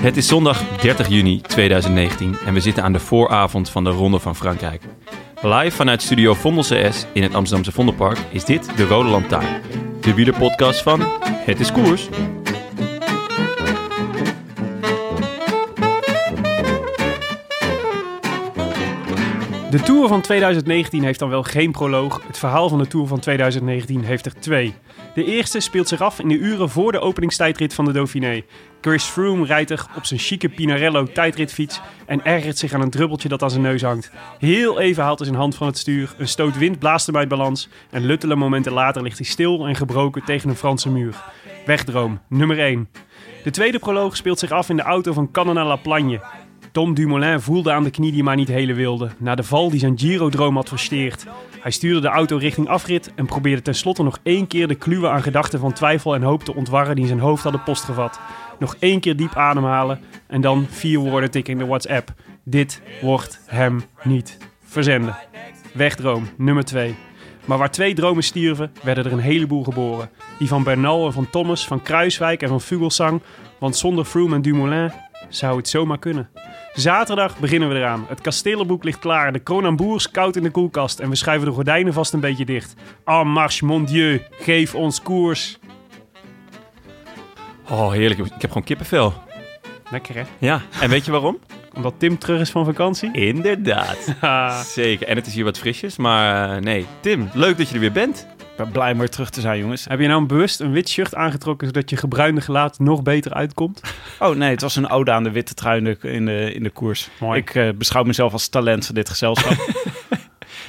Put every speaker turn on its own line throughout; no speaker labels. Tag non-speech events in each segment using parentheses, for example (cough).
Het is zondag 30 juni 2019 en we zitten aan de vooravond van de Ronde van Frankrijk. Live vanuit studio Vondel CS in het Amsterdamse Vondelpark is dit de Rode Lantaarn. De wielerpodcast van Het is Koers.
De Tour van 2019 heeft dan wel geen proloog. Het verhaal van de Tour van 2019 heeft er twee. De eerste speelt zich af in de uren voor de openingstijdrit van de Dauphiné. Chris Froome rijdt er op zijn chique Pinarello tijdritfiets en ergert zich aan een druppeltje dat aan zijn neus hangt. Heel even haalt hij zijn hand van het stuur, een stoot wind blaast hem uit balans en luttele momenten later ligt hij stil en gebroken tegen een Franse muur. Wegdroom, nummer 1. De tweede proloog speelt zich af in de auto van Cannon La Plagne. Tom Dumoulin voelde aan de knie die maar niet hele wilde, na de val die zijn Giro-droom had versteerd. Hij stuurde de auto richting afrit en probeerde tenslotte nog één keer de kluwen aan gedachten van twijfel en hoop te ontwarren die in zijn hoofd hadden postgevat. Nog één keer diep ademhalen en dan vier woorden tikken in de WhatsApp. Dit wordt hem niet. Verzenden. Wegdroom, nummer 2. Maar waar twee dromen stierven, werden er een heleboel geboren. Die van Bernal en van Thomas, van Kruiswijk en van Vugelsang. Want zonder Froome en Dumoulin zou het zomaar kunnen. Zaterdag beginnen we eraan. Het kastelenboek ligt klaar, de Kronenboers koud in de koelkast en we schuiven de gordijnen vast een beetje dicht. En marche, mon dieu, geef ons koers.
Oh, heerlijk. Ik heb gewoon kippenvel.
Lekker hè?
Ja, en weet je waarom?
Omdat Tim terug is van vakantie.
Inderdaad.
Ha.
Zeker. En het is hier wat frisjes, maar eh, nee. Tim, leuk dat je er weer bent.
Ik ben blij om weer terug te zijn, jongens.
Heb je nou bewust een wit shirt aangetrokken zodat je gebruinde gelaat nog beter uitkomt?
Oh nee, het was een ode aan de witte trui in de, in de, in de koers.
Mooi.
Ik eh, beschouw mezelf als talent van dit
(laughs)
gezelschap.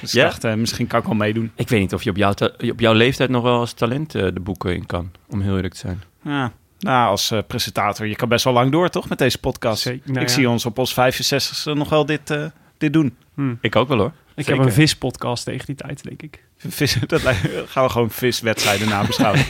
dus
Ja?
ik dacht, eh, misschien kan ik wel meedoen.
Ik weet niet of je op jouw, ta- op jouw leeftijd nog wel als talent eh, de boeken in kan, om heel eerlijk te zijn.
Ja. Nou, als eh, presentator, je kan best wel lang door, toch, met deze podcast?
Zeker, nou
ik
ja.
zie ons op ons 65ste nog wel dit, eh, dit doen.
Ik ook wel hoor.
Ik
Zeker.
heb een vispodcast tegen die tijd, denk ik.
Vis, (laughs) dat lijkt- gaan we gewoon
(laughs)
viswedstrijden nabeschouwen.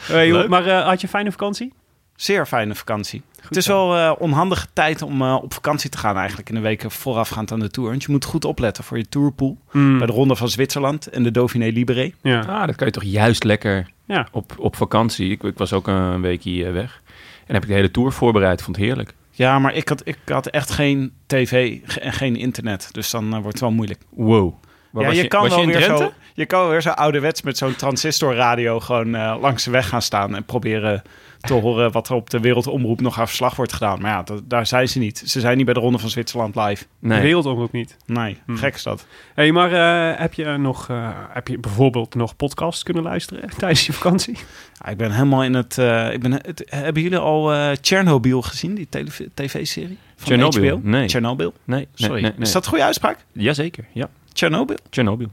Hey, joh,
Leuk.
maar eh, had je een fijne vakantie?
Zeer fijne vakantie. het is
zo.
wel eh, onhandige tijd om eh, op vakantie te gaan eigenlijk in de weken voorafgaand aan de Tour. Want je moet goed opletten voor je Tourpool.
Hmm.
Bij de Ronde van Zwitserland en de Dauphiné Libéré.
Ja.
Ah, dat kan je toch juist lekker
Ja.
op, op vakantie. Ik, ik was ook een weekje eh, weg. En heb ik de hele tour voorbereid. Vond het heerlijk.
Ja, maar ik had, ik had echt geen tv ge- en geen internet. Dus dan eh, wordt het wel moeilijk.
Wow. Waar
ja,
was
je kan
was
wel
in
weer
Drenthe?
zo. Je kan wel weer zo ouderwets met zo'n transistorradio gewoon eh, langs de weg gaan staan en proberen te horen wat er op de wereldomroep nog aan verslag wordt gedaan. Maar ja, dat- daar zijn ze niet. Ze zijn niet bij de Ronde van Zwitserland live.
De
Nee.
wereldomroep niet.
Nee, gek is dat.
hey, maar eh, heb, je nog, eh, heb je bijvoorbeeld nog podcasts kunnen luisteren tijdens je vakantie?
Ja, ik ben helemaal in het, eh, ik ben, het- Hebben jullie al eh Chernobyl gezien, die tele- tv-serie? van
Chernobyl?
HBO?
Nee.
Chernobyl?
Nee, nee,
Sorry.
nee, nee.
Is dat een goede uitspraak?
Jazeker, ja.
Chernobyl?
Chernobyl.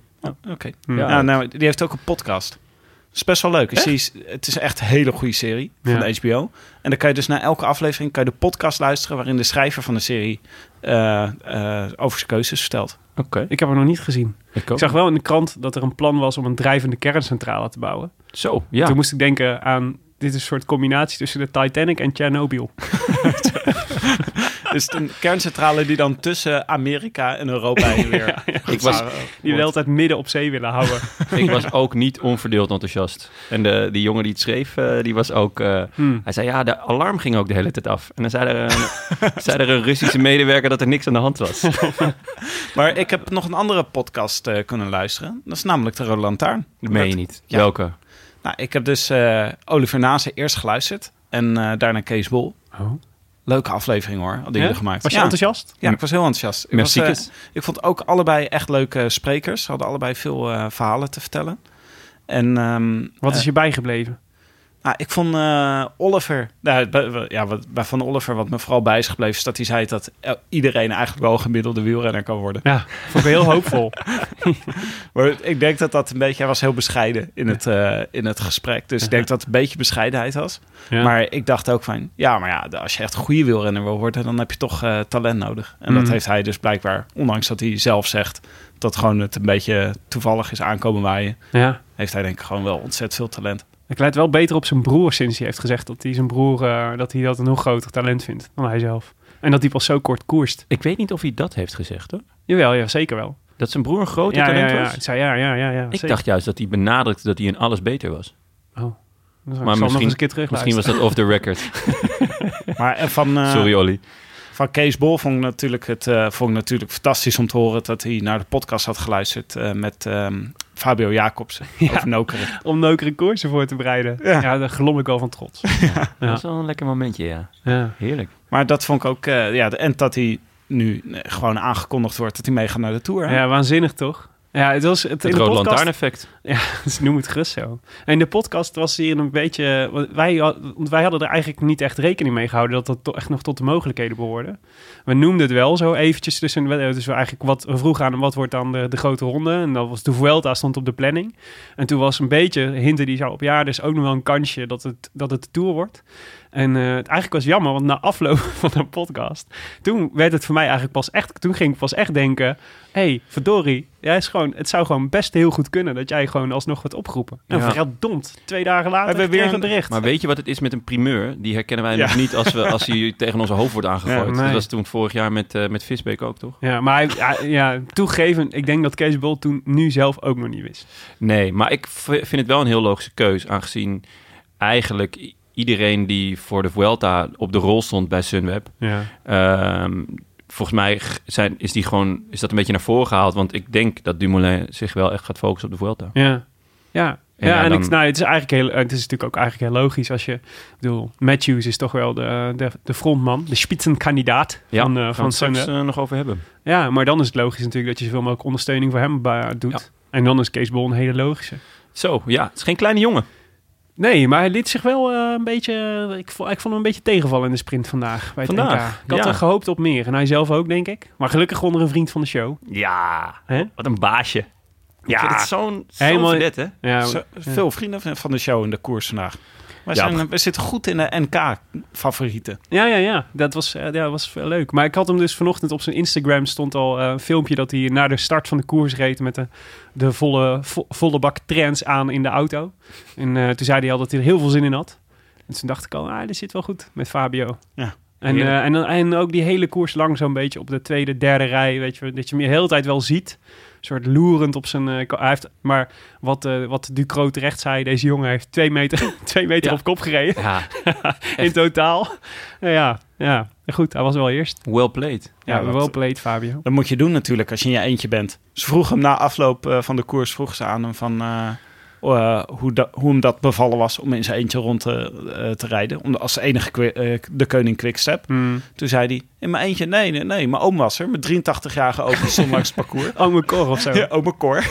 Oké.
Hmm.
Ja.
Ja, nou, die heeft ook een podcast. Dat is best wel leuk. Ik zie- het is echt een hele goede serie van
Ja.
de HBO. En dan kan je dus na elke aflevering kan je de podcast luisteren... waarin de schrijver van de serie eh, eh, over zijn keuzes vertelt. (laughs)
Oké.
Ik heb hem nog niet gezien.
Ik
Ik
ook.
zag wel in de krant dat er een plan was om een drijvende kerncentrale te bouwen.
Zo, ja.
Toen moest ik denken aan... Dit is een soort combinatie tussen de Titanic en Chernobyl.
Dus een kerncentrale die dan tussen Amerika en Europa heen en
(laughs)
weer...
Ik was,
Die de hele tijd midden op zee willen houden.
ik was ook niet onverdeeld enthousiast. En de, die jongen die het schreef, eh, die was ook... eh,
Hmm.
hij zei, ja, de alarm ging ook de hele tijd af. En dan zei er een, (laughs) zei er een Russische medewerker dat er niks aan de hand
(laughs)
was.
Maar ik heb nog een andere podcast eh, kunnen luisteren. Dat is namelijk de Rode Lantaarn.
Dat meen je niet.
Ja.
Welke?
Nou, ik heb dus eh, Oliver Nase eerst geluisterd. En eh, daarna Kees Bol.
Oh.
Leuke aflevering hoor, hadden
Ja?
jullie gemaakt.
Was je
Ja.
enthousiast?
Ja, ik was heel enthousiast. Ik, was,
Merci.
eh, ik vond ook allebei echt leuke sprekers. Ze hadden allebei veel eh, verhalen te vertellen. En, ehm,
Wat is
eh,
je bijgebleven?
Ah, ik vond eh, Oliver, nou, bij- bij- ja, wat, bij Van Oliver, wat me vooral bij is gebleven, is dat hij zei dat el- iedereen eigenlijk wel een gemiddelde wielrenner kan worden.
Ja, vond ik heel hoopvol.
Maar ik denk dat dat een beetje, hij was heel bescheiden in het, eh, in het gesprek. Dus ik denk dat het een beetje bescheidenheid was.
(laughs) Ja.
Maar ik dacht ook van, ja, maar ja, als je echt goede wielrenner wil worden, dan heb je toch eh, talent nodig. En dat
Mm.
heeft hij dus blijkbaar, ondanks dat hij zelf zegt dat gewoon het een beetje toevallig is aankomen waaien,
ja.
heeft hij denk ik gewoon wel ontzettend veel talent.
Ik lijkt wel beter op zijn broer sinds hij heeft gezegd dat hij zijn broer eh, dat, hij dat een nog groter talent vindt dan hij zelf. En dat hij pas zo kort koerst.
Ik weet niet of hij dat heeft gezegd, hoor.
Jawel, ja, zeker wel.
Dat zijn broer een grote
ja,
talent
ja, ja,
was?
Ik zei ja, ja, ja. ja
Ik dacht juist dat hij benadrukte dat hij in alles beter was.
maar misschien, nog eens een keer terug
misschien was dat off the
(laughs)
record.
Maar eh, van,
Ah.
eh,
Sorry, Olly.
van Kees Bol vond ik, natuurlijk het, eh, vond ik natuurlijk fantastisch om te horen dat hij naar de podcast had geluisterd eh, met ehm, Fabio
(laughs)
Jacobsen over Nokeren.
Om leukere koersen voor te bereiden. Ja,
Ja.
daar glom ik al van trots.
Dat is wel een lekker momentje, ja.
ja.
Heerlijk.
Maar dat vond ik ook, eh, ja, de- en dat hij nu eh, gewoon aangekondigd wordt dat hij meegaat naar de Tour.
ja, waanzinnig toch? Ja, het was het, in
Het rode
de podcast, (laughs)
lantaarneffect.
Ze noemen het gerust zo. En de podcast was hier een beetje... want Wij, had- want wij hadden er eigenlijk niet echt rekening mee gehouden... dat dat toch echt nog tot de mogelijkheden behoorde. We noemden het wel zo eventjes. Dus, een, dus we, eigenlijk wat, we vroegen aan hem wat wordt dan de, de grote ronde. En dat was de Vuelta stond op de planning. En toen was een beetje hinten die zou op... ja, er is ook nog wel een kansje dat het, dat het de Tour wordt. En eh, het eigenlijk was jammer, want na afloop (laughs) van de podcast... toen werd het voor mij eigenlijk pas echt... toen ging ik pas echt denken hé, hey, verdorie, jij is gewoon, het zou gewoon best heel goed kunnen dat jij gewoon alsnog wordt opgeroepen. En
Ja.
verdomd, twee dagen later
Hebben we weer
kregen
een-
we bericht.
Maar weet je wat het is met een primeur? Die herkennen wij
Ja.
nog niet als, we, als
(laughs)
hij tegen onze hoofd wordt aangegooid.
Ja, nee.
Dat was toen vorig jaar met, eh, met Visbeek ook, toch?
Ja, maar hij- ja, ja, toegeven, ik denk dat Kees Bol toen nu zelf ook nog niet wist.
Nee, maar ik v- vind het wel een heel logische keus. Aangezien eigenlijk i- iedereen die voor de Vuelta op de rol stond bij Sunweb...
Ja.
Ehm, volgens mij g- zijn, is, die gewoon, is dat een beetje naar voren gehaald. Want ik denk dat Dumoulin zich wel echt gaat focussen op de Vuelta.
Ja, ja. Ja,
En ja,
en
dan-
ik, nou, het is eigenlijk heel, het is natuurlijk ook eigenlijk heel logisch als je, ik bedoel, Matthews is toch wel de, de, de frontman, de spitsenkandidaat
Ja,
van, eh,
gaan we
van
het straks
Sunweb.
eh, nog over hebben.
Ja, maar dan is het logisch natuurlijk dat je zoveel mogelijk ondersteuning voor hem eh, doet. En dan is Kees Bol een hele logische.
Zo, ja, het is geen kleine jongen.
Nee, maar hij liet zich wel eh, een beetje... Ik vond, ik vond hem een beetje tegenvallen in de sprint vandaag. Bij het
Vandaag,
NK. Ik had
ja.
er gehoopt op meer. En hij zelf ook, denk ik. Maar gelukkig onder een vriend van de show.
Ja,
Hè?
wat een baasje. Ja,
vind het
zo'n
Helemaal-
net hè?
Nou, Ja,
Zo- Veel vrienden van- van de show in de koers vandaag.
Ja.
We, zijn, we zitten goed in de NK-favorieten.
ja, ja, ja. Dat was, eh, ja, was wel leuk. Maar ik had hem dus vanochtend op zijn Instagram stond al eh, een filmpje... dat hij na de start van de koers reed met de, de volle, vo- volle bak trends aan in de auto. En eh, toen zei hij al dat hij er heel veel zin in had. En toen dacht ik al, ah, dit zit wel goed met Fabio.
Ja.
En,
Heerlijk.
eh, en, dan- en ook die hele koers lang zo'n beetje op de tweede, derde rij. Weet je, dat je hem de hele tijd wel ziet. Een soort loerend op zijn... eh, ko- hij heeft, maar wat, eh wat Ducro terecht zei, deze jongen heeft twee meter, (laughs) twee meter
Ja.
op kop gereden.
Ja,
In totaal. Nou ja, ja, goed, hij was wel eerst.
well played.
Ja,
dat-
wel played Fabio.
Dat moet je doen natuurlijk als je in je eentje bent. Ze vroeg hem na afloop eh, van de koers vroeg ze aan hem van, eh, eh, hoe, da- hoe hem dat bevallen was om in zijn eentje rond te, eh, te rijden. Om, als enige kwi- eh, de koning Quickstep. Toen zei hij, in mijn eentje? Nee, nee, nee. Mijn oom was er. Mijn 83-jarige oom die stond langs het parcours.
(laughs) Oh, mijn kor of zo.
Ja,
Ja,
oma Cor.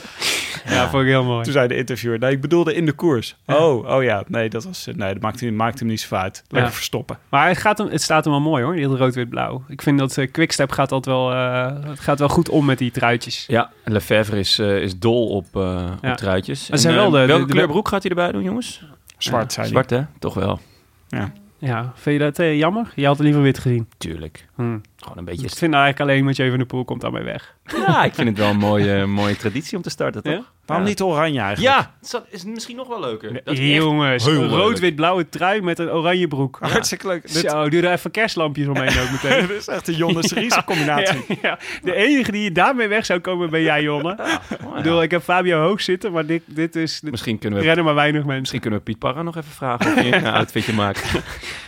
vond ik heel
Toen
mooi.
zei de interviewer, nee, ik bedoelde in de koers. Oh, oh ja. Nee, dat, was, nee, dat maakte, hem- maakte hem niet zo uit. Lekker
Ja.
verstoppen.
Maar het, gaat hem, het staat hem wel mooi hoor, heel rood-wit-blauw. Ik vind dat eh, Quickstep gaat altijd wel, eh, het gaat wel goed om met die truitjes.
Ja, Lefebvre is, eh, is dol op, eh
Ja.
op truitjes.
Maar zijn
En,
wel
eh,
de-
welke
de- de-
kleur broek gaat hij erbij doen, jongens?
Zwart, zei hij.
Zwart, hè? Toch wel.
Ja, vind je dat eh, jammer? Je had het liever wit gezien.
Tuurlijk. Gewoon een
Dus
beetje...
ik vind eigenlijk alleen Mathieu van der Poel komt daarmee weg.
Ja, ik vind het wel een mooie, (laughs) mooie traditie om te starten, toch?
Ja?
Waarom
Ja.
niet oranje eigenlijk?
Ja, dat is misschien nog wel leuker. Dat is echt-
Jongens,
heel
een
leuk.
rood-wit-blauwe trui met een oranje broek. Ja.
Hartstikke leuk. Ah, Dit,
Zo, doe er even kerstlampjes omheen ook meteen.
(laughs) dit is echt een Jonas Riese combinatie.
Ja, ja. De enige die daarmee weg zou komen ben jij, Jonne.
Oh, ja.
Ik bedoel, ik heb Fabio hoog zitten, maar dit, dit is... Dit
Misschien kunnen we,
rennen maar weinig mensen.
misschien kunnen we Piet Parra nog even vragen of hij een (laughs) outfitje maakt.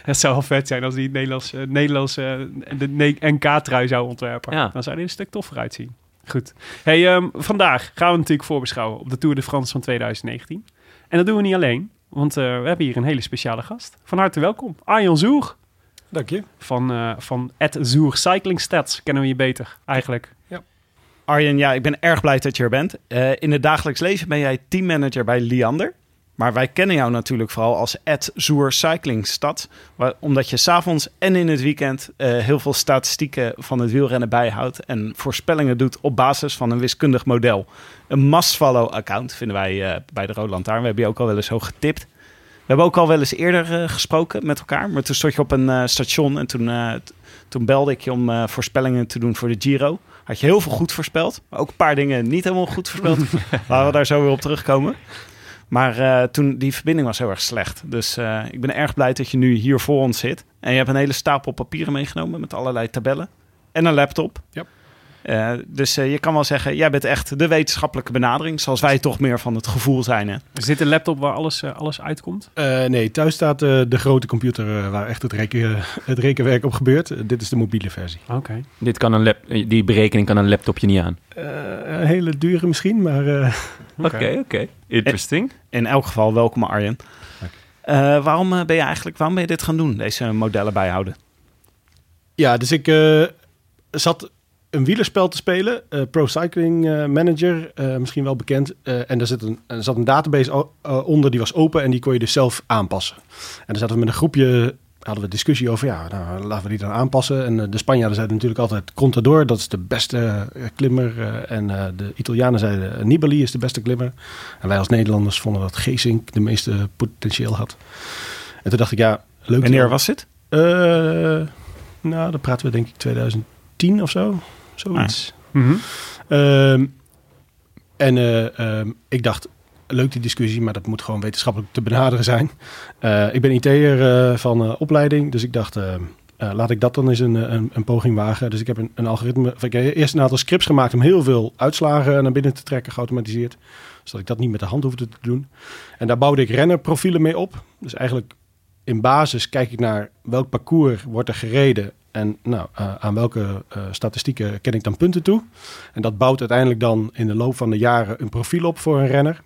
Het zou wel vet zijn als die het Nederlands, eh, Nederlands eh, de ne- NK-trui zou ontwerpen.
Ja.
Dan zou die er een stuk toffer uitzien. Goed. Hey, ehm, vandaag gaan we natuurlijk voorbeschouwen op de Tour de France van 2019. En dat doen we niet alleen, want eh, we hebben hier een hele speciale gast. Van harte welkom, Arjan Zoer.
Dank je.
Van, eh van Ed Zoer Cycling Stats kennen we je beter, eigenlijk.
Arjen, ja, ik ben erg blij dat je er bent. Eh, in het dagelijks leven ben jij teammanager bij Liander. Maar wij kennen jou natuurlijk vooral als Ed Zoer Cyclingstad. waar- Omdat je s'avonds en in het weekend eh, heel veel statistieken van het wielrennen bijhoudt. En voorspellingen doet op basis van een wiskundig model. Een must-follow account vinden wij eh, bij de Roland Lantaarn. We hebben je ook al wel eens hoog getipt. We hebben ook al wel eens eerder eh, gesproken met elkaar. Maar toen stond je op een eh, station en toen, eh, t- toen belde ik je om eh, voorspellingen te doen voor de Giro. Had je heel veel goed voorspeld. Maar ook een paar dingen niet helemaal goed voorspeld. Laten we daar zo weer op terugkomen. Maar eh, toen, die verbinding was heel erg slecht. Dus eh, ik ben erg blij dat je nu hier voor ons zit. En je hebt een hele stapel papieren meegenomen met allerlei tabellen. En een laptop.
Ja.
Eh, dus eh, je kan wel zeggen, jij bent echt de wetenschappelijke benadering. Zoals wij toch meer van het gevoel zijn. Hè?
Is dit een laptop waar alles, eh, alles uitkomt?
Eh, nee, thuis staat eh, de grote computer eh, waar echt het, reken, het rekenwerk op gebeurt. Eh, dit is de mobiele versie.
Oké.
Dit kan een lap, eh, die berekening kan een laptopje niet aan.
Eh, een hele dure misschien, maar eh,
Oké, oké. Interesting.
In elk geval, welkom Arjen. Eh, waarom eh, ben je eigenlijk, waarom ben je dit gaan doen? Deze modellen bijhouden?
ja, dus ik eh, zat een wielerspel te spelen, eh, Pro Cycling eh, Manager, eh, misschien wel bekend. Eh, en daar zit een, er zat een database o- eh, onder, die was open en die kon je dus zelf aanpassen. En daar zaten we met een groepje, hadden we discussie over, ja, nou, laten we die dan aanpassen. En eh, de Spanjaarden zeiden natuurlijk altijd Contador, dat is de beste eh, klimmer. eh, en eh, de Italianen zeiden eh, Nibali is de beste klimmer. En wij als Nederlanders vonden dat Geesink de meeste potentieel had. En toen dacht ik, ja, leuk.
Wanneer was dit?
Eh, nou, dan praten we denk ik 2010 of zo. Zoiets.
Mhm.
Ehm, en eh, ehm, ik dacht, leuk die discussie, maar dat moet gewoon wetenschappelijk te benaderen zijn. Eh, ik ben IT'er eh, van eh, opleiding, dus ik dacht, eh, eh, laat ik dat dan eens een, eh, een, een poging wagen. Dus ik heb een, een algoritme, of ik heb eerst een aantal scripts gemaakt om heel veel uitslagen naar binnen te trekken, geautomatiseerd. Zodat ik dat niet met de hand hoefde te doen. En daar bouwde ik rennerprofielen mee op. Dus eigenlijk in basis kijk ik naar welk parcours wordt er gereden. En nou, eh, aan welke eh, statistieken ken ik dan punten toe. En dat bouwt uiteindelijk dan in de loop van de jaren een profiel op voor een renner.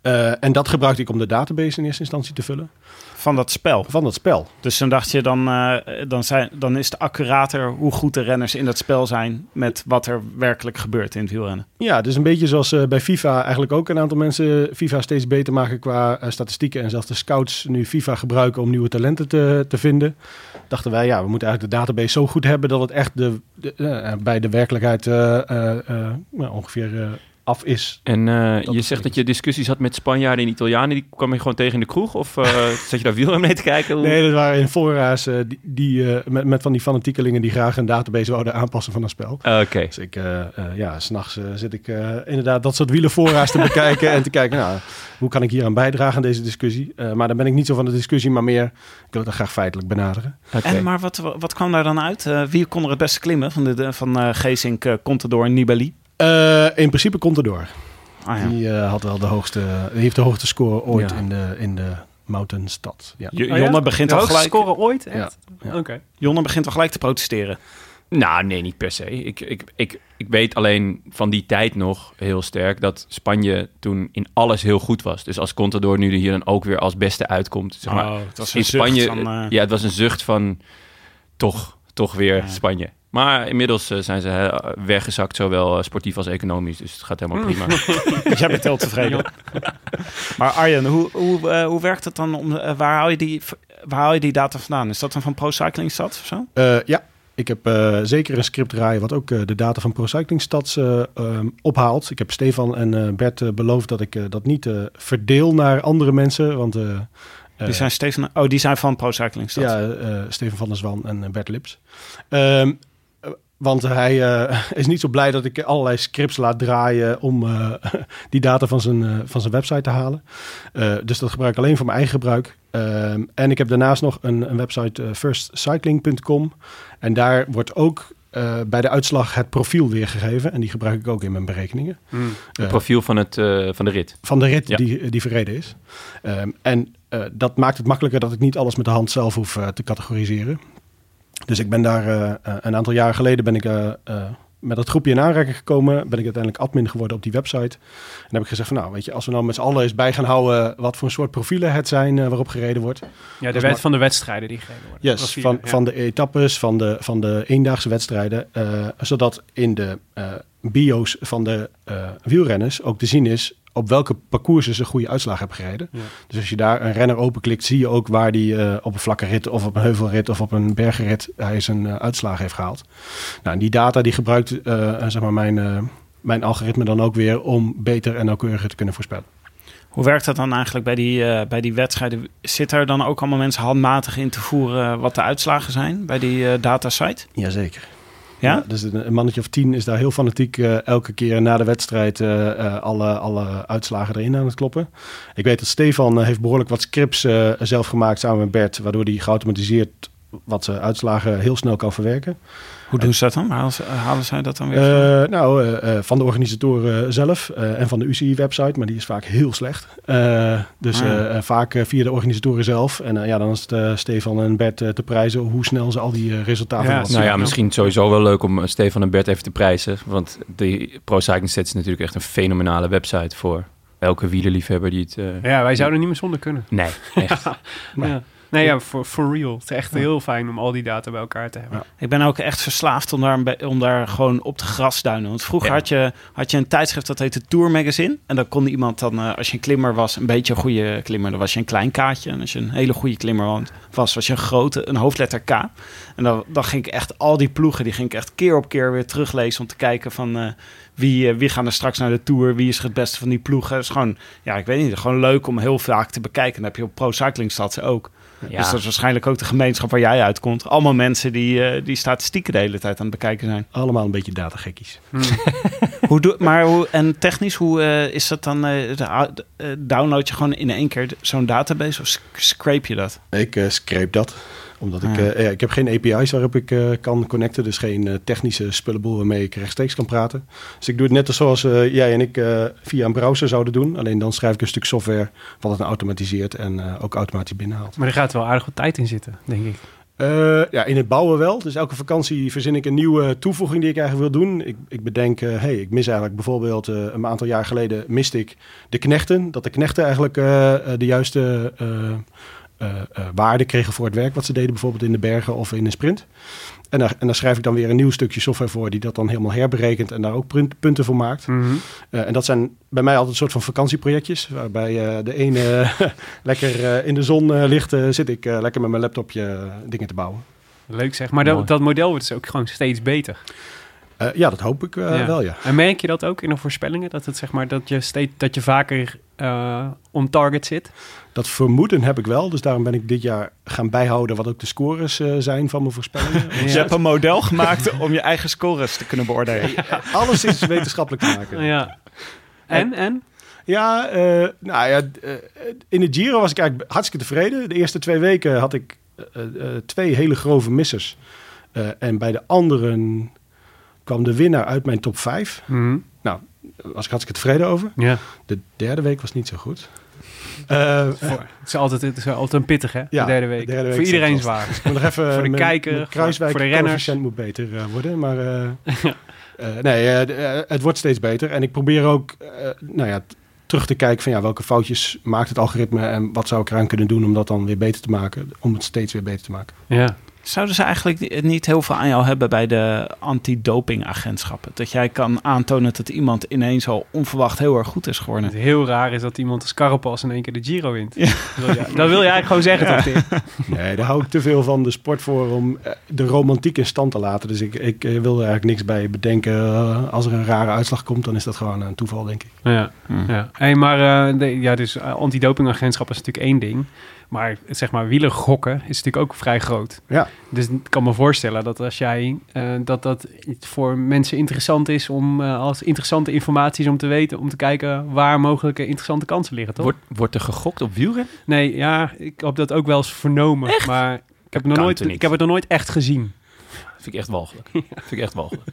Eh, en dat gebruikte ik om de database in eerste instantie te vullen
Van dat spel.
van dat spel.
Dus dan dacht je, dan, eh, dan, zijn, dan is het accurater hoe goed de renners in dat spel zijn met wat er werkelijk gebeurt in het wielrennen.
Ja, dus een beetje zoals eh, bij FIFA eigenlijk ook een aantal mensen eh, FIFA steeds beter maken qua eh, statistieken. En zelfs de scouts nu FIFA gebruiken om nieuwe talenten te, te vinden. Dachten wij, ja, we moeten eigenlijk de database zo goed hebben dat het echt de, de, eh, bij de werkelijkheid eh, eh, eh, nou, ongeveer eh, af is.
En eh,
Dat
je
is
zegt dat je discussies had met Spanjaarden en Italianen. Die kwam je gewoon tegen in de kroeg? Of
(laughs)
eh zat je daar wielrennen mee te kijken?
Mm.
Hoe-
Nee, dat waren in fora's eh, die, die, eh, met, met van die fanatiekelingen die graag een database wouden aanpassen van een spel.
Ah, Oké.
Dus ik, eh, eh, ja, s'nachts eh zit ik eh, inderdaad dat soort wielenvoorraas
(laughs)
te bekijken en te kijken, nou, hoe kan ik hier aan bijdragen aan deze discussie? Eh, maar dan ben ik niet zo van de discussie, maar meer, ik wil het graag feitelijk benaderen.
Oké.
En maar wat, wat kwam daar dan uit? Eh, wie kon er het beste klimmen van, de, de- van eh Geesink, eh, Contador en Nibali?
Eh, in principe komt door.
Ah, ja.
Die eh, had wel de hoogste, die heeft de hoogste score ooit
Ja.
in de, in de mountainstad. Ja.
Jo-
Oh ja?
Jonne, begint
De
al
hoogste
gelijk,
scoren ooit? Echt?
Ja.
Oké.
Ja.
Jonne begint al gelijk te protesteren.
Nou, nee, niet per se. Ik, ik, ik, ik weet alleen van die tijd nog heel sterk dat Spanje toen in alles heel goed was. Dus als Contador nu er hier dan ook weer als beste uitkomt. Zeg maar,
Oh, het was
in
een zucht
Spanje,
van, eh,
(laughs) ja, het was een zucht van toch, toch weer
Ja.
Spanje. Maar inmiddels eh, zijn ze eh, weggezakt, zowel eh, sportief als economisch. Dus het gaat helemaal
Hmm. (laughs)
prima.
Jij bent heel tevreden. maar Arjen, hoe, hoe, eh, hoe werkt het dan? Om, eh, waar, haal je die, waar haal je die data vandaan? Is dat dan van Pro Cycling Stats of zo?
Eh, ja, ik heb eh, zeker een script draaien wat ook eh, de data van Pro Cycling Stats eh, ehm, ophaalt. Ik heb Stefan en eh, Bert eh, beloofd dat ik eh, dat niet eh, verdeel naar andere mensen, want... eh, eh,
Die zijn, Steven, oh, die zijn van Pro Cycling Stats.
Ja, eh, Steven van der Zwan en eh, Bert Lips. Ehm, eh, want hij eh, (laughs) is niet zo blij dat ik allerlei scripts laat draaien om eh, (laughs) die data van zijn, eh, van zijn website te halen. Eh, dus dat gebruik ik alleen voor mijn eigen gebruik. Ehm, en ik heb daarnaast nog een, een website eh, firstcycling.com. En daar wordt ook eh, bij de uitslag het profiel weergegeven. En die gebruik ik ook in mijn berekeningen.
Het
Eh,
profiel van, het, eh, van de rit.
van de rit
Ja.
die, die verreden is. Ehm, en eh, dat maakt het makkelijker dat ik niet alles met de hand zelf hoef eh, te categoriseren. Dus ik ben daar eh, eh, een aantal jaren geleden ben ik eh, eh, met dat groepje in aanraking gekomen. Ben ik uiteindelijk admin geworden op die website. En heb ik gezegd van nou weet je, als we nou met z'n allen eens bij gaan houden wat voor soort profielen het zijn eh, waarop gereden wordt.
Ja, de
was
wet
maar-
van de wedstrijden die gereden worden.
Yes,
Profielen,
van,
ja.
van de etappes, van de, van de eendaagse wedstrijden. eh, zodat in de eh, bio's van de eh, wielrenners ook te zien is... op welke parcoursen ze goede uitslag hebben gereden.
Ja.
Dus als je daar een renner openklikt, zie je ook waar die eh, op een vlakke rit of op een heuvelrit of op een bergrit hij zijn eh, uitslagen heeft gehaald. Nou, en die data die gebruikt eh, eh, zeg maar mijn, eh, mijn algoritme dan ook weer om beter en nauwkeuriger te kunnen voorspellen.
Hoe werkt dat dan eigenlijk bij die, eh, bij die wedstrijden? Zit er dan ook allemaal mensen handmatig in te voeren wat de uitslagen zijn bij die eh, datasite?
Jazeker.
Ja?
Ja, dus een een mannetje of tien is daar heel fanatiek eh, elke keer na de wedstrijd eh, eh, alle, alle uitslagen erin aan het kloppen. Ik weet dat Stefan eh, heeft behoorlijk wat scripts eh, zelf gemaakt samen met Bert, waardoor hij geautomatiseerd wat eh, uitslagen heel snel kan verwerken.
Hoe doen ze dat dan? Waar Halen, ze- halen zij dat dan weer? vandaan?
Eh, nou, eh, eh, van de organisatoren zelf eh, en van de UCI-website, maar die is vaak heel slecht. Eh, dus
Ah.
eh, eh, vaak eh, via de organisatoren zelf. En eh, ja, dan is het eh, Stefan en Bert eh, te prijzen hoe snel ze al die eh, resultaten
Ja,
laten
Nou
zien.
ja, misschien sowieso wel leuk om eh, Stefan en Bert even te prijzen. Want de Pro Cycling Stats is natuurlijk echt een fenomenale website voor elke wielerliefhebber die het... eh,
Ja, wij zouden niet meer zonder kunnen.
Nee, (laughs) echt.
Maar-
Ja. Nee, ja, for, for real. Het is echt heel fijn om al die data bij elkaar te hebben.
Ik ben ook echt verslaafd om daar, een be- om daar gewoon op te grasduinen. Want vroeger
Ja.
had, je, had je een tijdschrift dat heette Tour Magazine. En dan kon iemand dan, eh, als je een klimmer was, een beetje een goede klimmer, dan was je een klein kaartje. En als je een hele goede klimmer wa- was, was je een grote, een hoofdletter K. En dan, dan ging ik echt al die ploegen, die ging ik echt keer op keer weer teruglezen om te kijken van eh, wie, eh, wie gaan er straks naar de Tour, wie is het beste van die ploegen. Het is gewoon, ja, ik weet niet, gewoon leuk om heel vaak te bekijken. En dat heb je op Pro Cycling Stats ook.
Ja.
Dus dat is waarschijnlijk ook de gemeenschap waar jij uitkomt. Allemaal mensen die, eh, die statistieken de hele tijd aan het bekijken zijn.
Allemaal een beetje datagekkies.
(laughs) hoe doe, maar hoe, en technisch, hoe eh, is dat dan? eh, de ou- de- eh, download je gewoon in één keer de- zo'n database of sc- scrape je dat?
Ik eh scrape dat. Omdat ik,
Ja.
eh, ja, ik heb geen API's waarop ik eh, kan connecten. Dus geen eh, technische spullenboel waarmee ik rechtstreeks kan praten. Dus ik doe het net als zoals eh, jij en ik eh, via een browser zouden doen. Alleen dan schrijf ik een stuk software wat het nou automatiseert en eh, ook automatisch binnenhaalt.
Maar er gaat wel aardig wat tijd in zitten, denk ik.
Eh, ja, in het bouwen wel. Dus elke vakantie verzin ik een nieuwe toevoeging die ik eigenlijk wil doen. Ik, ik bedenk, eh, hey, ik mis eigenlijk bijvoorbeeld eh, een aantal jaar geleden miste ik de knechten. Dat de knechten eigenlijk eh, eh, de juiste eh eh, eh, waarde kregen voor het werk wat ze deden. Bijvoorbeeld in de bergen of in een sprint. En daar, en daar schrijf ik dan weer een nieuw stukje software voor die dat dan helemaal herberekent en daar ook punt- punten voor maakt.
Mhm.
Eh, en dat zijn bij mij altijd een soort van vakantieprojectjes. Waarbij eh, de ene (laughs) eh, lekker eh, in de zon eh, ligt, eh, zit ik eh, lekker met mijn laptopje eh, dingen te bouwen.
Leuk zeg. Maar dat,
Mooi.
dat model wordt dus ook gewoon steeds beter.
Eh, ja, dat hoop ik eh,
Ja.
wel, ja.
En merk je dat ook in de voorspellingen? Dat, het, zeg maar, dat, je, steeds, dat je vaker eh on target zit?
Dat vermoeden heb ik wel. Dus daarom ben ik dit jaar gaan bijhouden wat ook de scores eh, zijn van mijn voorspellingen.
(laughs) Ja.
Dus Je hebt een model gemaakt (laughs) om je eigen scores te kunnen beoordelen.
Alles is wetenschappelijk te maken.
Ja. En, en?
Ja, eh, nou ja, d- eh, in de Giro was ik eigenlijk hartstikke tevreden. De eerste twee weken had ik eh, eh, twee hele grove missers. Eh, en bij de anderen kwam de winnaar uit mijn top 5. Nou, daar was ik hartstikke tevreden over.
Mhm. Ja.
De derde week was niet zo goed. Eh,
Het is altijd, het is altijd een pittig, hè?
Ja,
de derde week.
de derde week
Voor
is
iedereen
het
zwaar.
Ik moet nog even eh,
Voor de
mijn-
kijker,
mijn Kruiswijk
voor de renners.
coëfficiënt moet beter eh, worden, maar eh, (laughs) eh, nee, eh, d- eh, het wordt steeds beter. En ik probeer ook, eh, nou ja, t- terug te kijken van ja, welke foutjes maakt het algoritme en wat zou ik eraan kunnen doen om dat dan weer beter te maken, om het steeds weer beter te maken.
(laughs) Ja.
Zouden ze eigenlijk niet heel veel aan jou hebben bij de antidopingagentschappen? Dat jij kan aantonen dat iemand ineens al onverwacht heel erg goed is geworden.
Het heel raar is dat iemand als Carapas in één keer de Giro wint. Dat wil je- dat wil je eigenlijk gewoon zeggen, toch, Tim?
Nee, daar hou ik te veel van de sport voor om eh, de romantiek in stand te laten. Dus ik, ik eh, wil er eigenlijk niks bij bedenken. Eh, als er een rare uitslag komt, dan is dat gewoon een toeval, denk ik.
Ja. Ja, hey, maar eh, de- ja, dus eh, antidopingagentschap is natuurlijk één ding. Maar zeg maar, wielergokken is natuurlijk ook vrij groot.
Ja.
Dus ik kan me voorstellen dat als jij eh, dat dat iets voor mensen interessant is om eh, als interessante informatie is om te weten, om te kijken waar mogelijke interessante kansen liggen, toch?
Wordt, wordt er gegokt op wielrennen?
Nee, ja, ik heb dat ook wel eens vernomen, maar ik heb, nog
kan
nooit,
toch niet?
ik heb het nog nooit echt gezien.
Dat vind ik echt walgelijk. Dat vind ik echt (laughs) walgelijk.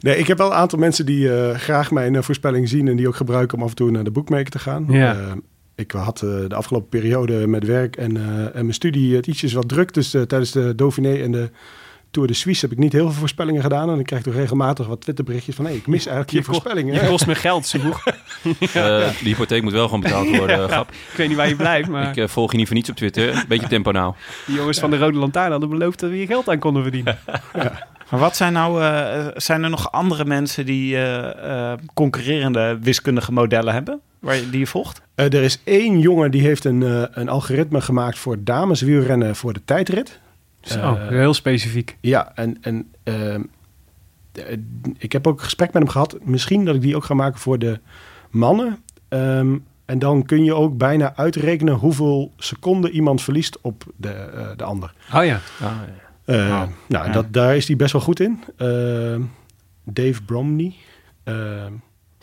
Nee, ik heb wel een aantal mensen die eh, graag mijn eh, voorspelling zien en die ook gebruiken om af en toe naar de boekmaker te gaan.
Ja.
Eh, ik had eh, de afgelopen periode met werk en, eh, en mijn studie het ietsjes wat druk. Dus eh, tijdens de Dauphiné en de Tour de Suisse heb ik niet heel veel voorspellingen gedaan. En ik krijg toch regelmatig wat Twitterberichtjes van... hé, ik mis eigenlijk je,
Je ko-
voorspellingen.
Je kost me geld, Soeg.
Eh, de hypotheek moet wel gewoon betaald worden, grap.
ik weet niet waar je
(laughs)
blijft, maar
Ik eh, volg je niet voor niets op Twitter. Beetje tempo nou.
die jongens van de Rode Lantaarn hadden beloofd dat we hier geld aan konden verdienen.
Maar wat zijn nou, eh, zijn er nog andere mensen die eh, eh, concurrerende wiskundige modellen hebben? waar je, die je volgt?
Eh, er is één jongen die heeft een, eh, een algoritme gemaakt voor dameswielrennen voor de tijdrit.
Zo,
Eh,
Oh, heel specifiek.
Ja, en, en ehm, eh, ik heb ook een gesprek met hem gehad. Misschien dat ik die ook ga maken voor de mannen. Ehm, en dan kun je ook bijna uitrekenen hoeveel seconden iemand verliest op de, eh, de ander.
Oh ja.
Ah, ja.
Eh,
Oh,
nou,
ja.
dat, daar is hij best wel goed in. Ehm, Dave Bromney. Ehm,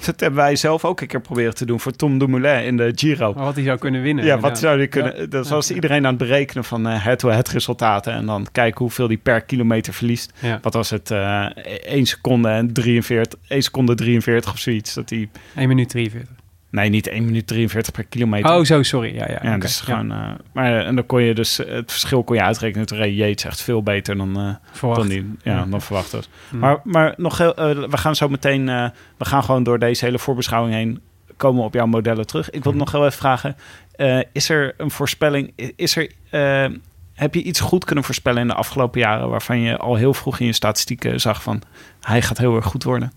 Dat hebben wij zelf ook een keer proberen te doen voor Tom Dumoulin in de Giro.
Maar wat hij zou kunnen winnen.
Oh, ja, wat
inderdaad.
zou die kunnen? Dat was iedereen aan het berekenen van eh, head-to-head resultaten. En dan kijken hoeveel die per kilometer verliest.
Ja.
Wat was het? eh 1 seconde en 43, 1 seconde 43 of zoiets. Dat die,
1 minuut 43.
nee, niet 1 minuut 43 per kilometer.
Oh, zo, sorry. Ja, ja. oké.
Ja, dat is gewoon. eh, maar eh, en dan kon je dus eh, het verschil kon je uitrekenen. Toen reed Yates echt veel beter dan, eh,
Verwacht.
dan, die, ja,
Ja.
dan verwacht was.
Hmm.
Maar, maar nog heel, eh, we gaan zo meteen. eh, we gaan gewoon door deze hele voorbeschouwing heen komen we op jouw modellen terug. Ik wil
Mm.
nog heel even vragen: eh, is er een voorspelling? i- Is er, eh, heb je iets goed kunnen voorspellen in de afgelopen jaren waarvan je al heel vroeg in je statistieken zag van hij gaat heel erg goed worden?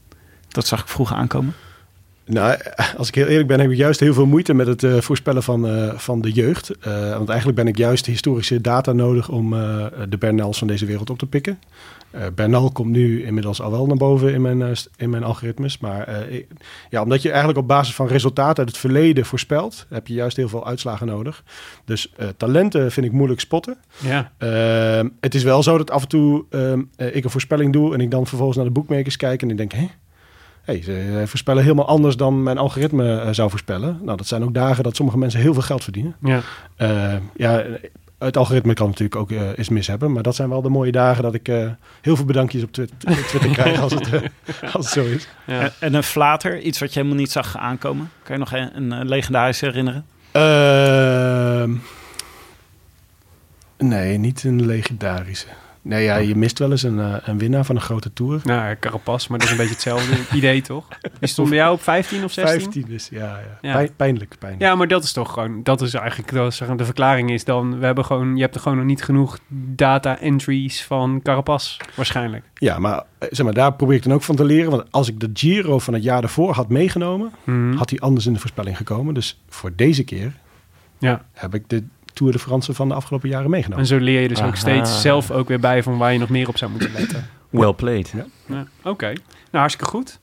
Dat zag ik vroeg aankomen.
Nou, als ik heel eerlijk ben, heb ik juist heel veel moeite met het eh, voorspellen van, eh, van de jeugd. Eh, want eigenlijk ben ik juist historische data nodig om eh, de Bernals van deze wereld op te pikken. Eh, Bernal komt nu inmiddels al wel naar boven in mijn, eh, st- in mijn algoritmes. Maar eh, ik- ja, omdat je eigenlijk op basis van resultaten uit het verleden voorspelt, heb je juist heel veel uitslagen nodig. Dus eh, talenten vind ik moeilijk spotten.
Ja.
Ehm, het is wel zo dat af en toe ehm, eh, ik een voorspelling doe en ik dan vervolgens naar de bookmakers kijk en ik denk, hè? Hey, ze eh, voorspellen helemaal anders dan mijn algoritme eh, zou voorspellen. Nou, dat zijn ook dagen dat sommige mensen heel veel geld verdienen.
ja.
Eh, ja, het algoritme kan natuurlijk ook eh eens mis hebben, maar dat zijn wel de mooie dagen dat ik eh, heel veel bedankjes op Twit- Twitter (laughs) krijg als het, eh, als het zo is.
Ja.
En, en een flater, iets wat je helemaal niet zag aankomen. Kan je nog een, een eh, legendarische herinneren?
Ehm, nee, niet een legendarische. Nee, ja, je mist wel eens een, eh, een winnaar van een grote tour.
Nou, Carapas, maar dat is een beetje hetzelfde (laughs) idee, toch? Die stond bij jou op 15 of 16?
15 is, ja. ja.
Ja.
Pijn- pijnlijk, pijnlijk.
Ja, maar dat is toch gewoon, dat is eigenlijk, dat is, zeg maar, de verklaring is dan, we hebben gewoon, je hebt er gewoon nog niet genoeg data entries van Carapas, waarschijnlijk.
Ja, maar, eh, zeg maar daar probeer ik dan ook van te leren. Want als ik de Giro van het jaar daarvoor had meegenomen,
Mhm.
had hij anders in de voorspelling gekomen. Dus voor deze keer
Ja,
heb ik de Tour de France van de afgelopen jaren meegenomen.
en zo leer je dus ook
Aha.
steeds zelf ook weer bij van waar je nog meer op zou moeten letten.
Well played.
Ja, Oké, nou hartstikke goed.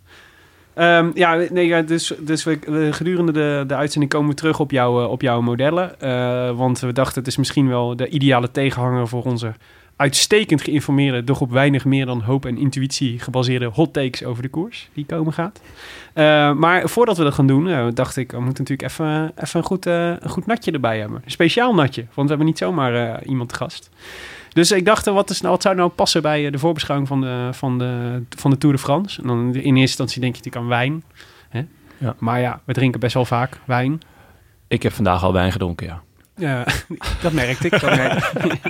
Ehm, ja, nee, ja, dus, dus we, we- gedurende de, de uitzending komen we terug op, jouw eh, op jouw modellen. Eh, want we dachten, het is misschien wel de ideale tegenhanger voor onze uitstekend geïnformeerde, doch op weinig meer dan hoop en intuïtie gebaseerde hot takes over de koers die komen gaat. Eh, maar voordat we dat gaan doen, eh, dacht ik, we moeten natuurlijk even, even een, goed, eh, een goed natje erbij hebben. Een speciaal natje, want we hebben niet zomaar eh, iemand te gast. Dus ik dacht, eh, wat, is nou, wat zou nou passen bij eh, de voorbeschouwing van de, van, de, van de Tour de France? En dan in eerste instantie denk je natuurlijk aan wijn. Hè?
Ja.
Maar ja, we drinken best wel vaak wijn.
Ik heb vandaag al wijn gedronken, ja.
Ja, (laughs) dat merkte ik. Dat merkte. ik.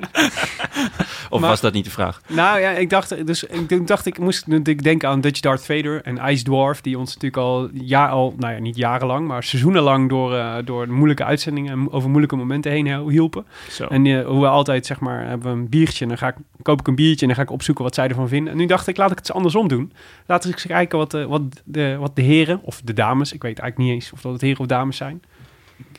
Of
Maar-
was dat niet de vraag?
nou ja, ik dacht, dus, ik denk- dacht, ik moest natuurlijk denken aan Dutch Darth Vader en Ice Dwarf, die ons natuurlijk al, jaar, al nou ja, niet jarenlang, maar seizoenenlang door, eh, door moeilijke uitzendingen en over moeilijke momenten heen hielpen.
Zo.
En eh, hoe we altijd, zeg maar, hebben we een biertje. En dan ga ik, koop ik een biertje en dan ga ik opzoeken wat zij ervan vinden. En nu dacht ik, laat ik het eens andersom doen. Laten we eens kijken wat, eh, wat, de, wat de heren of de dames... Ik weet eigenlijk niet eens of dat het heren of dames zijn.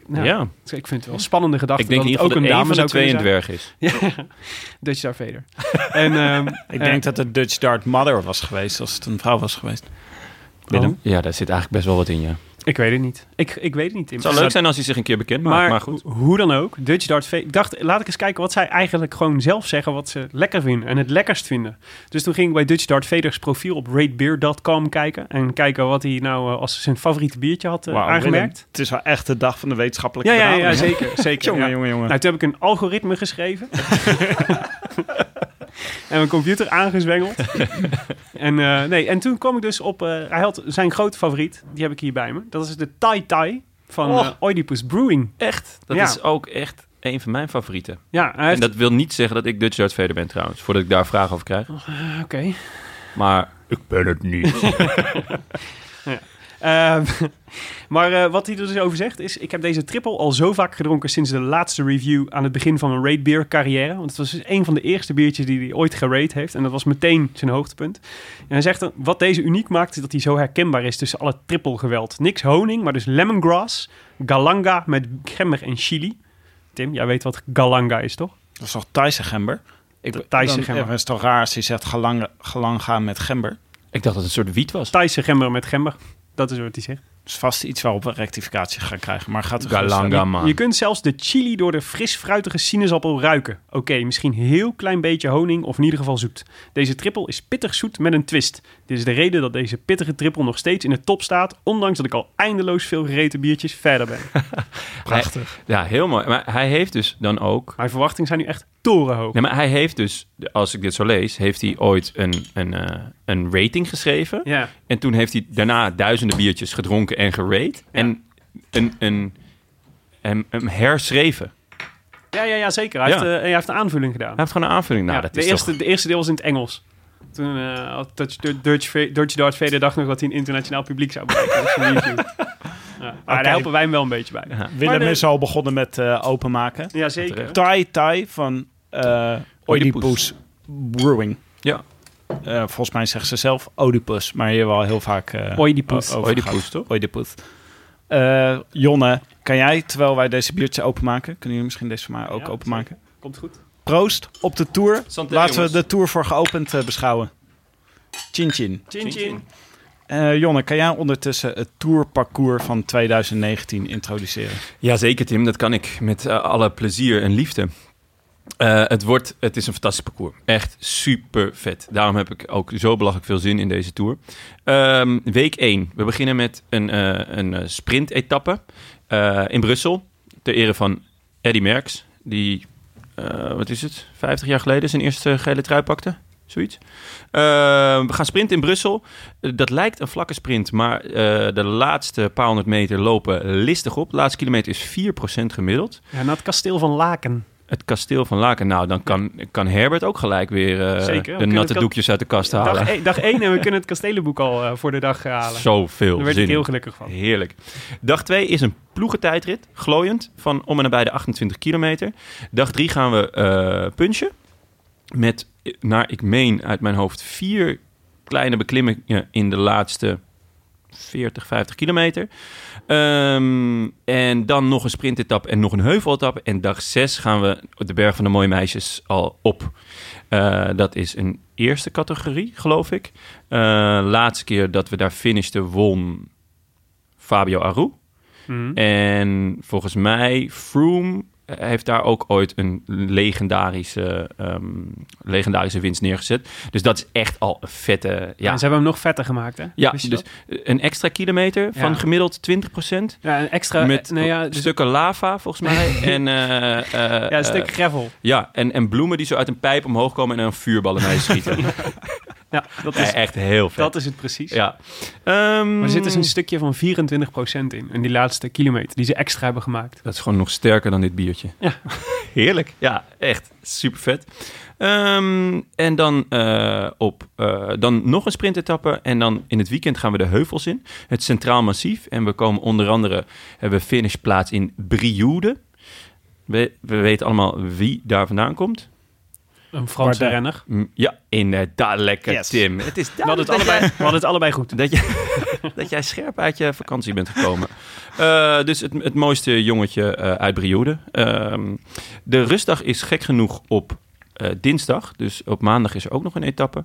Nou,
ja.
dus Ik vind het wel een spannende gedachte.
Ik denk in
dat het
ieder
ook
geval
een
dat één
dame
van de
zou
twee een
kunnen zijn.
dwerg is.
Ja, Dutch Darth Vader. en, ehm,
Ik
eh,
denk dat het Dutch Dart Mother was geweest als het een vrouw was geweest. Willem?
Ja, daar zit eigenlijk best wel wat in, ja.
Ik weet het niet. Ik, ik weet het niet.
Het zou leuk zijn als hij zich een keer bekend maakt, maar,
Maar,
goed.
ho- hoe dan ook, Dutch Dart Fe- Ik dacht, laat ik eens kijken wat zij eigenlijk gewoon zelf zeggen wat ze lekker vinden en het lekkerst vinden. Dus toen ging ik bij Dutch Dart Veders profiel op ratebeer.com kijken en kijken wat hij nou eh, als zijn favoriete biertje had eh,
Wauw,
aangemerkt.
Willem, Het is wel echt de dag van de wetenschappelijke
Ja, ja, ja,
benadering, hè?
zeker, zeker.
(laughs) Jongen,
ja.
jongen, jongen.
Nou, toen heb ik een algoritme geschreven. en mijn computer aangezwengeld. en, eh, nee, en toen kwam ik dus op... eh, hij had zijn grote favoriet, die heb ik hier bij me. Dat is de Tai Tai van
Och.
eh, Oedipus Brewing.
Echt? Dat
Ja.
is ook echt een van mijn favorieten.
Ja, hij
En
heeft...
dat wil niet zeggen dat ik Dutch Darth Vader ben trouwens, voordat ik daar vragen
eh,
over krijg.
Oké.
Maar ik ben het niet.
Ehm, (laughs) maar eh, wat hij er dus over zegt is... Ik heb deze triple al zo vaak gedronken sinds de laatste review... aan het begin van mijn rate beer carrière. Want het was dus een van de eerste biertjes die hij ooit gerate heeft. En dat was meteen zijn hoogtepunt. En hij zegt, dan, wat deze uniek maakt... is dat hij zo herkenbaar is tussen alle triple geweld. Niks honing, maar dus lemongrass... galanga met gember en chili. Tim, jij weet wat galanga is, toch?
Dat is toch Thaise gember? Ik,
De Thaise
dan-
gember.
ja, Het is toch raar als je zegt galang, galang gaan met gember.
Ik dacht dat het een soort wiet was.
Thaise gember met gember. Dat is wat hij zegt.
Dat is vast iets waarop we rectificatie gaan krijgen. Maar gaat
Galanga, man.
Je kunt zelfs de chili door de fris-fruitige sinaasappel ruiken. Oké, misschien heel klein beetje honing of in ieder geval zoet. Deze trippel is pittig zoet met een twist. Dit is de reden dat deze pittige trippel nog steeds in de top staat... ondanks dat ik al eindeloos veel gereten biertjes verder
(laughs)
ben.
Prachtig.
Ja, heel mooi. Maar hij heeft dus dan ook...
Mijn verwachtingen zijn nu echt torenhoog.
Nee, maar hij heeft dus, als ik dit zo lees, heeft hij ooit een, een, eh, een rating geschreven.
Ja,
En toen heeft hij daarna duizenden biertjes gedronken en gerate. En een, een, hem- hem herschreven.
ja, ja, ja zeker. Hij,
Ja.
Heeft, eh, hij heeft een aanvulling gedaan.
Hij heeft gewoon een aanvulling. Nou,
Ja,
dat
de,
is
eerste,
toch...
de eerste deel was in het Engels. Toen eh, had Dutch, Dutch, Dutch Darth Vader dacht nog dat hij een internationaal publiek zou bereiken. Dat
(laughs)
is een review. Ja, maar
Oké.
daar helpen wij hem wel een beetje bij. Ja,
Willem
Maar de-
is al begonnen met eh, openmaken.
zeker.
Thai Thai van eh
Oedipus.
Oedipus Brewing.
Ja.
Eh, volgens mij zeggen ze zelf Oedipus, maar hier wel heel vaak eh
Oedipus.
o- over
Oh, Oedipus,
gehad.
toch?
Oedipus. Eh, Jonne, kan jij, terwijl wij deze biertje openmaken... Kunnen jullie misschien deze voor mij ook
Ja,
openmaken?
Komt goed.
Proost op de Tour.
Santé,
Laten
jongens.
we de Tour voor geopend eh, beschouwen. Chin chin.
Chin chin.
Eh, Jonne, kan jij ondertussen het Tourparcours van 2019 introduceren?
Jazeker, Tim. Dat kan ik met eh, alle plezier en liefde. Eh, het, wordt, het is een fantastisch parcours. Echt super vet. Daarom heb ik ook zo belachelijk veel zin in deze tour. Ehm, week 1. We beginnen met een, eh een eh, sprint-etappe eh, in Brussel. Ter ere van Eddy Merckx. Die, eh, wat is het, 50 jaar geleden zijn eerste gele trui pakte. Zoiets. Eh, we gaan sprinten in Brussel. Eh, Dat lijkt een vlakke sprint, maar eh, de laatste paar honderd meter lopen listig op. De laatste kilometer is 4% gemiddeld
Ja, naar het kasteel van Laken.
het kasteel van Laken. Nou, dan kan, kan Herbert ook gelijk weer eh,
Zeker, we
de
kunnen
natte
het-
doekjes uit de kast halen. (laughs)
Dag, e- dag 1 en we kunnen het kastelenboek al eh, voor de dag eh, halen.
Zoveel
Daar werd
zin
ik heel
in.
gelukkig van.
Heerlijk. Dag 2 is een ploegentijdrit, glooiend, van om en nabij de 28 kilometer. Dag 3 gaan we eh punchen met, eh, naar ik meen uit mijn hoofd, vier kleine beklimmingen in de laatste 40, 50 kilometer. Ehm, en dan nog een sprintetap en nog een heuveltap. En dag 6 gaan we de Berg van de Mooie Meisjes al op. Eh, dat is een eerste categorie, geloof ik. Eh, laatste keer dat we daar finishten, won Fabio Aru.
Mhm.
En volgens mij, Froome heeft daar ook ooit een legendarische, ehm, legendarische winst neergezet. Dus dat is echt al een vette... Ja,
En ze hebben hem nog vetter gemaakt, hè?
ja
Wist
dus
je dat?
een extra kilometer van gemiddeld 20
Ja, een extra...
met
eh, nee, ja, dus,
stukken lava, volgens
(laughs)
mij. en, eh, eh,
ja, een stuk
eh,
gravel.
ja en, en bloemen die zo uit een pijp omhoog komen en er een vuurbal in schieten.
(laughs) Ja, dat
Ja,
is,
echt heel vet.
dat is het precies.
eh, Ja. Ehm,
Maar er zit dus een stukje van 24% in. In die laatste kilometer die ze extra hebben gemaakt.
Dat is gewoon nog sterker dan dit biertje.
Ja.
(laughs) Heerlijk. Ja, echt super vet. Ehm, en dan, eh, op, eh, dan nog een sprintetappe. En dan in het weekend gaan we de heuvels in. Het Centraal Massief. En we komen onder andere, hebben we finishplaats in Brioude. We, we weten allemaal wie daar vandaan komt.
Een Franse
Maar de-
renner.
Hm, Ja, inderdaad. Lekker,
Yes.
Tim. Het is
We hadden het allebei, we hadden het allebei goed.
dat, je, (laughs) dat jij scherp uit je vakantie bent gekomen. Eh, dus het, het mooiste jongetje eh, uit Brioude. Ehm, de rustdag is gek genoeg op eh, dinsdag. Dus op maandag is er ook nog een etappe.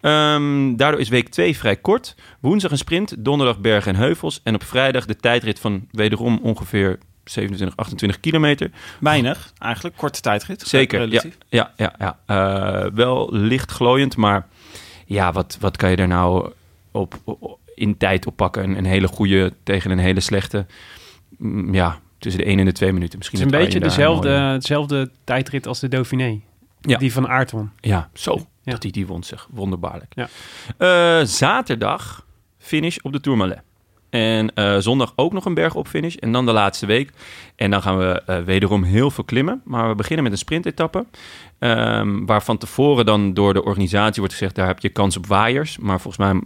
Ehm, daardoor is week 2 vrij kort. Woensdag een sprint, donderdag bergen en heuvels. En op vrijdag de tijdrit van wederom ongeveer 27, 28 kilometer.
Weinig, eigenlijk. Korte tijdrit.
Zeker, ja,
Relatief.
ja, ja, ja. Eh, wel licht glooiend, maar ja, wat, wat kan je er nou op, op- in tijd oppakken? Een, een hele goede tegen een hele slechte. Mm, ja, tussen de 1 en de 2 minuten misschien.
Het is een
dat
beetje
Arjen daar
dezelfde,
een
dezelfde tijdrit als de Dauphiné.
Ja.
Die van Aert won.
mooie- ja, zo.
Ja.
Dat hij die won, zeg. Wonderbaarlijk.
Ja.
Eh, zaterdag finish op de Tourmalet. En eh, zondag ook nog een berg op finish. En dan de laatste week. En dan gaan we eh, wederom heel veel klimmen. Maar we beginnen met een sprintetappe. Ehm waar van tevoren dan door de organisatie wordt gezegd... daar heb je kans op waaiers. Maar volgens mij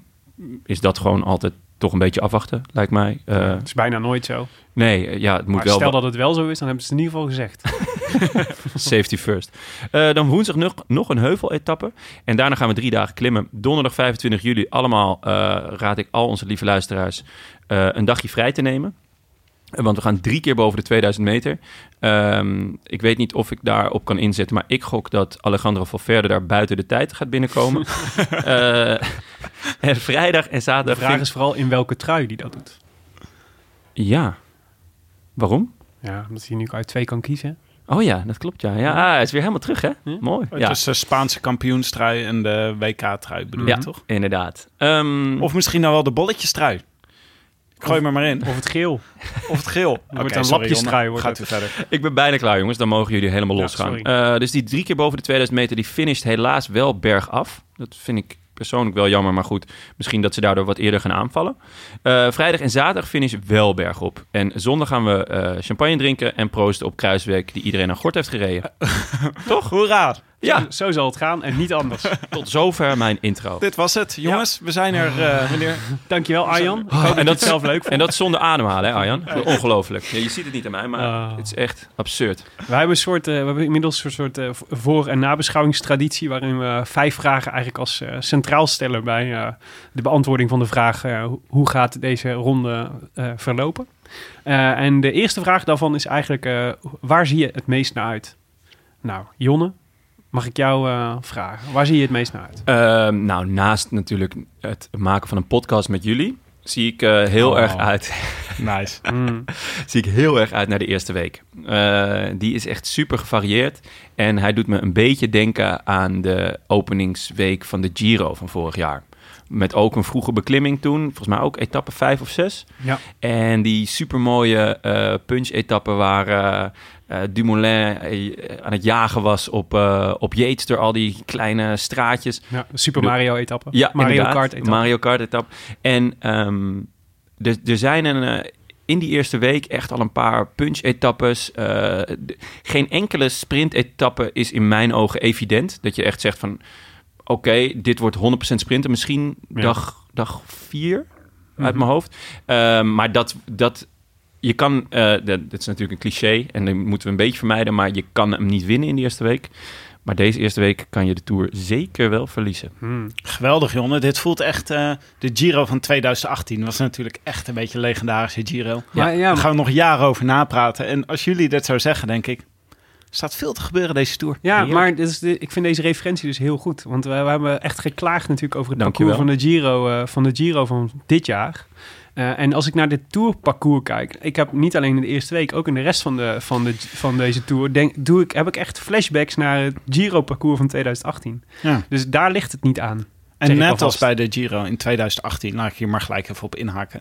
is dat gewoon altijd toch een beetje afwachten, lijkt mij. Eh,
Dat is bijna nooit zo.
nee, eh, ja, het moet
Maar
wel.
stel dat het wel zo is, dan hebben ze het in ieder geval gezegd.
(laughs) Safety first. Eh, dan woensdag nog, nog een heuveletappe. En daarna gaan we drie dagen klimmen. Donderdag 25 juli. Allemaal eh, raad ik al onze lieve luisteraars eh, een dagje vrij te nemen. Eh, Want we gaan drie keer boven de 2000 meter. Ehm, ik weet niet of ik daarop kan inzetten. Maar ik gok dat Alejandro Valverde daar buiten de tijd gaat binnenkomen. Eh, en vrijdag en
De
zaterdag...
vraag
vind-
is vooral in welke trui die dat doet.
Ja. Waarom?
Ja, omdat hij nu uit twee kan kiezen.
Oh ja, dat klopt ja. Ja, ah, hij is weer helemaal terug hè?
Ja.
Mooi.
Oh, Het
Ja,
is de Spaanse kampioenstrui en de WK-trui bedoel je
Ja.
toch?
inderdaad. Ehm,
Of misschien nou wel de bolletjestrui. Ik gooi maar maar in.
Of het geel.
Of het geel. (laughs) Oké,
wordt een
sorry,
lapjestrui,
Jonne.
wordt
Gaat u
het.
verder.
Ik ben bijna klaar, jongens. Dan mogen jullie helemaal
Ja,
losgaan.
sorry.
Eh, dus die drie keer boven de 2000 meter, die finisht helaas wel bergaf. Dat vind ik persoonlijk wel jammer, maar goed. Misschien dat ze daardoor wat eerder gaan aanvallen. Eh, vrijdag en zaterdag finish wel bergop. En zondag gaan we eh, champagne drinken en proosten op Kruisweg, die iedereen aan gort heeft
(laughs)
gereden.
Toch? Hoera.
Ja,
Zo zal het gaan en niet (laughs) anders.
tot zover mijn intro.
Dit was het. Jongens, we zijn er eh, wanneer...
Dankjewel Arjan. Ik hoop
Oh, en
dat je
dat-
het zelf leuk vond.
En dat zonder ademhalen, hè Arjan? Ongelooflijk. Ja, je ziet het niet aan mij, maar
Ah.
het is echt absurd.
Wij hebben, een soort, eh, we hebben inmiddels een soort eh, v- voor- en nabeschouwingstraditie... waarin we vijf vragen eigenlijk als eh, centraal stellen... bij eh, de beantwoording van de vraag... eh, ho- hoe gaat deze ronde eh, verlopen? Eh, en de eerste vraag daarvan is eigenlijk... eh, waar zie je het meest naar uit? Nou, Jonne, mag ik jou eh, vragen? Waar zie je het meest naar
(laughs)
uit?
Ehm, nou, naast natuurlijk het maken van een podcast met jullie, zie ik eh, heel
Oh.
erg uit
(laughs)
(laughs)
Nice.
Mm.
zie ik heel erg uit naar de eerste week. Eh, die is echt super gevarieerd. En hij doet me een beetje denken aan de openingsweek van de Giro van vorig jaar. Met ook een vroege beklimming toen. Volgens mij ook etappe 5 of 6.
Ja.
En die supermooie eh punch-etappen waar eh, eh, Dumoulin eh, aan het jagen was op, eh op Yates door al die kleine straatjes.
Ja, Super Mario-etappe.
Ja,
Mario
inderdaad.
Kart-etappe.
Mario Kart etap. En ehm, er, er zijn een, eh, in die eerste week echt al een paar punch-etappes. Eh, d- geen enkele sprint-etappe is in mijn ogen evident. Dat je echt zegt van, oké, dit wordt 100% sprinten. Misschien
Ja. Mhm.
dag, dag vier uit mijn hoofd. Ehm, maar dat... dat je kan, eh, dat, dat is natuurlijk een cliché en dat moeten we een beetje vermijden, maar je kan hem niet winnen in de eerste week. Maar deze eerste week kan je de Tour zeker wel verliezen.
Mm.
Geweldig, Jonne. Dit voelt echt... eh, de Giro van 2018 was natuurlijk echt een beetje een legendarische Giro.
Maar ja,
Daar gaan we nog jaren over napraten. En als jullie dit zou zeggen, denk ik... er staat veel te gebeuren deze Tour.
Ja,
Heerlijk.
maar dit is de- ik vind deze referentie dus heel goed. Want we, we hebben echt geklaagd natuurlijk over het
Dankjewel.
parcours van de, Giro, eh, van de Giro van dit jaar. Eh, en als ik naar dit tourparcours kijk, ik heb niet alleen in de eerste week, ook in de rest van, de, van, de, van deze tour, denk, doe ik, heb ik echt flashbacks naar het Giro-parcours van 2018.
Ja.
Dus daar ligt het niet aan. Zeg
En
ik
net
alvast.
als bij de Giro in 2018, laat ik hier maar gelijk even op inhaken.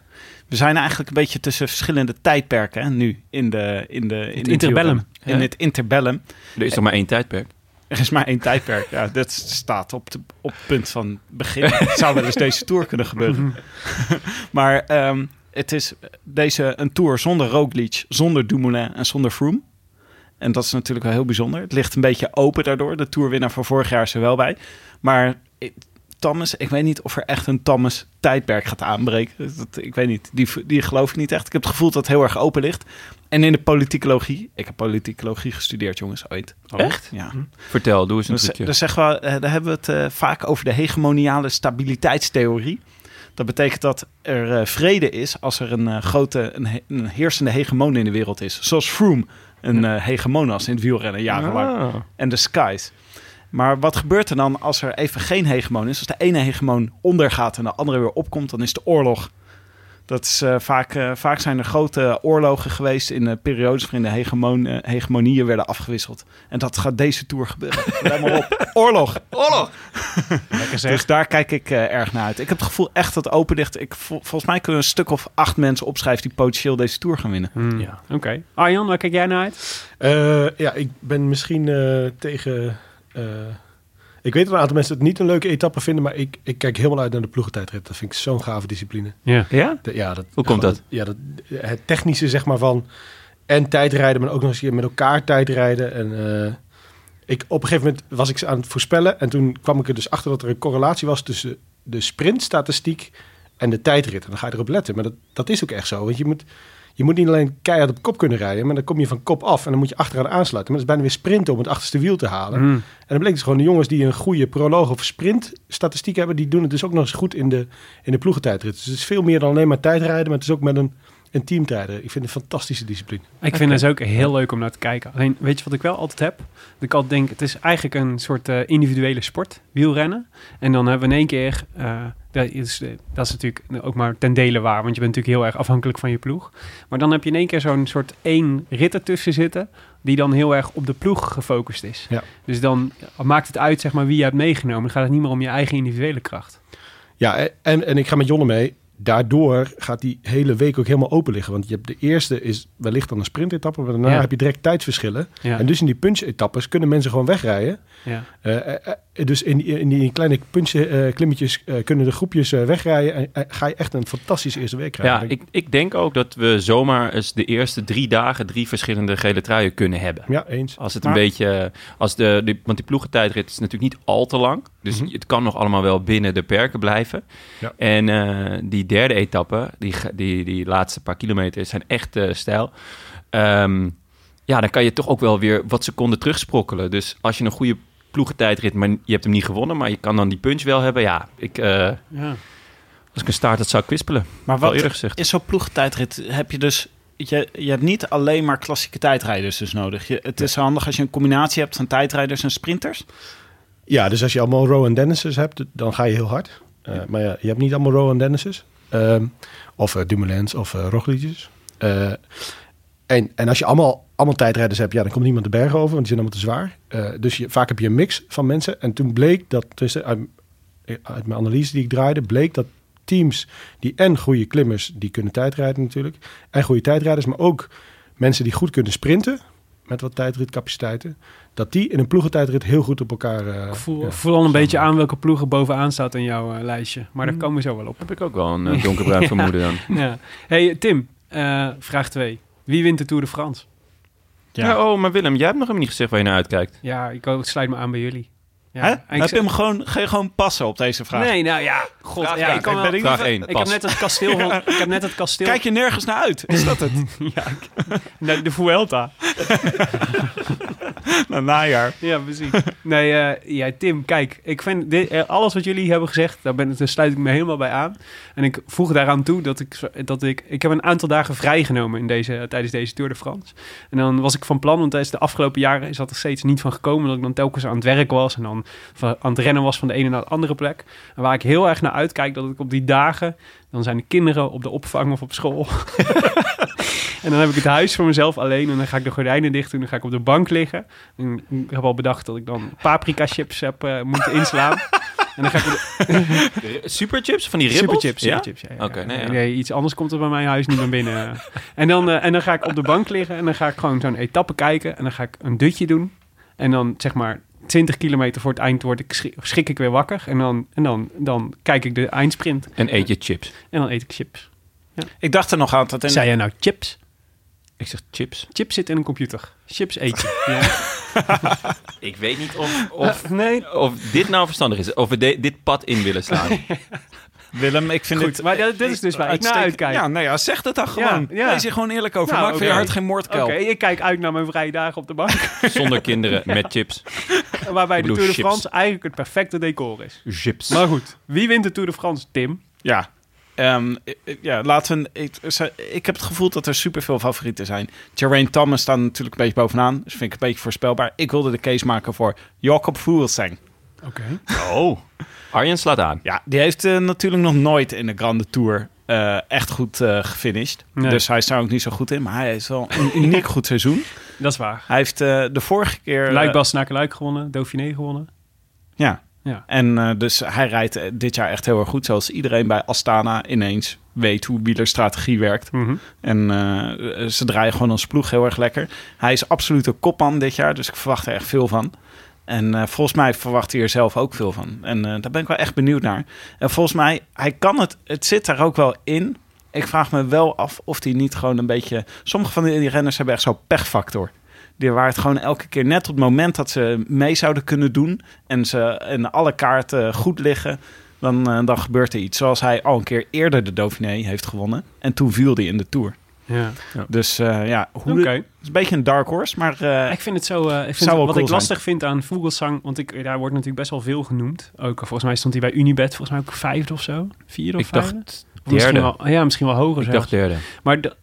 We zijn eigenlijk een beetje tussen verschillende tijdperken hè, nu in de in de in
Het
de
interbellum.
wielrennen. In
Ja.
het interbellum.
Er is nog maar één tijdperk.
Er is maar één tijdperk. Ja, dat staat op, de, op het punt van begin. Het zou wel eens deze tour kunnen gebeuren. (laughs) maar ehm, het is deze, een tour zonder Roglic, zonder Dumoulin en zonder Froome. En dat is natuurlijk wel heel bijzonder. Het ligt een beetje open daardoor. De tourwinnaar van vorig jaar is er wel bij. Maar eh, Thomas, ik weet niet of er echt een Thomas tijdperk gaat aanbreken. Dat, ik weet niet. Die, die geloof ik niet echt. Ik heb het gevoel dat het heel erg open ligt. En in de politicologie. Ik heb politicologie gestudeerd, jongens, ooit.
Echt?
Ja.
Vertel, doe eens een
Dus,
trucje.
dus zeggen we, eh, daar hebben we het eh, vaak over de hegemoniale stabiliteitstheorie. Dat betekent dat er eh, vrede is als er een eh, grote, een, he- een heersende hegemon in de wereld is. Zoals Froome een eh hegemon was in het wielrennen jarenlang.
Ah.
En de Skies. Maar wat gebeurt er dan als er even geen hegemon is? Als de ene hegemon ondergaat en de andere weer opkomt, dan is de oorlog. Dat is, eh, vaak, eh, vaak zijn er grote oorlogen geweest in eh, periodes waarin de hegemon, eh, hegemonieën werden afgewisseld. En dat gaat deze tour gebeuren. Let maar op. Oorlog. Oorlog.
Lekker zeg.
Dus daar kijk ik eh, erg naar uit. Ik heb het gevoel echt dat het open ligt. Ik, vol- volgens mij kunnen we een stuk of acht mensen opschrijven die potentieel deze tour gaan winnen.
Hmm.
Ja.
Oké. Arjan, waar kijk jij naar uit?
Eh, ja, ik ben misschien eh, tegen. eh, ik weet dat een aantal mensen het niet een leuke etappe vinden, maar ik, ik kijk helemaal uit naar de ploegentijdrit. Dat vind ik zo'n gave discipline.
Ja.
Ja?
De- ja, dat,
Hoe komt dat?
Ja, dat, het technische zeg maar van en tijdrijden, maar ook nog eens hier met elkaar tijdrijden. En eh, ik, op een gegeven moment was ik ze aan het voorspellen en toen kwam ik er dus achter dat er een correlatie was tussen de sprintstatistiek en de tijdrit. En dan ga je erop letten. Maar dat, dat is ook echt zo. Want je moet, je moet niet alleen keihard op kop kunnen rijden, maar dan kom je van kop af en dan moet je achteraan aansluiten. Maar dat is bijna weer sprinten om het achterste wiel te halen.
Mhm.
En dan bleek dus gewoon de jongens die een goede proloog of sprint statistiek hebben, die doen het dus ook nog eens goed in de, in de ploegentijdrit. Dus het is veel meer dan alleen maar tijdrijden, maar het is ook met een, een teamtijden. Ik vind het een fantastische discipline.
Ik vind het ook heel leuk om naar te kijken. Alleen, weet je wat ik wel altijd heb? Dat ik altijd denk, het is eigenlijk een soort eh, individuele sport, wielrennen. En dan hebben we in één keer, eh, dat, is, eh, dat is natuurlijk ook maar ten dele waar, want je bent natuurlijk heel erg afhankelijk van je ploeg. Maar dan heb je in één keer zo'n soort één rit ertussen zitten, die dan heel erg op de ploeg gefocust is.
Ja.
Dus dan maakt het uit zeg maar, wie je hebt meegenomen. Dan gaat het niet meer om je eigen individuele kracht.
Ja, e- en, en ik ga met Jonne mee. Daardoor gaat die hele week ook helemaal open liggen. Want je hebt de eerste is wellicht dan een sprintetappe, maar daarna
Ja.
heb je direct tijdverschillen.
Ja,
En dus in die punch-etappes kunnen mensen gewoon wegrijden.
ja.
Eh, eh, eh, dus in, die- in die kleine punch-klimmetjes kunnen de groepjes eh, wegrijden. En eh, ga je echt een fantastische eerste week krijgen.
Ja, ik, ik denk ook dat we zomaar eens de eerste drie dagen drie verschillende gele truien kunnen hebben.
ja eens.
Als het
Maar-
een beetje. Als de, die- want die ploegentijdrit is natuurlijk niet al te lang. Dus het kan nog allemaal wel binnen de perken blijven.
Ja.
En eh, die derde etappe, die, ge- die, die laatste paar kilometer, zijn echt eh, stijl. Ehm, ja, dan kan je toch ook wel weer wat seconden terugsprokkelen. Dus als je een goede ploegentijdrit, maar je hebt hem niet gewonnen, maar je kan dan die punch wel hebben. Ja, ik, eh,
ja.
als ik een staart had, zou ik kwispelen.
Maar
Wel eerder
wat
gezegd.
is zo'n ploegentijdrit? Heb je dus... Je, je hebt niet alleen maar klassieke tijdrijders dus nodig. Je, het is handig als je een combinatie hebt van tijdrijders en sprinters.
Ja, dus als je allemaal Rowan Dennis's hebt, dan ga je heel hard. Eh, Maar ja, je hebt niet allemaal Rowan Dennis's. Ehm, of eh, Dumoulins of eh Roglič's. Eh, en, en als je allemaal, allemaal tijdrijders hebt, ja, dan komt niemand de bergen over, want die zijn allemaal te zwaar. Eh, dus je, vaak heb je een mix van mensen. En toen bleek dat, tussen, uit, uit mijn analyse die ik draaide, bleek dat teams die en goede klimmers, die kunnen tijdrijden natuurlijk, en goede tijdrijders, maar ook mensen die goed kunnen sprinten, met wat tijdritcapaciteiten, dat die in een ploegentijdrit heel goed op elkaar... eh,
Ik voel,
ja. Mm.
voel al een beetje aan welke ploeg er bovenaan staat in jouw eh, lijstje. Maar daar komen we zo wel op.
Heb ik ook wel een eh, (laughs) donkerbruin vermoeden dan.
Ja. Hey Tim, eh, vraag 2. Wie wint de Tour de France?
Ja. oh, maar Willem, jij hebt nog helemaal niet gezegd waar je naar uitkijkt.
Ja, ik ook- sluit me aan bij jullie. Ja,
Hè?
en ik
Heb
z-
je hem gewoon, ga je gewoon passen op deze vraag?
Nee, nou ja, god.
Vraag
ja,
één.
ik, kan
Ik
wel,
ben
Vraag 1,
ik heb
pas.
net het kasteel van... Ik heb net het kasteel...
Kijk je nergens naar uit? (laughs) Is dat
(laughs)
het?
naar de Vuelta.
nou, najaar.
(laughs) Ja, precies. Nee, eh, ja, Tim, kijk. Ik vind dit, eh, alles wat jullie hebben gezegd, daar, ben, daar sluit ik me helemaal bij aan. En ik voeg daaraan toe dat ik, zo- dat ik... Ik heb een aantal dagen vrijgenomen in deze, tijdens deze Tour de France. En dan was ik van plan, want tijdens de afgelopen jaren is dat er steeds niet van gekomen. Dat ik dan telkens aan het werk was en dan van- aan het rennen was van de ene naar de andere plek. En waar ik heel erg naar uitkijk, dat ik op die dagen... Dan zijn de kinderen op de opvang of op school. (laughs) en dan heb ik het huis voor mezelf alleen. En dan ga ik de gordijnen dicht doen. Dan ga ik op de bank liggen. En ik heb al bedacht dat ik dan paprika chips heb eh, moeten inslaan. en dan ga ik...
Superchips van die ribbels?
Superchips,
ja?
superchips. Ja, ja,
Oké,
ja.
nee, ja.
Nee, iets anders komt er bij mijn huis niet meer binnen. en, dan, eh, en dan ga ik op de bank liggen en dan ga ik gewoon zo'n etappe kijken. En dan ga ik een dutje doen. En dan zeg maar 20 kilometer voor het eind word ik, schri- schrik ik weer wakker. En, dan, en dan, dan kijk ik de eindsprint
En eet je chips.
en dan eet ik chips.
Ik dacht er nog aan dat... in-
Zei jij nou chips?
Ik zeg chips.
Chips zit in een computer. Chips eet je.
Ik weet niet of, (laughs) of,
Nee,
of dit nou verstandig is. Of we de- dit pad in willen slaan.
(laughs)
Willem, ik vind
goed.
dit...
Maar dat- dit is dus waar ik naar
uitstekend-
uitkijk.
Ja, nou ja, zeg dat dan
Ja,
gewoon.
ja.
Wees er gewoon eerlijk over.
Nou,
Maak van je
oké.
hart geen
Oké,
moordkuil.
ik kijk uit naar mijn vrije dagen op de bank.
Zonder kinderen, met chips.
waarbij de
bedoel,
Tour de
chips.
France eigenlijk het perfecte decor is.
Chips.
Maar goed, wie wint de Tour de France? Tim.
Ja. Ehm, i- i- ja, laten we... Ik, ze- ik heb het gevoel dat er superveel favorieten zijn. Geraint Thomas staat natuurlijk een beetje bovenaan. Dus vind ik een beetje voorspelbaar. Ik wilde de case maken voor Jacob Fuglsang.
Oké.
Oh. Arjen slaat aan.
Ja, die heeft eh, natuurlijk nog nooit in de Grande Tour eh, echt goed eh gefinished.
Nee.
Dus hij is daar ook niet zo goed in. Maar hij heeft wel
(laughs)
een uniek goed seizoen.
Dat is waar.
Hij heeft eh, de vorige keer... eh,
Luik Bastenaken Luik gewonnen, Dauphiné gewonnen.
Ja.
Ja.
En eh, dus hij rijdt eh, dit jaar echt heel erg goed. Zoals iedereen bij Astana ineens weet hoe wielerstrategie werkt. En eh, ze draaien gewoon als ploeg heel erg lekker. Hij is absoluut een kopman dit jaar, dus ik verwacht er echt veel van. En eh, volgens mij verwacht hij er zelf ook veel van. En eh, daar ben ik wel echt benieuwd naar. En volgens mij, hij kan het, het zit daar ook wel in. Ik vraag me wel af of hij niet gewoon een beetje... Sommige van die renners hebben echt zo'n pechfactor. Die waar het gewoon elke keer net op het moment dat ze mee zouden kunnen doen... en, ze, en alle kaarten goed liggen... dan, eh, dan gebeurt er iets. Zoals hij al een keer eerder de Dauphiné heeft gewonnen. En toen viel hij in de Tour.
Ja.
Dus eh, ja, hoe
Oké.
het is een beetje een dark horse, maar eh,
Ik vind het zo. eh, ik vind
Zou
het- wat
wel cool
ik
zijn.
lastig vind aan Vogelsang, want ik, daar wordt natuurlijk best wel veel genoemd. Ook eh, volgens mij stond hij bij Unibet, volgens mij ook vijfde of zo, vierde of
Ik dacht
vijfde. Of
derde.
Misschien wel, ja, misschien wel hoger.
Ik
zelfs.
dacht derde.
Maar de-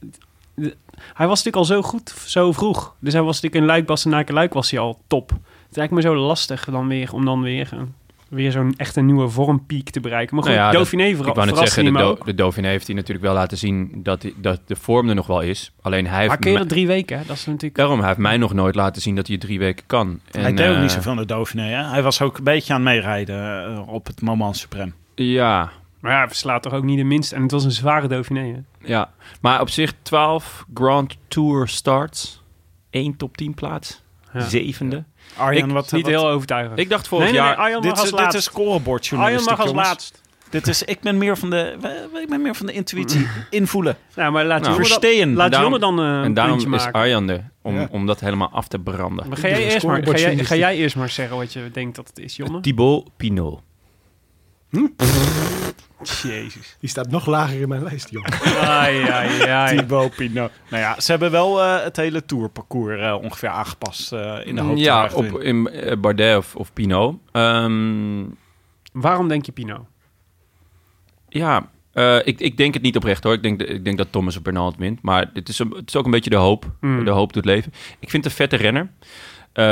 de- hij was natuurlijk al zo goed, zo vroeg. Dus hij was natuurlijk in Luik, Naken Luik was hij al top. Het lijkt me zo lastig dan weer om dan weer, een- weer zo'n echt een nieuwe vormpiek te bereiken. Maar goed,
Nou ja, dat-
Dauphiné vera-
ik wou net
verraste
zeggen, de,
hem
Do-
ook.
de Dauphiné heeft hij natuurlijk wel laten zien dat, hij- dat de vorm er nog wel is. Alleen hij
Maar
heeft,
keren
me-
drie weken, hè? dat is natuurlijk...
daarom, hij heeft mij nog nooit laten zien dat hij het drie weken kan. En,
hij deed ook
eh,
niet zoveel aan de Dauphiné. Hè? Hij was ook een beetje aan het meerijden eh, op het Moment Supreme.
Ja,
Maar ja, hij verslaat toch ook niet de minste. En het was een zware Dauphiné, hè?
ja. Maar op zich 12 Grand Tour starts. 1 top 10 plaats.
Ja.
Zevende.
Arjan,
Ik-
wat...
Niet
wat-
heel overtuigend.
Ik dacht vorig
nee, nee, nee,
jaar...
Arjan
dit,
mag als
is, dit
laatst.
is scorebord
Arjan
journalistiek,
mag als
jongens.
laatst.
Dit is, ik ben meer van de, eh, ik ben meer van de intuïtie, invoelen,
Nou, maar laat
Nou.
Jonne dan,
versteen. (laughs)
laat
daarom-
Jonne dan eh, een
en daarom
puntje
is
maken.
Arjan er, om,
Ja.
om dat helemaal af te branden.
Maar ga jij, eerst maar, ga, jij, ga jij eerst maar zeggen wat je denkt dat het is, Jonne?
Thibaut Pinot.
Jezus.
Die staat nog lager in mijn lijst, joh.
Ai, ai, ai.
Thibaut Pinot. Nou ja, ze hebben wel eh, het hele tourparcours eh, ongeveer aangepast eh, in de hoop.
Mm, ja,
te
op,
winnen.
in eh, Bardet of, of Pinot. Ehm,
Waarom denk je Pino?
ja, eh, ik, ik denk het niet oprecht hoor. Ik denk, ik denk dat Thomas op Bernal het wint. Maar het is, een- het is ook een beetje de hoop.
Mm.
Hmm.
De hoop doet leven. Ik vind het een vette renner. Eh,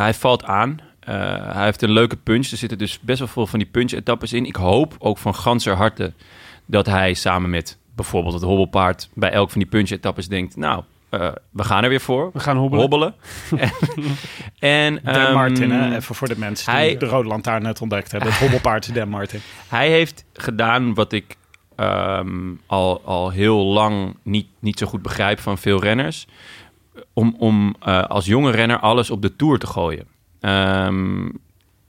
hij valt aan. Eh, hij heeft een leuke punch. Er zitten dus best wel veel van die punch-etappes in. Ik hoop ook van ganser harte dat hij samen met bijvoorbeeld het hobbelpaard... bij elk van die punch-etappes denkt... nou, eh, we gaan er weer voor.
We gaan hobbelen.
(laughs)
Hobbelen. en, (laughs)
Dan
ehm,
Martin, hè, even voor de mensen die
hij-
de Rode Lantaarn net ontdekt hebben. Het hobbelpaard Dan Martin.
Hij heeft gedaan wat ik ehm, al, al heel lang niet, niet zo goed begrijp van veel renners. Om, om eh, als jonge renner alles op de tour te gooien. Ehm,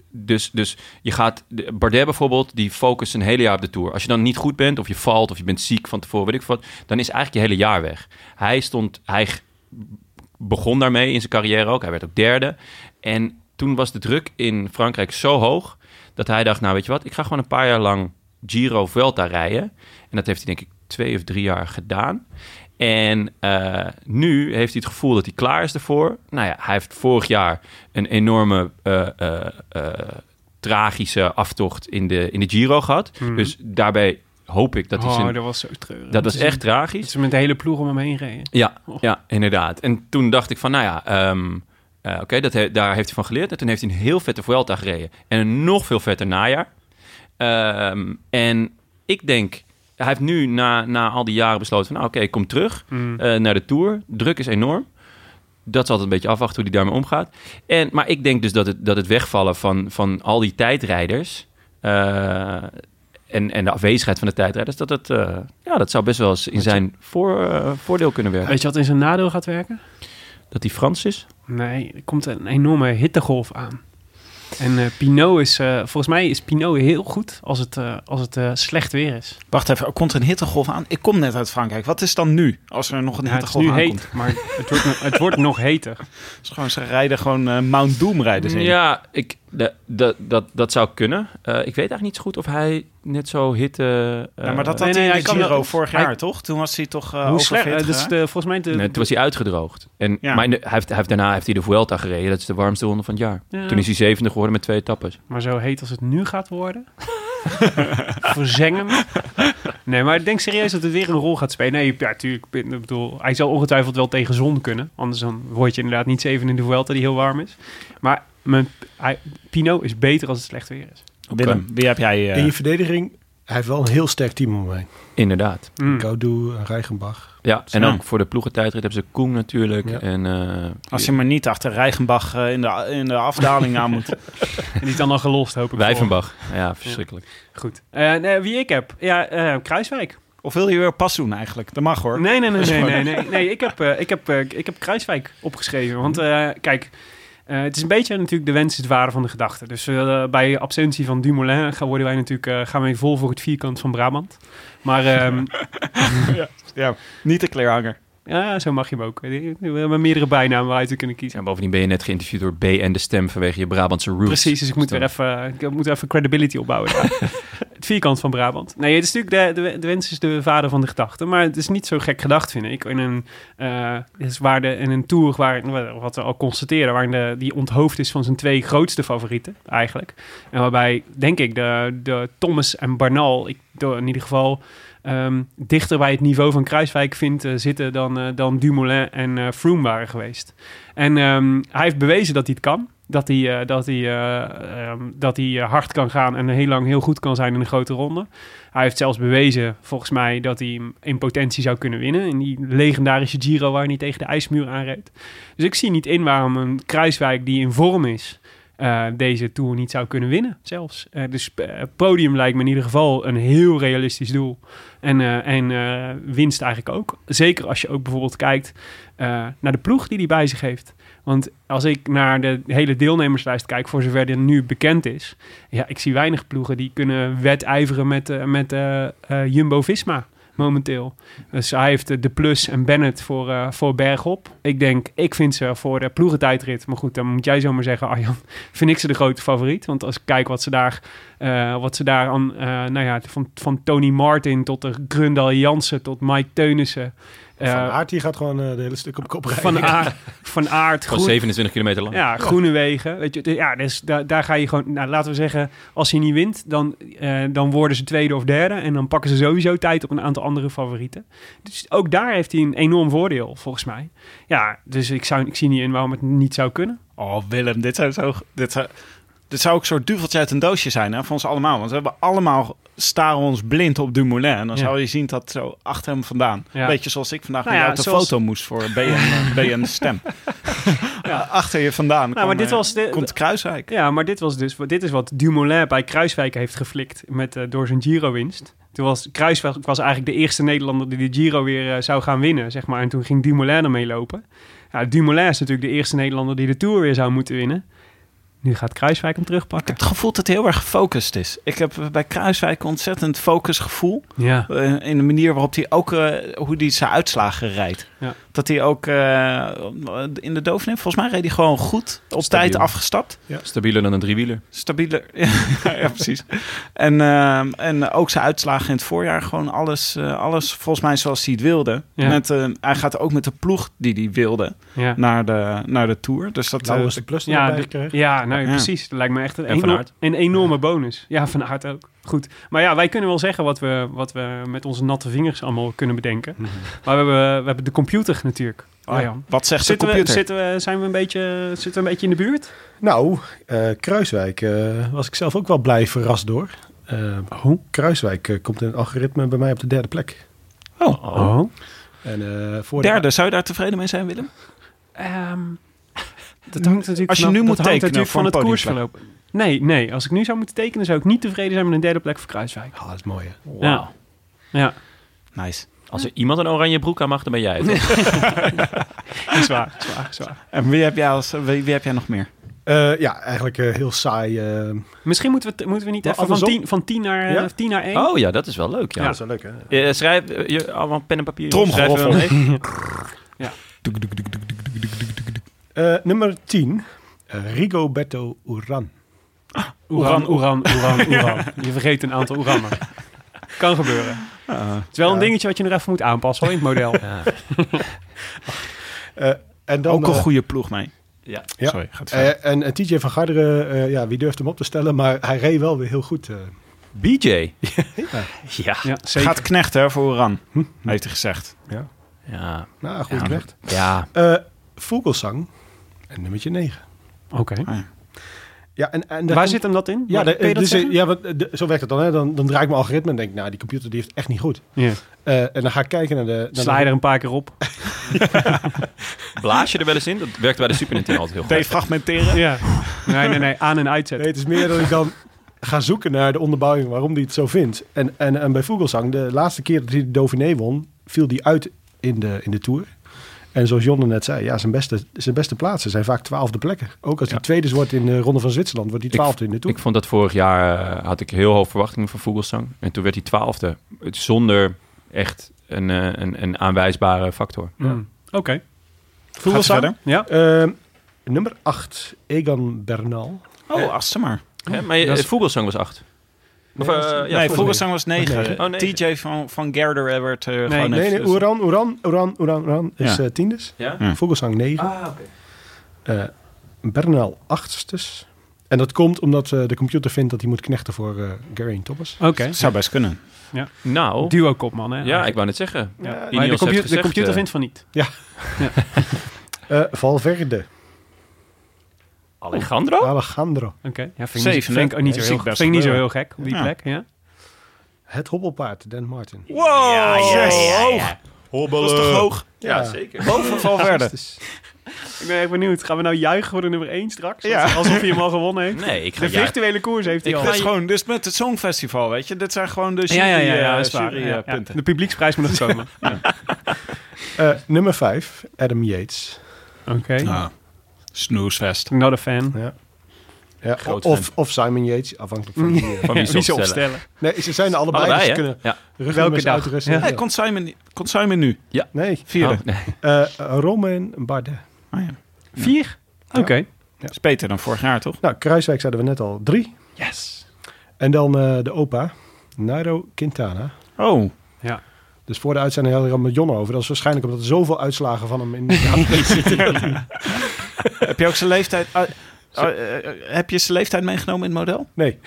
dus, dus je gaat, de- Bardet bijvoorbeeld, die focust een hele jaar op de tour. Als je dan niet goed bent, of je valt, of je bent ziek van tevoren, weet ik wat, dan is eigenlijk je hele jaar weg. Hij stond, hij g- begon daarmee in zijn carrière ook. Hij werd ook derde. En toen was de druk in Frankrijk zo hoog dat hij dacht, nou weet je wat, ik ga gewoon een paar jaar lang Giro Vuelta rijden. En dat heeft hij denk ik twee of drie jaar gedaan. En eh, nu heeft hij het gevoel dat hij klaar is ervoor. Nou ja, hij heeft vorig jaar een enorme eh, eh, eh, tragische aftocht in de, in de Giro gehad.
Mhm.
Dus daarbij hoop ik dat hij
oh,
zijn...
dat was zo treurig.
Dat was echt
Dat
tragisch.
ze met de hele ploeg om hem heen reden.
Ja, (laughs)
Och.
ja, inderdaad. En toen dacht ik van, nou ja, ehm, eh, oké, dat he- daar heeft hij van geleerd. En toen heeft hij een heel vette Vuelta gereden. En een nog veel vetter najaar. Ehm, en ik denk, hij heeft nu na, na al die jaren besloten van, nou, oké, ik kom terug eh, naar de Tour. Druk is enorm. Dat is altijd een beetje afwachten hoe hij daarmee omgaat. En, maar ik denk dus dat het, dat het wegvallen van, van al die tijdrijders... eh, en, en de afwezigheid van de tijdrijders... dat, het, eh, ja, dat zou best wel eens in zijn voor, eh, voordeel kunnen werken.
Weet je wat in zijn nadeel gaat werken?
Dat hij Frans is?
Nee, er komt een enorme hittegolf aan. En eh Pinot is, eh, volgens mij is Pinot heel goed als het, eh, als het eh, slecht weer is.
Wacht even, er komt een hittegolf aan. Ik kom net uit Frankrijk. Wat is dan nu als er nog een
Ja, het is
hittegolf
nu
aankomt?
heet, Oh, maar het wordt, nog- het wordt (laughs) nog heter.
Dus gewoon, ze rijden gewoon eh, Mount Doom rijden ze in.
Ja, ik, de- de- dat, dat zou kunnen. Eh, ik weet eigenlijk niet zo goed of hij net zo hitte... eh,
Ja, maar dat had
nee,
hij
nee,
in
hij
de
kan
Giro
wel-
vorig
hij-
jaar, toch? Toen was hij toch eh
Hoe
over
slecht?
40
eh, dus
hè?
de, volgens mij de,
Nee, toen was hij uitgedroogd. En,
Ja.
Maar in de- hij heeft, hij heeft daarna heeft hij de Vuelta gereden. Dat is de warmste ronde van het jaar.
Ja.
Toen is hij zevende geworden met twee etappes.
Maar zo heet als het nu gaat worden. (laughs) Verzengend. Nee, maar ik denk serieus dat het weer een rol gaat spelen. Nee, ja, tuurlijk. Ik bedoel, hij zal ongetwijfeld wel tegen zon kunnen. Anders dan word je inderdaad niet zeven in de Vuelta die heel warm is. Maar mijn, hij, Pino is beter als het slecht weer is.
Willem, wie heb jij? eh,
In je verdediging, hij heeft wel een heel sterk team om mij.
Inderdaad.
Hm.
Mm.
Gaudu, Reichenbach.
Ja, en
Ja.
ook voor de ploegentijdrit hebben ze Koen natuurlijk.
Ja.
En, eh,
Als je maar niet achter Reichenbach eh, in, de, in de afdaling
(laughs)
aan moet.
En die is dan al gelost, hoop ik.
Wijvenbach. Ja, verschrikkelijk.
voor. Goed. Eh, nee, wie ik heb? Ja, eh, Kruiswijk.
Of wil je weer pas doen eigenlijk? Dat mag hoor.
Nee, nee, nee, nee, nee, nee. nee ik, heb, eh, ik, heb, eh, ik heb Kruiswijk opgeschreven. Want eh, kijk, eh, het is een beetje natuurlijk de wens is het ware van de gedachte. Dus eh, bij absentie van Dumoulin gaan, worden wij natuurlijk, eh, gaan wij vol voor het vierkant van Brabant. Maar ehm,
Niet de kleerhanger.
(laughs) Ja, zo mag je hem ook. We hebben meerdere bijnamen waaruit we kunnen kiezen.
Ja, bovendien ben je net geïnterviewd door B en de Stem vanwege je Brabantse roots.
Precies, dus ik moet
Dus
weer even, ik moet even credibility opbouwen. daar. het vierkant van Brabant. Nee, het is natuurlijk de, de, de wens is de vader van de gedachte. Maar het is niet zo gek gedacht, vind ik. In een, eh, is waar de, in een tour, waar, wat we al constateren, waar de, die onthoofd is van zijn twee grootste favorieten, eigenlijk. En waarbij, denk ik, de, de Thomas en Barnal, ik, door- in ieder geval... ehm, dichter bij het niveau van Kruiswijk vindt eh, zitten dan, eh, dan Dumoulin en eh Froome waren geweest. En ehm, hij heeft bewezen dat hij het kan. Dat hij, eh, dat, hij, eh, ehm, dat hij eh, hard kan gaan en heel lang heel goed kan zijn in een grote ronde. Hij heeft zelfs bewezen, volgens mij, dat hij hem in potentie zou kunnen winnen. In die legendarische Giro waar hij niet tegen de ijsmuur aanreed. Dus ik zie niet in waarom een Kruiswijk die in vorm is, eh, deze Tour niet zou kunnen winnen zelfs. Eh, dus eh, podium lijkt me in ieder geval een heel realistisch doel. En, eh, en eh, winst eigenlijk ook. Zeker als je ook bijvoorbeeld kijkt eh, naar de ploeg die hij bij zich heeft. Want als ik naar de hele deelnemerslijst kijk, voor zover dit nu bekend is, ja, ik zie weinig ploegen die kunnen wedijveren met, eh, met eh, eh, Jumbo-Visma momenteel. Dus hij heeft eh, de plus en Bennett voor, eh, voor Bergop. Ik denk, ik vind ze voor de ploegentijdrit, maar goed, dan moet jij zomaar zeggen, Arjan, (laughs) vind ik ze de grote favoriet. Want als ik kijk wat ze daar, eh, wat ze daar aan, eh, nou ja, van, van Tony Martin tot de Grundal Jansen tot Mike Teunissen. eh,
Van Aert die gaat gewoon eh, de hele stuk op kop rijden. (laughs)
van, Aard, van Aert,
Gewoon
Groen-
27 kilometer lang.
ja, groene wegen. Weet je, de- ja, dus daar, daar ga je gewoon, nou, laten we zeggen, als hij niet wint, dan, eh, dan worden ze tweede of derde. En dan pakken ze sowieso tijd op een aantal andere favorieten. Dus ook daar heeft hij een enorm voordeel, volgens mij. Ja, dus ik, zou, ik zie niet in waarom het niet zou kunnen.
Oh, Willem, dit zou, zo, dit zou, dit zou ook een soort duveltje uit een doosje zijn hè, voor ons allemaal. Want we hebben allemaal staren ons blind op Dumoulin. En dan
Ja.
zou je zien dat zo achter hem vandaan.
Ja.
Een beetje zoals ik vandaag
Nou
met
ja,
jou op de
zoals-
foto moest voor BN, (laughs) eh, BN Stem. ja. Achter je vandaan
Nou, maar
kwam,
dit
eh,
was de-
komt Kruiswijk.
Ja, maar dit, was dus, dit is wat Dumoulin bij Kruiswijk heeft geflikt met, eh, door zijn Giro-winst. Toen was Kruiswijk was eigenlijk de eerste Nederlander die de Giro weer eh, zou gaan winnen, zeg maar. En toen ging Dumoulin ermee lopen. Ja, Dumoulin is natuurlijk de eerste Nederlander die de Tour weer zou moeten winnen. Nu gaat Kruiswijk hem
Ik heb
terugpakken.
het gevoel dat hij heel erg gefocust is. Ik heb eh, bij Kruiswijk een ontzettend focusgevoel.
Ja,
Eh, in de manier waarop hij ook eh, hoe hij zijn uitslagen rijdt.
Ja.
Dat hij ook eh, in de Dauphiné, volgens mij reed hij gewoon goed op
Stabiel.
tijd afgestapt.
Stabieler dan een driewieler.
Stabieler. (laughs) ja, ja, precies. En, ehm, en ook zijn uitslagen in het voorjaar. Gewoon alles, eh, alles volgens mij zoals hij het wilde.
Ja.
Met, eh, hij gaat ook met de ploeg die hij wilde
ja.
naar de, naar de Tour. Dus dat... eh,
Laurens de Plus die
Ja,
erbij
de-
kreeg.
Ja, nou, ja,
Ja.
precies. Dat lijkt me echt een,
En Van
enorm-
Aert.
een enorme bonus. Ja, van Aert ook. Goed. Maar ja, wij kunnen wel zeggen wat we, wat we met onze natte vingers allemaal kunnen bedenken.
Hm.
Maar we hebben, we hebben de computer natuurlijk. Oh, ja.
Wat zegt
Zitten
de
we,
computer?
zitten we, zijn we een beetje, zitten we een beetje in de buurt?
Nou, eh, Kruiswijk eh, was ik zelf ook wel blij verrast door. Eh, Kruiswijk eh, komt in het algoritme bij mij op de derde plek.
Oh,
En, eh, voor de-
derde. Zou je daar tevreden mee zijn, Willem?
dat hangt natuurlijk
Als je
vanaf-
nu moet
dat hangt
tekenen
natuurlijk
voor
van
een
het koersverloop. Nee, nee, als ik nu zou moeten tekenen, zou ik niet tevreden zijn met een derde plek voor Kruiswijk.
Ah, dat is mooi hè.
Ja. ja,
Nice.
Als er iemand een oranje broek aan mag, dan ben jij het.
is waar, is waar, is waar.
En wie heb jij, als, wie, wie heb jij nog meer?
Eh, ja, eigenlijk eh, heel saai. eh.
Misschien moeten we, t- moeten we niet
Maar
even van
andersom-
10 van tien naar 1
Ja?
tien naar één.
Oh ja, dat is wel leuk. Ja.
Dat is wel leuk hè.
Eh, schrijf eh, je, allemaal pen en papier.
Tromgeroffel.
Schrijven we hem mee?
Eh, nummer 10, eh, Rigoberto Uran.
Oeran, oeran, oeran, oeran. Je vergeet een aantal oerannen. Kan gebeuren. het is wel een dingetje wat je nog even moet aanpassen hoor, in het model.
Eh, en dan,
ook een
eh,
goede ploeg mee.
Ja.
Ja.
Sorry, gaat verder.
eh, en eh, TJ van Garderen, eh, ja, wie durft hem op te stellen, maar hij reed wel weer heel goed. eh.
(laughs) BJ.
Ja.
Ja.
Ja, zeker.
Gaat knechten hè, voor Oran, heeft hij gezegd.
Ja.
nou, goed recht.
Ja.
Vogelsang, en nummertje 9.
Oké.
Ja, en, en
Waar zit hem dat in?
ja,
Kun
de-
je dat
dus, eh,
zeggen?
ja, want, eh, de- zo werkt het dan. Hè? Dan, dan draai ik mijn algoritme en denk, nou, die computer die heeft het echt niet goed.
Ja.
Eh, en dan ga ik kijken naar de... naar de-
Sla je er een paar keer op.
Blaas je er wel eens in? Dat werkt bij de Super Nintendo altijd heel goed.
Defragmenteren.
Ja. Nee, nee, nee. Aan- en uitzet.
Nee, het is meer dat ik dan ga zoeken naar de onderbouwing waarom die het zo vindt. En, en, en bij Vogelsang, de laatste keer dat hij de Dauphiné won, viel die uit in de, in de Tour. En zoals John er net zei, ja, zijn, beste, zijn beste plaatsen zijn vaak twaalfde plekken. Ook als hij tweede wordt in de Ronde van Zwitserland, wordt hij twaalfde in de Tour.
Ik vond dat vorig jaar eh, had ik heel hoog verwachtingen van Vogelsang. En toen werd hij twaalfde. Het Zonder echt eh, een, eh, een, een aanwijsbare factor.
Mm. Oké.
Voel
Gaat verder.
Ja.
Ehm, nummer 8, Egan Bernal.
Oh, als ze maar.
Hè? Maar je,
Dat is-
eh, Vogelzang was acht. Of,
Nee,
eh,
dat is-
ja,
nee,
volgens
volgens mij was het
Was
9.
negen.
Oh, negen.
TJ van, van Gerder werd eh
Nee,
gewoon
Nee,
even-
nee, Oran, Oran, Oran, Oran, Oran is
Ja.
eh tiendes.
Ja?
Ja.
Vogelsang 9.
Ah, oké.
eh, Bernal achtstes. En dat komt omdat eh, de computer vindt dat hij moet knechten voor eh Geraint Thomas.
Oké.
Zou best kunnen.
Nou,
Duo kopman, hè?
ja, ik wou net zeggen.
Ja. Maar
Ineos
de,
heeft
compu- de
gezegd,
computer
eh,
vindt van niet.
Eh, Valverde,
Alejandro?
Alejandro,
Oké. Ja, vind ik niet,
Zevende.
vind ik ook niet,
Ja,
zo,
zie
heel,
ik best
vind ik niet zo heel
gebeuren.
gek op die
Ja.
plek. Ja.
het hobbelpaard, Dan Martin.
Wow! Ja, Dat is toch hoog?
Ja,
Ja.
zeker.
Boven (laughs) Valverde.
Achtstes.
Ik ben echt benieuwd. Gaan we nou juichen voor de nummer 1 straks?
Ja.
Als- Alsof hij hem al gewonnen heeft.
Nee, ik ga
De
ja-
virtuele koers heeft hij
Ik
al.
Dit is
je-
gewoon, dus met het Songfestival, weet je. Dit zijn gewoon de eh,
Ja, ja, ja, ja, dat is waar. Ja, ja.
jurypunten.
De publieksprijs moet nog komen.
Eh, nummer 5, Adam Yates.
Oké.
Snoesfest.
Not a fan.
Ja. Ja,
Groot
of, of Simon Yates, afhankelijk van wie.
(laughs)
eh,
Van wie ze
Wie ze
opstellen.
opstellen.
nee, ze zijn er allebei,
Allebei,
dus ze
hè?
kunnen
Ja.
rugnummers
dag?
uitrusten.
Ja.
Ja.
Hey, komt, Simon, komt Simon nu?
Nee,
Vierde.
Oh, nee.
Eh Romain Bardet.
Ah, ja.
Vier? Oké.
Is beter dan vorig jaar, toch?
Nou, Kruiswijk zeiden we net al, drie.
Yes.
En dan eh, de opa, Nairo Quintana.
Oh.
Dus voor de uitzending hadden we het met Jon over. Dat is waarschijnlijk omdat er zoveel uitslagen van hem in de
(laughs) heb je ook zijn leeftijd... ah, ah, eh, eh, heb je zijn leeftijd meegenomen in het model?
(laughs)
Nee.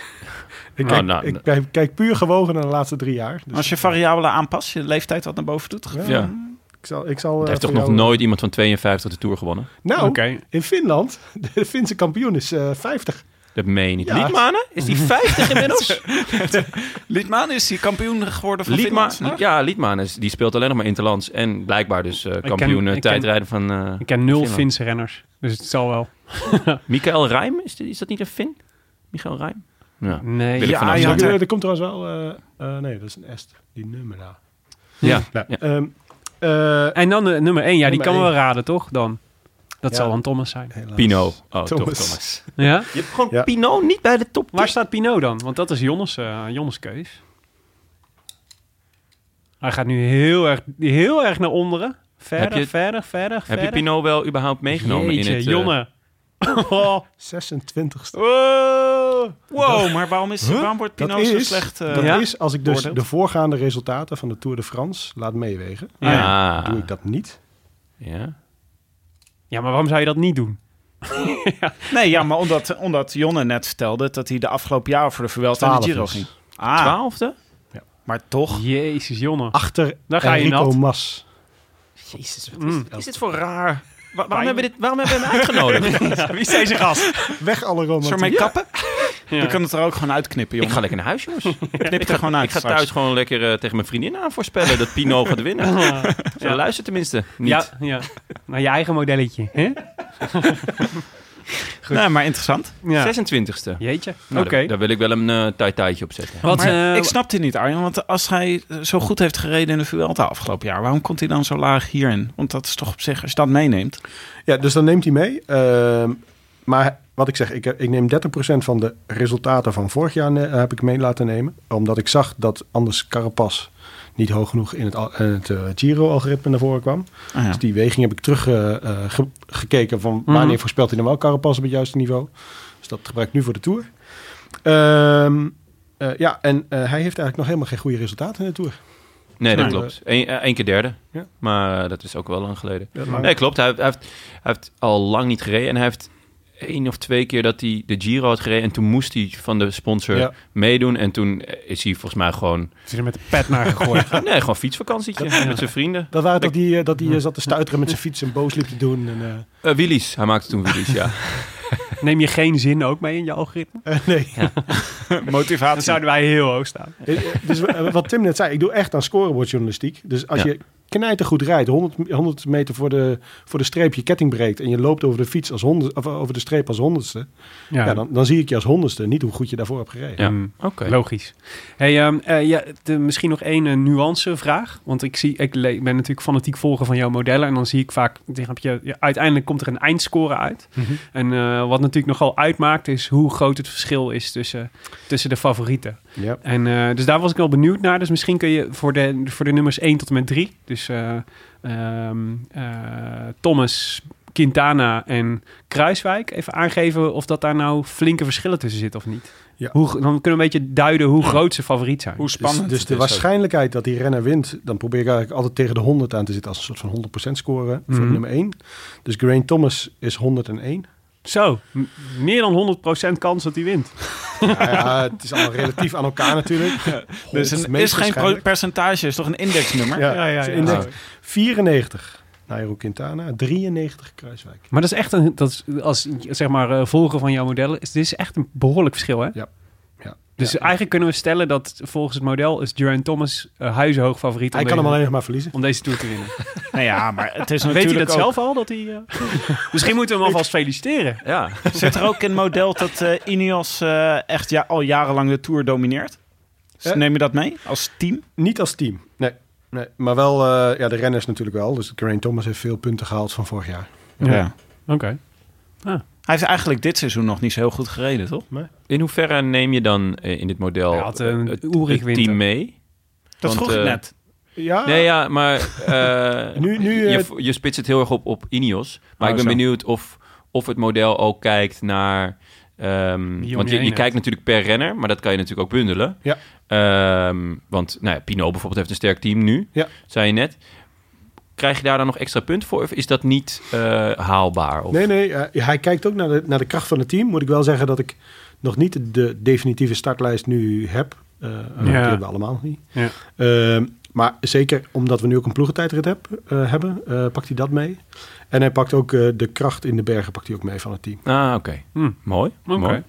Ik,
Nou,
kijk,
nou,
ik kijk, kijk puur gewogen naar de laatste drie jaar. Dus
Als je variabelen aanpast, je leeftijd wat naar boven doet.
Ja.
Ja.
ik zal, ik zal,
Er
eh,
heeft toch
voor
nog
jou-
nooit iemand van 52 de Tour gewonnen?
Nou,
Oké.
in Finland, (laughs) de Finse kampioen is eh 50.
Dat meen je niet.
Ja.
Liedmanen? Is
(laughs)
die 50 inmiddels?
Liedman is die kampioen geworden van
Liedma
Finland. vandaag?
ja, Liedmanen is- die speelt alleen nog maar interlands. En blijkbaar dus eh, kampioen
ken-
eh,
ik ken-
tijdrijden van... eh,
Ik ken nul
Finland.
Finse renners. Dus het zal wel.
Michael Rijm? Is, dit- is dat niet een Fin? Michael Rijm? Ja. Willem
Nee.
van
ja,
Ah,
Amsterdam.
ja,
had
er,
er-
er komt trouwens wel... eh, eh, nee, dat is een est. Die nummer daar.
Ja.
Nou,
Ja.
ehm, eh,
En dan de nummer 1. Ja, die
Nummer
kan we
één.
wel raden, toch? Dan. Dat
Ja.
zal dan Thomas zijn. (laughs)
helaas.
Pino. Oh, toch
Thomas.
Thomas.
Ja?
Je hebt gewoon
Ja.
Pino niet bij de top
Waar staat Pinot dan? Want dat is Jonnes, eh, Jonnes keus. Hij gaat nu heel erg, heel erg naar onderen. Verder,
Heb je-
verder, verder,
Heb
verder.
je Pino wel überhaupt meegenomen
Jeetje,
in het... eh,
Jonne. (laughs) Oh.
26ste.
Wow.
Wow, maar waarom, is, waarom wordt
Dat
Pinot zo
is,
slecht? eh,
dat
ja.
is, als ik dus
beoordeeld?
de voorgaande resultaten van de Tour de France laat meewegen,
Ja. Ah.
doe ik dat niet.
Ja.
Ja, maar waarom zou je dat niet doen?
Nee, ja, maar omdat, omdat Jonne net vertelde dat hij de afgelopen jaar voor de Vuelta en de
Twaalf
Giro
is.
ging. Ah,
Twaalfde?
maar toch.
Jezus,
Ah,
Jonne.
Achter
Daar ga je
Enrico
nat.
Mas.
Jezus, wat
Mm.
is dit voor raar? Wa- waarom, hebben we dit, waarom hebben we hem
(laughs)
uitgenodigd?
Wie is deze gast?
Weg alle
Zullen
romantiek.
we mee kappen?
Ja.
Je kan het er ook gewoon uitknippen,
ik
jongen.
ga lekker naar huis, jongens.
knip het er gewoon uit
Ik ga
straks.
thuis gewoon lekker eh, tegen mijn vriendin aan voorspellen dat Pino gaat winnen. Ze
Ja.
luistert tenminste niet.
Ah. Ja, ja. Naar je eigen modelletje. Hè?
Nee, maar interessant.
Ja.
26e.
Jeetje.
Nou,
Oké.
daar, daar wil ik wel een eh tai-tai'tje op zetten.
Wat,
Maar
eh,
ik snap dit niet, Arjen. Want als hij zo goed heeft gereden in de Vuelta afgelopen jaar... waarom komt hij dan zo laag hierin? Want dat is toch op zich, als je dat meeneemt...
Ja, dus dan neemt hij mee. Ehm, maar wat ik zeg, ik, ik neem 30% van de resultaten van vorig jaar eh, heb ik mee laten nemen. Omdat ik zag dat anders Carapaz niet hoog genoeg in het, al- in het eh, Giro-algoritme naar voren kwam.
Ah, ja.
Dus die weging heb ik teruggekeken gekeken van wanneer
Mhm.
voorspelt hij nou wel Carapaz op het juiste niveau. Dus dat gebruik ik nu voor de Tour. Ehm, eh, ja, en eh, hij heeft eigenlijk nog helemaal geen goede resultaten in de Tour.
Nee, dat
Nee.
klopt. Eén eh, één keer derde.
Ja.
Maar eh, dat is ook wel lang geleden.
maar-
Nee, klopt. Hij, heeft- hij, heeft, hij heeft al lang niet gereden. En hij heeft één of twee keer dat hij de Giro had gereden. En toen moest hij van de sponsor
Ja.
meedoen. En toen eh, is hij volgens mij gewoon...
Ze is er met de pet naar gegooid.
Nee, gewoon fietsvakantietje met zijn vrienden.
Dat waren toch die, eh, dat hij eh, zat te stuiteren met zijn fiets en boos liep te doen. En, eh,
Eh Willy's. Hij maakte toen Willy's, ja.
Neem je geen zin ook mee in je algoritme?
eh, nee. (laughs)
Dan zouden wij heel hoog staan.
Eh, eh, dus eh, wat Tim net zei, ik doe echt aan scorebordjournalistiek. Dus als
Ja.
je knijtergoed rijdt, 100, 100 meter voor de, voor de streep je ketting breekt en je loopt over de fiets als honderd, of eh, over de streep als honderdste, ja. dan, dan zie ik je als honderdste, niet hoe goed je daarvoor hebt gereden.
Ja.
Mm.
Oké.
Logisch. Hey, ehm, eh, ja, de, misschien nog één eh, nuancevraag. Want ik, zie, ik le- ben natuurlijk fanatiek volger van jouw modellen. En dan zie ik vaak, dan heb je, ja, uiteindelijk komt er een eindscore uit.
Mhm.
En eh, wat natuurlijk nogal uitmaakt, is hoe groot het verschil is tussen, tussen de favorieten.
Ja.
En, eh, dus daar was ik wel benieuwd naar. Dus misschien kun je voor de, voor de nummers 1 tot en met 3, dus eh, ehm, eh, Thomas, Quintana en Kruiswijk, even aangeven of dat daar nou flinke verschillen tussen zitten of niet.
Ja.
Hoe, dan kunnen we een beetje duiden hoe groot ze favoriet zijn.
Hoe
Dus,
spannend
dus de
het is ook.
waarschijnlijkheid dat die renner wint, dan probeer ik eigenlijk altijd tegen de 100 aan te zitten als een soort van 100% score voor
Mhm.
nummer 1. Dus Grain Thomas is 101.
Zo, m- meer dan 100% kans dat hij wint.
Ja, Nou ja, het is allemaal relatief aan elkaar natuurlijk.
Dus
Honderd,
een,
meest
is geen pro-
waarschijnlijk.
percentage, is toch een indexnummer?
Ja,
Ja, ja,
het is
ja.
inderdaad 94 Nairo Quintana, 93 Kruiswijk.
Maar dat is echt een, dat is, als zeg maar eh, volger van jouw modellen, is, dit is echt een behoorlijk verschil hè?
Ja.
Dus
Ja.
eigenlijk kunnen we stellen dat volgens het model is Duran Thomas eh, huizenhoog favoriet om
Hij kan hem
deze-
alleen nog maar verliezen.
om deze Tour
(laughs)
te winnen.
Nou ja, maar het is
Weet
natuurlijk
hij dat
ook-
zelf al? Dat hij, eh, (laughs) Misschien moeten we hem alvast feliciteren.
Ja.
Zit er ook in model dat eh Ineos eh, echt ja, al jarenlang de Tour domineert? Dus
Eh?
neem je dat mee als team?
Niet als team, nee. nee. Maar wel, eh, ja, de renners natuurlijk wel. Dus Grain Thomas heeft veel punten gehaald van vorig jaar.
Ja. Oké.
Hij heeft eigenlijk dit seizoen nog niet zo heel goed gereden, toch?
In hoeverre neem je dan eh, in dit model
Hij had een
eh, het,
oerig
het
winter.
team mee?
Dat
Want,
vroeg ik
eh,
net.
Ja,
Nee, ja, maar eh,
(laughs) Nu- nu, eh,
je, je spitst het heel erg op, op Ineos. Maar
Oh,
ik ben
zo.
benieuwd of, of het model ook kijkt naar... ehm,
Wie
want
om
je,
je heen
je
hebt.
kijkt natuurlijk per renner, maar dat kan je natuurlijk ook bundelen.
Ja.
Ehm, want nou ja, Pino bijvoorbeeld heeft een sterk team nu,
Ja.
zei je net. Krijg je daar dan nog extra punten voor? Of is dat niet eh, haalbaar? Of,
nee, nee. eh, hij kijkt ook naar de, naar de kracht van het team. Moet ik wel zeggen dat ik nog niet de definitieve startlijst nu heb. Eh, eh, die
Ja.
hebben we allemaal niet.
Ja.
Ehm, maar zeker omdat we nu ook een ploegentijdrit heb, eh, hebben, eh, pakt hij dat mee. En hij pakt ook eh, de kracht in de bergen pakt hij ook mee van het team.
Ah, oké.
Hm.
Mooi.
Oké.
mooi.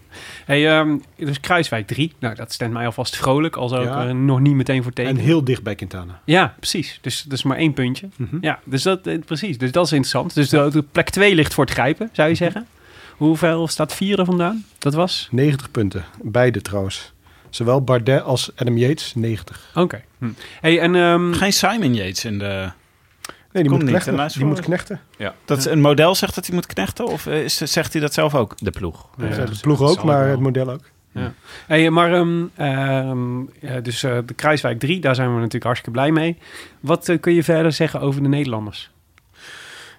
Hey, ehm, dus Kruiswijk 3. Nou, dat stemt mij alvast vrolijk. Al zou ik
Ja.
er nog niet meteen voor
En
tekenen.
heel dicht bij Quintana.
Ja, precies. Dus dat is maar één puntje.
Mhm.
Ja, dus dat, eh, precies. Dus dat is interessant. Dus de, de plek 2 ligt voor het grijpen, zou je zeggen. Hoeveel staat 4 er vandaan? Dat was?
90 punten, beide trouwens. Zowel Bardet als Adam Yates, 90.
Oké. Hm. Hey, en... ehm,
Geen Simon Yates in de...
Nee, die
Komt
moet
niet,
knechten.
hè, lijst
Die
voor.
moet knechten.
Dat een model zegt dat hij moet knechten? Of eh, is, zegt hij dat zelf ook?
De ploeg.
nou Ja,
Dat
dat
zegt de ploeg ook,
zal
maar
wel.
het model ook.
Hey, maar ehm, ehm, eh, dus eh, de Kruiswijk 3, daar zijn we natuurlijk hartstikke blij mee. Wat eh, kun je verder zeggen over de Nederlanders?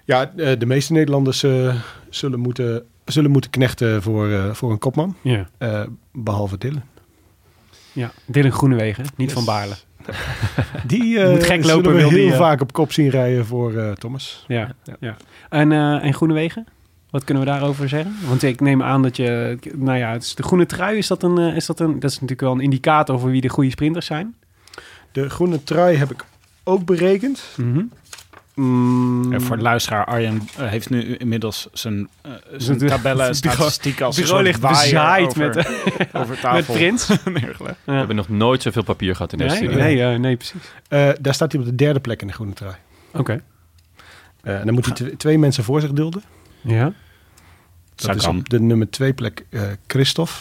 Ja, eh, de meeste Nederlanders eh, zullen, moeten, zullen moeten knechten voor, eh, voor een kopman.
Ja.
Eh, behalve Dillen.
ja. Dylan Groenewegen, niet van Baarle.
Die
Moet gek
Eh, zullen
lopen,
we
wil
heel
die, eh.
vaak op kop zien rijden voor eh, Thomas.
Ja. ja. En, eh en Groenewegen? Wat kunnen we daarover zeggen? Want ik neem aan dat je... Nou ja, het is de groene trui, is dat, een, eh, is dat een... Dat is natuurlijk wel een indicator voor wie de goede sprinters zijn.
De groene trui heb ik ook berekend. Mm,
En voor de luisteraar, Arjen eh, heeft nu inmiddels zijn, eh, zijn
Het (laughs)
tabellen en
bureau-
statistieken als een
bureau
soort
ligt
waaier
bezaaid
over,
met,
(laughs) over
met
tafel
Prins.
(laughs) neergelegd.
We hebben nog nooit zoveel papier gehad in deze
Nee,
studio.
nee, eh, nee, precies.
eh, daar staat hij op de derde plek in de groene trui.
Oké.
Eh, en dan moet hij tw- twee mensen voor zich dulden.
Ja.
Dat is
Sagan.
op de nummer twee plek eh Christophe.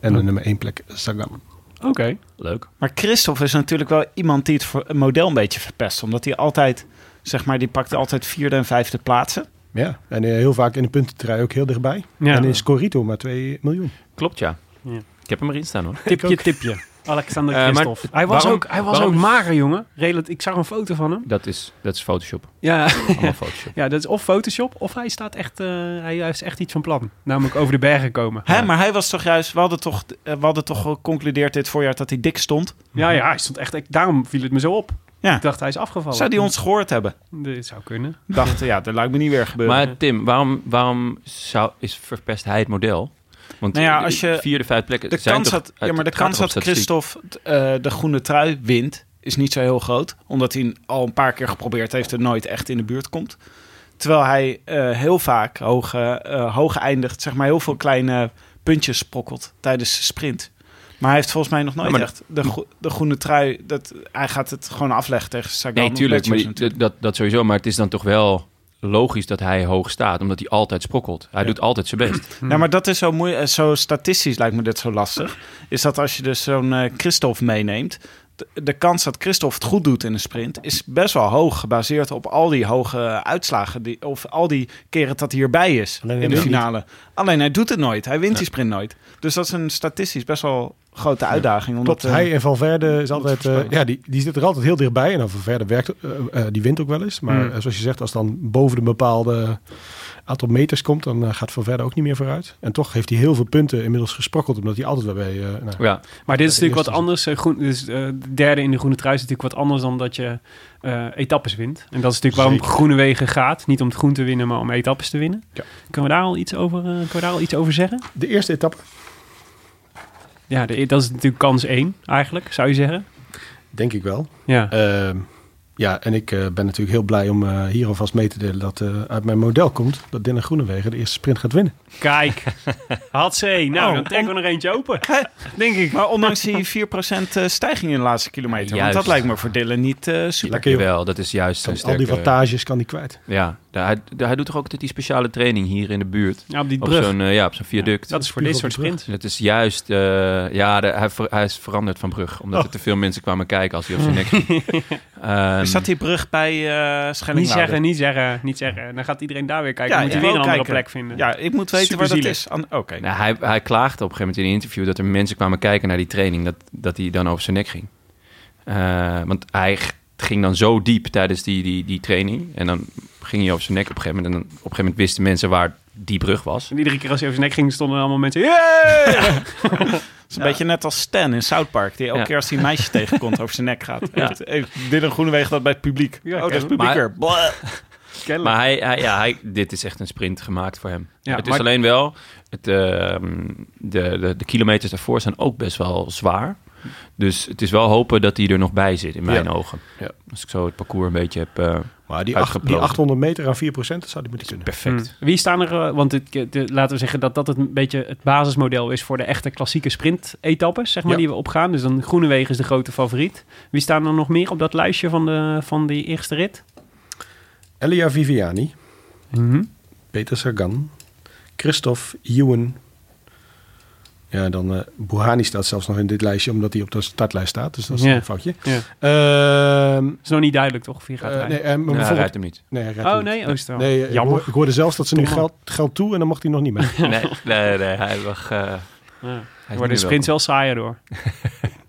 En de
Ja.
nummer één plek Sagan.
Oké.
Leuk.
Maar Christophe is natuurlijk wel iemand die het voor het model een beetje verpest. Omdat hij altijd, zeg maar, die pakt altijd vierde en vijfde plaatsen.
Ja, en eh, heel vaak in de puntentrui ook heel dichtbij.
Ja.
En in Scorito maar 2 miljoen.
Klopt, ja.
Ja.
Ik heb hem erin staan, hoor.
Tipje, tipje. Alexander
Eh, maar
Christophe.
t-
hij was,
waarom-
ook, hij was
waarom-
ook mager, jongen. Relat ik zag een foto van hem.
Dat is, dat is Photoshop.
Ja,
Allemaal (laughs) Photoshop.
(laughs) ja dat is of Photoshop, of hij staat echt... eh, hij heeft echt iets van plan. Namelijk over de bergen komen.
Hè, maar hij was toch juist, we hadden toch, eh, we hadden toch geconcludeerd dit voorjaar dat hij dik stond.
Ja, ja, hij stond echt... ik- daarom viel het me zo op.
Ja.
Ik dacht, hij is afgevallen.
Zou die ons gehoord hebben?
Dit zou kunnen.
Dacht, ja, dat lijkt me niet weer gebeuren.
Maar Tim, waarom, waarom zou, is verpest hij het model? Want
Nou ja, als je-
vierde, vijfde plekken
de
zijn
kans
toch
dat,
uit-
ja, maar de
het gaat
kans
toch
dat
om statistiek?
Christophe eh, de groene trui wint, is niet zo heel groot. Omdat hij al een paar keer geprobeerd heeft en nooit echt in de buurt komt. Terwijl hij eh, heel vaak hoog, eh, eh, hoog eindigt, zeg maar heel veel kleine puntjes sprokkelt tijdens de sprint. Maar hij heeft volgens mij nog nooit
Ja, maar-
echt de, gro- de groene trui. Dat, hij gaat het gewoon afleggen tegen Sagan.
Nee,
op
tuurlijk. Maar
Ledgers
die-
natuurlijk.
dat, dat sowieso. Maar het is dan toch wel logisch dat hij hoog staat. Omdat hij altijd sprokkelt. Hij doet altijd zijn
(clears throat)
best.
Ja, Nou, maar dat is zo moeilijk. eh, Zo statistisch lijkt me dit zo lastig. Is dat als je dus zo'n eh Christophe meeneemt. De, de kans dat Christophe het goed doet in een sprint is best wel hoog. Gebaseerd op al die hoge eh, uitslagen. Die, of al die keren dat hij erbij is
Alleen hij
in de
doet het
finale. Alleen hij doet het nooit. Hij wint die sprint nooit. Dus dat is een statistisch best wel grote uitdaging. Omdat,
Klopt,
eh,
hij en Valverde is altijd, eh,
verspreid.
ja, die, die zit er altijd heel dichtbij. En dan Valverde werkt, eh, eh, die wint ook wel eens. Maar
Mm.
eh, zoals je zegt, als dan boven een bepaalde aantal meters komt, dan eh, gaat Valverde ook niet meer vooruit. En toch heeft hij heel veel punten inmiddels gesprokkeld, omdat hij altijd wel bij... eh, nou,
Ja.
Maar dit is
Ja,
natuurlijk wat
eerste
anders. eh, Groen, dus, eh, de derde in de groene trui is natuurlijk wat anders dan dat je eh, etappes wint. En dat is natuurlijk waarom
Zeker.
Groene Wegen gaat. Niet om het groen te winnen, maar om etappes te winnen.
Ja.
Kunnen, we daar al iets over, eh, kunnen we daar al iets over zeggen?
de eerste etappe,
Ja, de- dat is natuurlijk kans één eigenlijk, zou je zeggen.
denk ik wel.
Ja,
Eh.
Ehm, ja, en ik eh, ben natuurlijk heel blij om eh, hier alvast mee te delen dat eh, uit mijn model komt dat Dylan Groenewegen de eerste sprint gaat winnen.
(laughs)
kijk. Had ze. Nou,
Oh,
dan trekken we er eentje open.
denk ik. Maar ondanks die (laughs) 4% eh, stijging in de laatste kilometer. Want dat
Juist.
lijkt me voor Dylan niet eh, super.
Lekker joh.
Wel, dat is juist
Kan
zijn
al die
sterke-
wattages kan hij kwijt.
Ja, daar- hij, daar- hij doet toch ook altijd die speciale training hier in de buurt?
Ja, op die
Op
brug.
zo'n, eh, ja, op zo'n viaduct.
dat is voor
Puur
dit
op
soort
de brug.
sprints.
Het is juist, eh, ja, de- hij, ver- hij is veranderd van brug. Omdat er te veel mensen kwamen kijken als hij op zijn
(laughs)
nek ging. Ehm,
Oh. Is dat die brug bij eh
Niet
Schellingwoude?
zeggen, niet zeggen, niet zeggen. Dan gaat iedereen daar weer kijken.
Ja,
Dan moet
ja.
hij weer een
Wel
andere
kijken.
plek vinden.
Ja, ik moet weten waar dat
Superzielig.
is. An- Oké.
nou, hij, hij klaagde op een gegeven moment in een interview dat er mensen kwamen kijken naar die training. Dat, dat hij dan over zijn nek ging. Eh, want hij g- ging dan zo diep tijdens die, die, die training. En dan ging hij over zijn nek op een gegeven moment. En dan, op een gegeven moment wisten mensen waar die brug was.
En iedere keer als hij over zijn nek ging, stonden er allemaal mensen... "Yeah!"
(laughs) Het is een beetje net als Stan in South Park, die elke
Ja.
keer als hij een meisje tegenkomt over zijn nek gaat. Heeft, heeft Dylan Groenewegen dat bij het publiek?
Ja,
oh, dat is
kennelijk.
publiek
Maar-
weer. Blah.
Kennelijk.
Maar hij, hij, ja, hij, dit is echt een sprint gemaakt voor hem.
Ja,
het is
maar-
alleen wel, het, ehm, de, de, de kilometers daarvoor zijn ook best wel zwaar. Dus het is wel hopen dat hij er nog bij zit, in mijn ogen.
Ja.
Als ik zo het parcours een beetje heb, eh,
Maar die, acht, die
Uitgeplozen.
800 meter aan 4% dat zou hij moeten kunnen.
perfect.
Hmm. Wie staan er, eh, want dit, de- laten we zeggen dat dat het een beetje het basismodel is voor de echte klassieke sprint-etappes, zeg maar,
Ja.
die we opgaan. Dus dan Groenewegen is de grote favoriet. Wie staan er nog meer op dat lijstje van, de, van die eerste rit?
Elia Viviani,
Mhm.
Peter Sagan, Christophe Ewan. Ja, dan eh Buhani staat zelfs nog in dit lijstje, omdat hij op de startlijst staat. Dus dat is
Ja.
een foutje.
Ja.
Ehm,
Is nog niet duidelijk toch, of wie gaat
eh,
rijden?
nee, eh, maar
Nou, hij
bijvoorbeeld-
rijdt hem
(laughs)
niet.
nee, hij rijdt
Oh
niet.
nee, Oosterhout.
Nee, eh, ik
Jammer.
hoor- Ik hoorde zelfs dat ze nu
Domme.
geld, geld toe en dan mocht hij nog niet
(laughs)
mee.
Nee, nee, nee, hij mag... eh, hij
Ja.
is
Worden de
niet welkom.
sprints wel saaier door.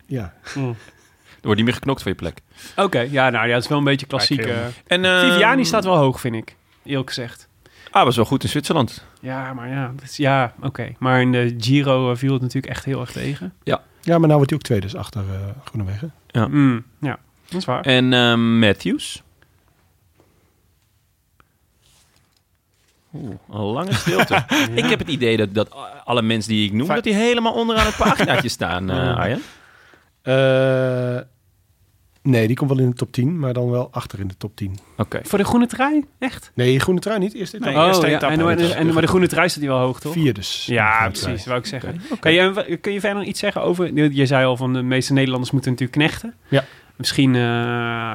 ja.
Er wordt niet meer geknokt voor je plek.
Oké, ja, nou ja, dat is wel een beetje klassiek.
Kijk,
eh.
En, eh,
Ehm.
Viviani staat wel hoog, vind ik, eerlijk gezegd.
Ah, was wel goed in Zwitserland.
Ja, maar ja, dat is- ja, oké. Maar in de Giro eh, viel het natuurlijk echt heel erg tegen.
ja, maar nou wordt hij ook tweede, dus achter eh Groenewegen.
Ja.
Mm, ja, dat is waar.
En ehm, Matthews? Oeh, een lange stilte.
(laughs)
Ik heb het idee dat, dat alle mensen die ik noem, dat die helemaal onderaan het paginaatje staan,
(laughs)
eh Arjen.
Eh, nee, die komt wel in de top 10, maar dan wel achter in de top 10.
Oké.
Voor de groene trui? Echt?
Nee, groene trui niet. Eerst dit
Nee,
nee.
ja,
eerste etappe.
en, maar, de- en, maar de groene trui staat die wel hoog, Oh, toch?
dus vier dus.
Ja,
Groene trui.
precies, wou ik zeggen. Hey, en wa- kun je verder nog iets zeggen over... Je zei al van de meeste Nederlanders moeten natuurlijk knechten.
Ja.
Misschien, eh,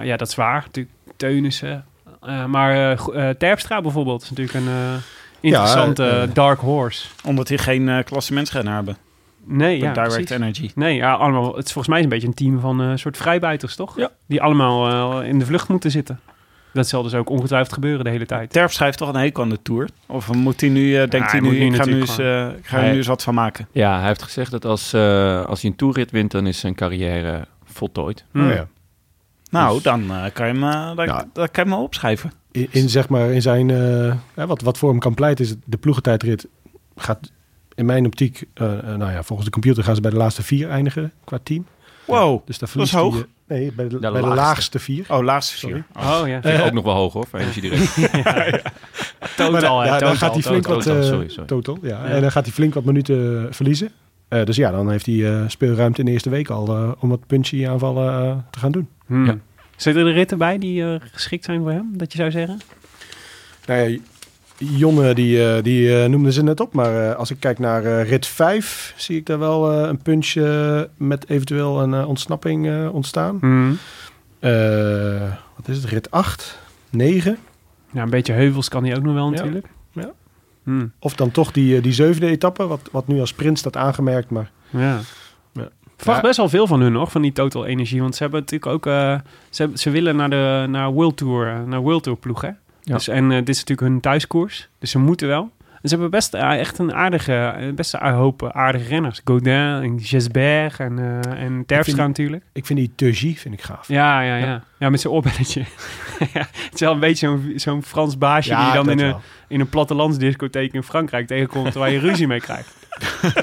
ja, dat is waar. Natuurlijk Teunissen. Eh, maar eh, Go- eh, Terpstra bijvoorbeeld is natuurlijk een eh, interessante
Ja, eh,
dark horse.
Omdat hij geen uh, klassementsrenner hebben.
Nee, ja,
Met Direct
precies.
Energy.
Nee, ja, allemaal, het is volgens mij een beetje een team van eh soort vrijbuiters, toch?
Ja.
Die allemaal eh, in de vlucht moeten zitten. Dat zal dus ook ongetwijfeld gebeuren de hele tijd.
Terp schrijft toch een hekel aan de Tour? Of moet hij nu, eh, denkt
hij
hij
moet
nu,
nu
ik ga, nu
natuurlijk
eens, eh, ik ga er
Nee.
nu eens wat van maken?
Ja, hij heeft gezegd dat als, eh, als hij een toerrit wint, dan is zijn carrière voltooid.
Hm.
Oh, ja.
Nou, dan eh, kan je hem, eh, dan,
Ja.
dan kan je hem wel opschrijven.
in, in, zeg maar, in zijn, eh, hè, wat, wat voor hem kan pleiten is het- de ploegentijdrit gaat in mijn optiek, eh, eh, nou ja, volgens de computer gaan ze bij de laatste vier eindigen qua team.
Wow.
Dus daar verliest
hoog.
hij, eh, nee, bij de, bij de
laagste.
laagste vier.
Oh, laatste
Sorry.
vier.
Oh ja,
Vind ik ook nog wel hoog hoor,
(laughs)
voor energie direct.
(laughs) Maar
totaal.
da-
hè,
da- dan
totaal,
gaat hij flink
totaal.
wat
totaal,
eh,
sorry, sorry.
total, ja. En dan gaat hij flink wat minuten eh, verliezen. Eh, dus ja, dan heeft hij eh, speelruimte in de eerste week al eh, om wat punchy aanvallen eh, te gaan doen.
Hmm.
Ja.
Zitten er ritten bij die eh, geschikt zijn voor hem, dat je zou zeggen?
Nou ja, Jonne, die, eh, die eh, noemde ze net op. Maar eh, als ik kijk naar eh, rit 5, zie ik daar wel eh, een puntje met eventueel een eh, ontsnapping eh, ontstaan.
Mhm.
Eh, wat is het? Rit 8, 9.
Ja, een beetje heuvels kan hij ook nog wel
Ja.
natuurlijk.
Ja.
Mhm.
Of dan toch die, eh, die zevende etappe, wat, wat nu als sprint staat aangemerkt. Maar
Ja.
Ja.
Vraagt
Ja.
best wel veel van hun nog, van die Total Energie. Want ze hebben natuurlijk ook... eh, ze, hebben- ze willen naar de naar World, Tour, eh, naar World Tour ploeg, hè? Dus, en eh, dit is natuurlijk hun thuiskoers. Dus ze moeten wel. En ze hebben best eh, echt een aardige... eh, Best een hoop eh, aardige renners. Godin en Gesberg en, eh en Terpstra
vind-
natuurlijk.
ik vind die Turgie vind ik gaaf.
Ja, ja, ja. Ja, met zijn oorbelletje. (laughs) ja, het is wel een beetje zo'n zo'n Frans baasje die je dan
dat
in een,
wel.
in een plattelandsdiscotheek in Frankrijk tegenkomt... waar je ruzie mee krijgt.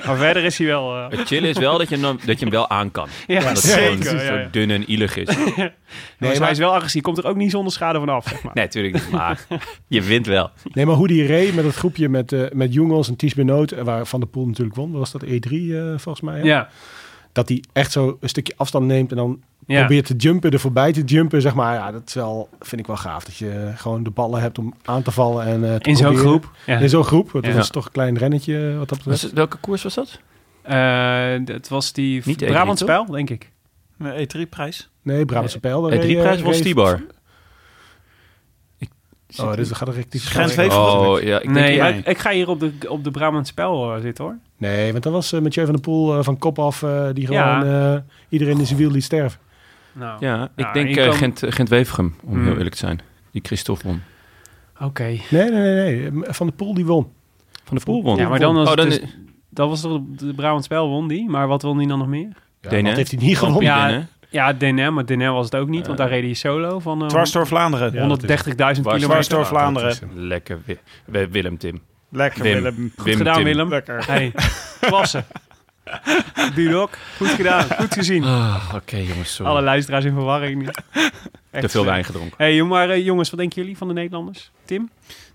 maar verder is hij wel... eh,
Het chillen is wel dat je hem, dan- dat je hem wel aan kan.
ja,
Dat het gewoon
zeker. ja,
zo
ja.
dun en ielig
(laughs)
is.
Nee, maar
maar-
hij is wel agressief. Komt er ook niet zonder schade van af, zeg maar.
Nee, natuurlijk niet. Maar je wint wel.
Nee, maar hoe die reed met het groepje met, eh met Jongels en Ties Benoot, eh, waar Van der Poel natuurlijk won, was dat E3 eh, volgens mij. hè?
Ja,
Dat hij echt zo een stukje afstand neemt en dan
ja.
probeert te jumpen, er voorbij te jumpen, zeg maar. Ja, dat is wel, vind ik wel gaaf, dat je gewoon de ballen hebt om aan te vallen. En, eh, te
in zo'n
proberen.
groep. Ja.
In zo'n groep, want dat
Ja.
is toch een klein rennetje eh, wat dat betreft.
welke koers was dat?
Eh, dat was die
Niet E3,
Brabant Spel, denk ik.
Eh, E3-prijs.
Nee, Brabantse Pijl. daar
E
Het
reed, eh,
drieprijs was
reed-
Stibar.
Oh, dit gaat een rectief.
Gent-Wever.
Oh, ja. Ik
nee,
denk,
maar
nee.
ik, ik ga hier op de, op de Brabant Spel eh, zitten, hoor.
Nee, want dat was eh, Mathieu van der Poel eh, van kop af, eh, die gewoon
Ja.
eh, iedereen in zijn wiel liet sterven.
Nou,
ja, ik
Nou,
denk
je
eh,
kan-
Gent, Gent-Wevergem, om
Hmm.
heel eerlijk te zijn. Die Christophe won.
oké.
Nee, nee, nee, nee. Van der Poel die won.
Van de Poel won.
Ja, maar dan was
oh,
het
dan
dus- Dat was toch de Brabant Spel won die, maar wat won die dan nog meer?
Ja,
Denen.
dat heeft hij niet gewonnen.
Ja,
ja,
Ja, DNR, maar DNR was het ook niet, want daar reed hij solo van eh,
Dwars door Vlaanderen.
Ja.
Dwars-
130.000
Dwars
kilometer.
door Vlaanderen.
Lekker. Wi- Wi- Willem Tim.
Lekker
Wim.
Willem.
Goed gedaan,
Tim.
Willem.
Lekker.
Hey,
(laughs)
klasse. Dudok, goed gedaan, goed gezien.
Ah, Oké, jongens, sorry.
Alle luisteraars in verwarring. nu.
Te
Echt
veel
slecht.
wijn gedronken.
Hey, jong, maar eh, jongens, wat denken jullie van de Nederlanders? Tim?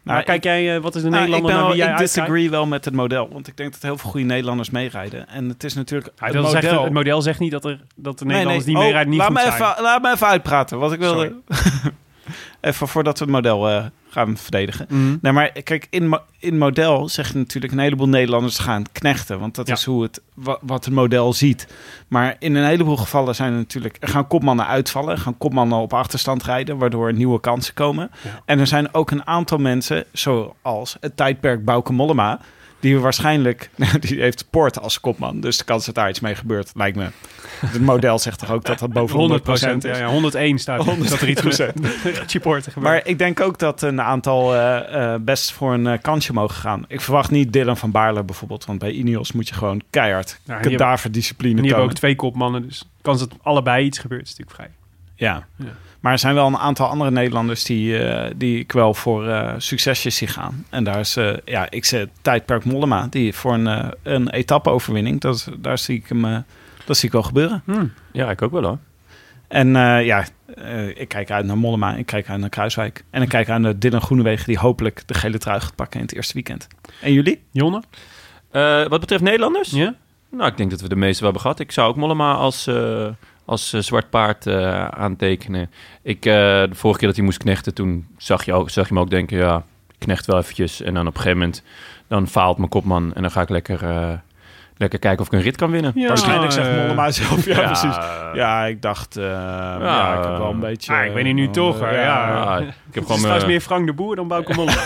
Nou,
Waar kijk jij, eh, wat is de
Nou, ik,
Nederlander
ben
naar
wel,
wie jij
ik
uitkijkt?
disagree wel met het model. Want ik denk dat heel veel goede Nederlanders meerijden. En het is natuurlijk
Ja,
het
dat
model.
zegt- het model zegt niet dat, er, dat de Nederlanders
nee.
die
Oh,
meerijden niet
laat
goed
me
zijn.
even, Laat me even uitpraten. Wat ik wilde... (laughs) even voordat we het model eh, gaan verdedigen.
Mhm.
Nee, maar kijk, in, mo- in model zegt natuurlijk een heleboel Nederlanders gaan knechten. Want dat
Ja.
is hoe het, wa- wat het model ziet. Maar in een heleboel gevallen zijn er natuurlijk, er gaan kopmannen uitvallen. er gaan kopmannen op achterstand rijden, waardoor er nieuwe kansen komen.
Ja.
En er zijn ook een aantal mensen, zoals het tijdperk Bouke Mollema... Die waarschijnlijk, (laughs) nou, die heeft Poort als kopman. Dus de kans dat daar iets mee gebeurt, lijkt me. Het model zegt toch ook dat
(laughs)
dat boven 100,
100%,
is.
ja, ja, 101 staat er. dat er
(laughs)
iets (laughs) gebeurt. Chiporte gebeurt.
Maar ik denk ook dat een aantal eh, eh, best voor een eh, kansje mogen gaan. Ik verwacht niet Dylan van Baarle bijvoorbeeld, want bij Ineos moet je gewoon keihard
Ja, en die
kadaverdiscipline
En hier hebben
tonen.
ook twee kopmannen, dus kans dat allebei iets gebeurt is natuurlijk vrij.
Ja.
Ja.
Maar er zijn wel een aantal andere Nederlanders die, eh, die ik wel voor eh, succesjes zie gaan. En daar is, eh, ja, ik zeg tijdperk Mollema, die voor een, eh, een etappe-overwinning, dat, daar zie ik hem, eh, dat zie ik wel gebeuren.
Hmm.
Ja, ik ook wel hoor.
En eh, ja, eh, ik kijk uit naar Mollema, ik kijk uit naar Kruiswijk. En ik kijk uit naar Dylan Groenewegen, die hopelijk de gele trui gaat pakken in het eerste weekend. En jullie?
Jonne?
Eh, wat betreft Nederlanders?
Ja?
Nou, ik denk dat we de meeste wel hebben gehad. Ik zou ook Mollema als, eh, als eh, zwart paard eh, aantekenen. Ik, eh, de vorige keer dat hij moest knechten, toen zag je, ook, zag je me ook denken... ja, ik knecht wel eventjes. En dan op een gegeven moment, dan faalt mijn kopman... en dan ga ik lekker, eh, lekker kijken of ik een rit kan winnen.
Ja.
Waarschijnlijk zegt
eh,
Mollema zelf, ja, precies.
Ja,
Ja, ik dacht, eh, ja, ik heb wel een beetje...
Ah, ik ben hier nu toch,
eh,
hè, ja.
ik heb
Het is
gewoon...
straks
eh,
meer Frank de Boer dan Bouke Mollema.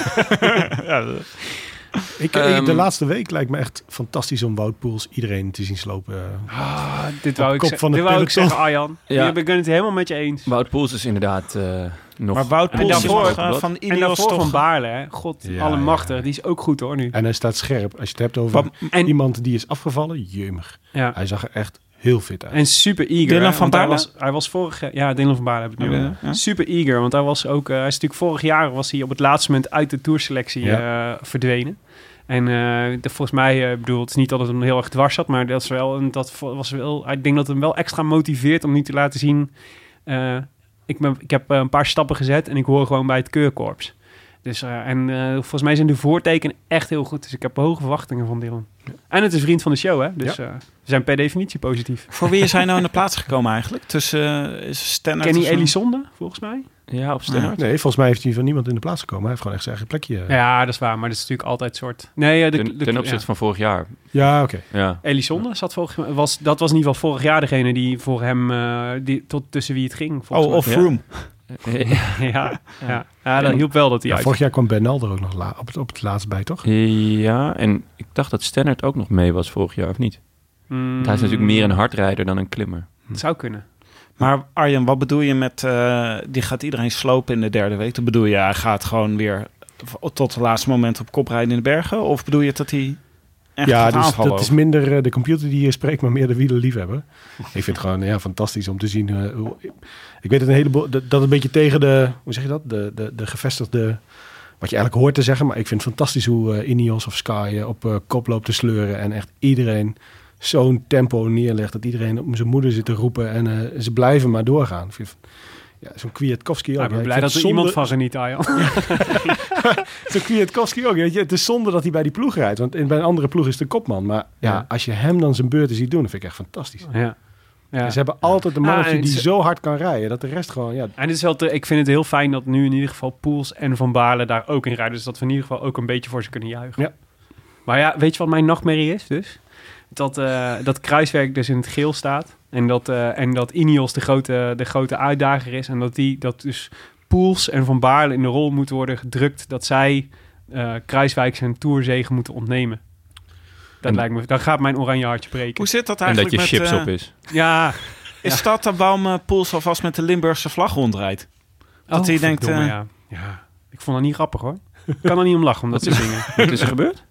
Ik, ik- de
Ehm,
laatste week lijkt me echt fantastisch om Woutpoels iedereen te zien slopen. eh.
(laughs) Ah, dit wou ik,
kop
ze-
van de
dit wou ik
peloton.
zeggen, Arjan.
Ja.
Ja. Ik ben het helemaal met je eens.
Wout Poels is inderdaad eh, nog...
Maar Wout
En
Poels is
daarvoor-
nog, eh, van
En
Ineos
daarvoor
toch...
van Baarle, hè. God,
Ja,
alle machtig.
ja.
Die is ook goed, hoor, nu.
En hij staat scherp. Als je het hebt over
En,
iemand die is afgevallen, jemig.
ja.
Hij zag er echt heel fit uit.
En super eager.
Dylan
hè,
van
want hij
Baarle?
was, hij was vorig jaar... Ja, Dylan van Baarle heb ik nu.
Ja, ja.
Super eager, want hij was ook... eh, hij is natuurlijk vorig jaar was hij op het laatste moment uit de tourselectie eh, verdwenen. En eh, de, volgens mij, eh, ik bedoel, het is niet dat het hem heel erg dwars zat, maar dat is wel, een, dat vo- was wel... Ik denk dat het hem wel extra motiveert om nu te laten zien... eh, ik, ben, ik heb eh, een paar stappen gezet en ik hoor gewoon bij het keurkorps. Dus, eh, en eh, volgens mij zijn de voortekenen echt heel goed. Dus ik heb hoge verwachtingen van Dylan. En het is vriend van de show, hè? Dus eh, we zijn per definitie positief.
Voor wie is hij nou in de plaats gekomen eigenlijk? Tussen eh, is Stennert...
Kenny
of zo?
Elisonde, volgens mij.
Ja, op Stennard.
Nee, volgens mij heeft hij van niemand in de plaats gekomen. Hij heeft gewoon echt zijn eigen plekje. eh.
Ja, dat is waar, maar dat is natuurlijk altijd soort... Nee, eh, de,
Ten,
de-
ten
ja.
opzichte van vorig jaar.
Ja, oké.
Ja.
Elisonde zat volgens mij, was, dat was in ieder geval vorig jaar degene die voor hem, eh, die, tot tussen wie het ging. volgens
Oh, of
ja.
Room.
ja.
mij. (laughs) Ja, ja. ja, dat hielp wel dat hij
Ja,
uit.
vorig jaar kwam Bernal er ook nog la- op, het, op het laatst bij, toch?
Ja, en ik dacht dat Stennard ook nog mee was vorig jaar, of niet?
Mm,
Want hij is natuurlijk meer een hardrijder dan een klimmer.
het zou kunnen.
Maar Arjen, wat bedoel je met... eh, die gaat iedereen slopen in de derde week? Dan bedoel je, hij gaat gewoon weer tot het laatste moment op kop rijden in de bergen? Of bedoel je dat hij echt
ja,
gaat
dus
aanvallen
dat is
ook?
minder eh, de computer die hier spreekt, maar meer de wielerliefhebber. ik vind het gewoon ja, fantastisch om te zien. eh, hoe, ik weet het een heleboel, dat, dat een beetje tegen de, hoe zeg je dat? De, de, de gevestigde, wat je eigenlijk hoort te zeggen. Maar ik vind het fantastisch hoe eh, Ineos of Sky eh, op eh, kop loopt te sleuren. En echt iedereen zo'n tempo neerlegt dat iedereen op zijn moeder zit te roepen. En eh, ze blijven maar doorgaan. Ik vind- ja, zo'n Kwiatkowski ook.
Ja, ik
ja,
ben
ik
blij
vind
dat er
zonde-
iemand van geniet, Arjan. (laughs)
Zo Kwiatkowski ook. Weet je, het is zonde dat hij bij die ploeg rijdt. Want in- bij een andere ploeg is de kopman. Maar ja,
Ja.
als je hem dan zijn beurten ziet doen, dat vind ik echt fantastisch.
Ja. ja.
En Ze hebben altijd een mannetje
Ah, en
die
ze-
zo hard kan rijden. Dat de rest gewoon, ja,
En het is wel te- ik vind het heel fijn dat nu in ieder geval Poels en Van Baarle daar ook in rijden. Dus dat we in ieder geval ook een beetje voor ze kunnen juichen.
Ja.
Maar ja, weet je wat mijn nachtmerrie is dus? Dat, eh, dat Kruiswerk dus in het geel staat. En dat, eh en dat Ineos de grote, de grote uitdager is. En dat, die, dat dus Poels en Van Baarle in de rol moeten worden gedrukt. Dat zij eh Kruiswijk zijn toerzegen moeten ontnemen. Dat
En-
lijkt me, dan gaat mijn oranje hartje breken.
Hoe zit dat
En dat
eigenlijk
je chips
met... eh,
op is.
Ja,
Is dat dat Baum eh, Poels alvast met de Limburgse vlag rondrijdt? Dat hij denkt,
Oh, verdomme,
eh,
ja. ja. Ik vond dat niet grappig hoor. Ik kan er niet om lachen om dat
(laughs)
te zingen.
Wat is er gebeurd?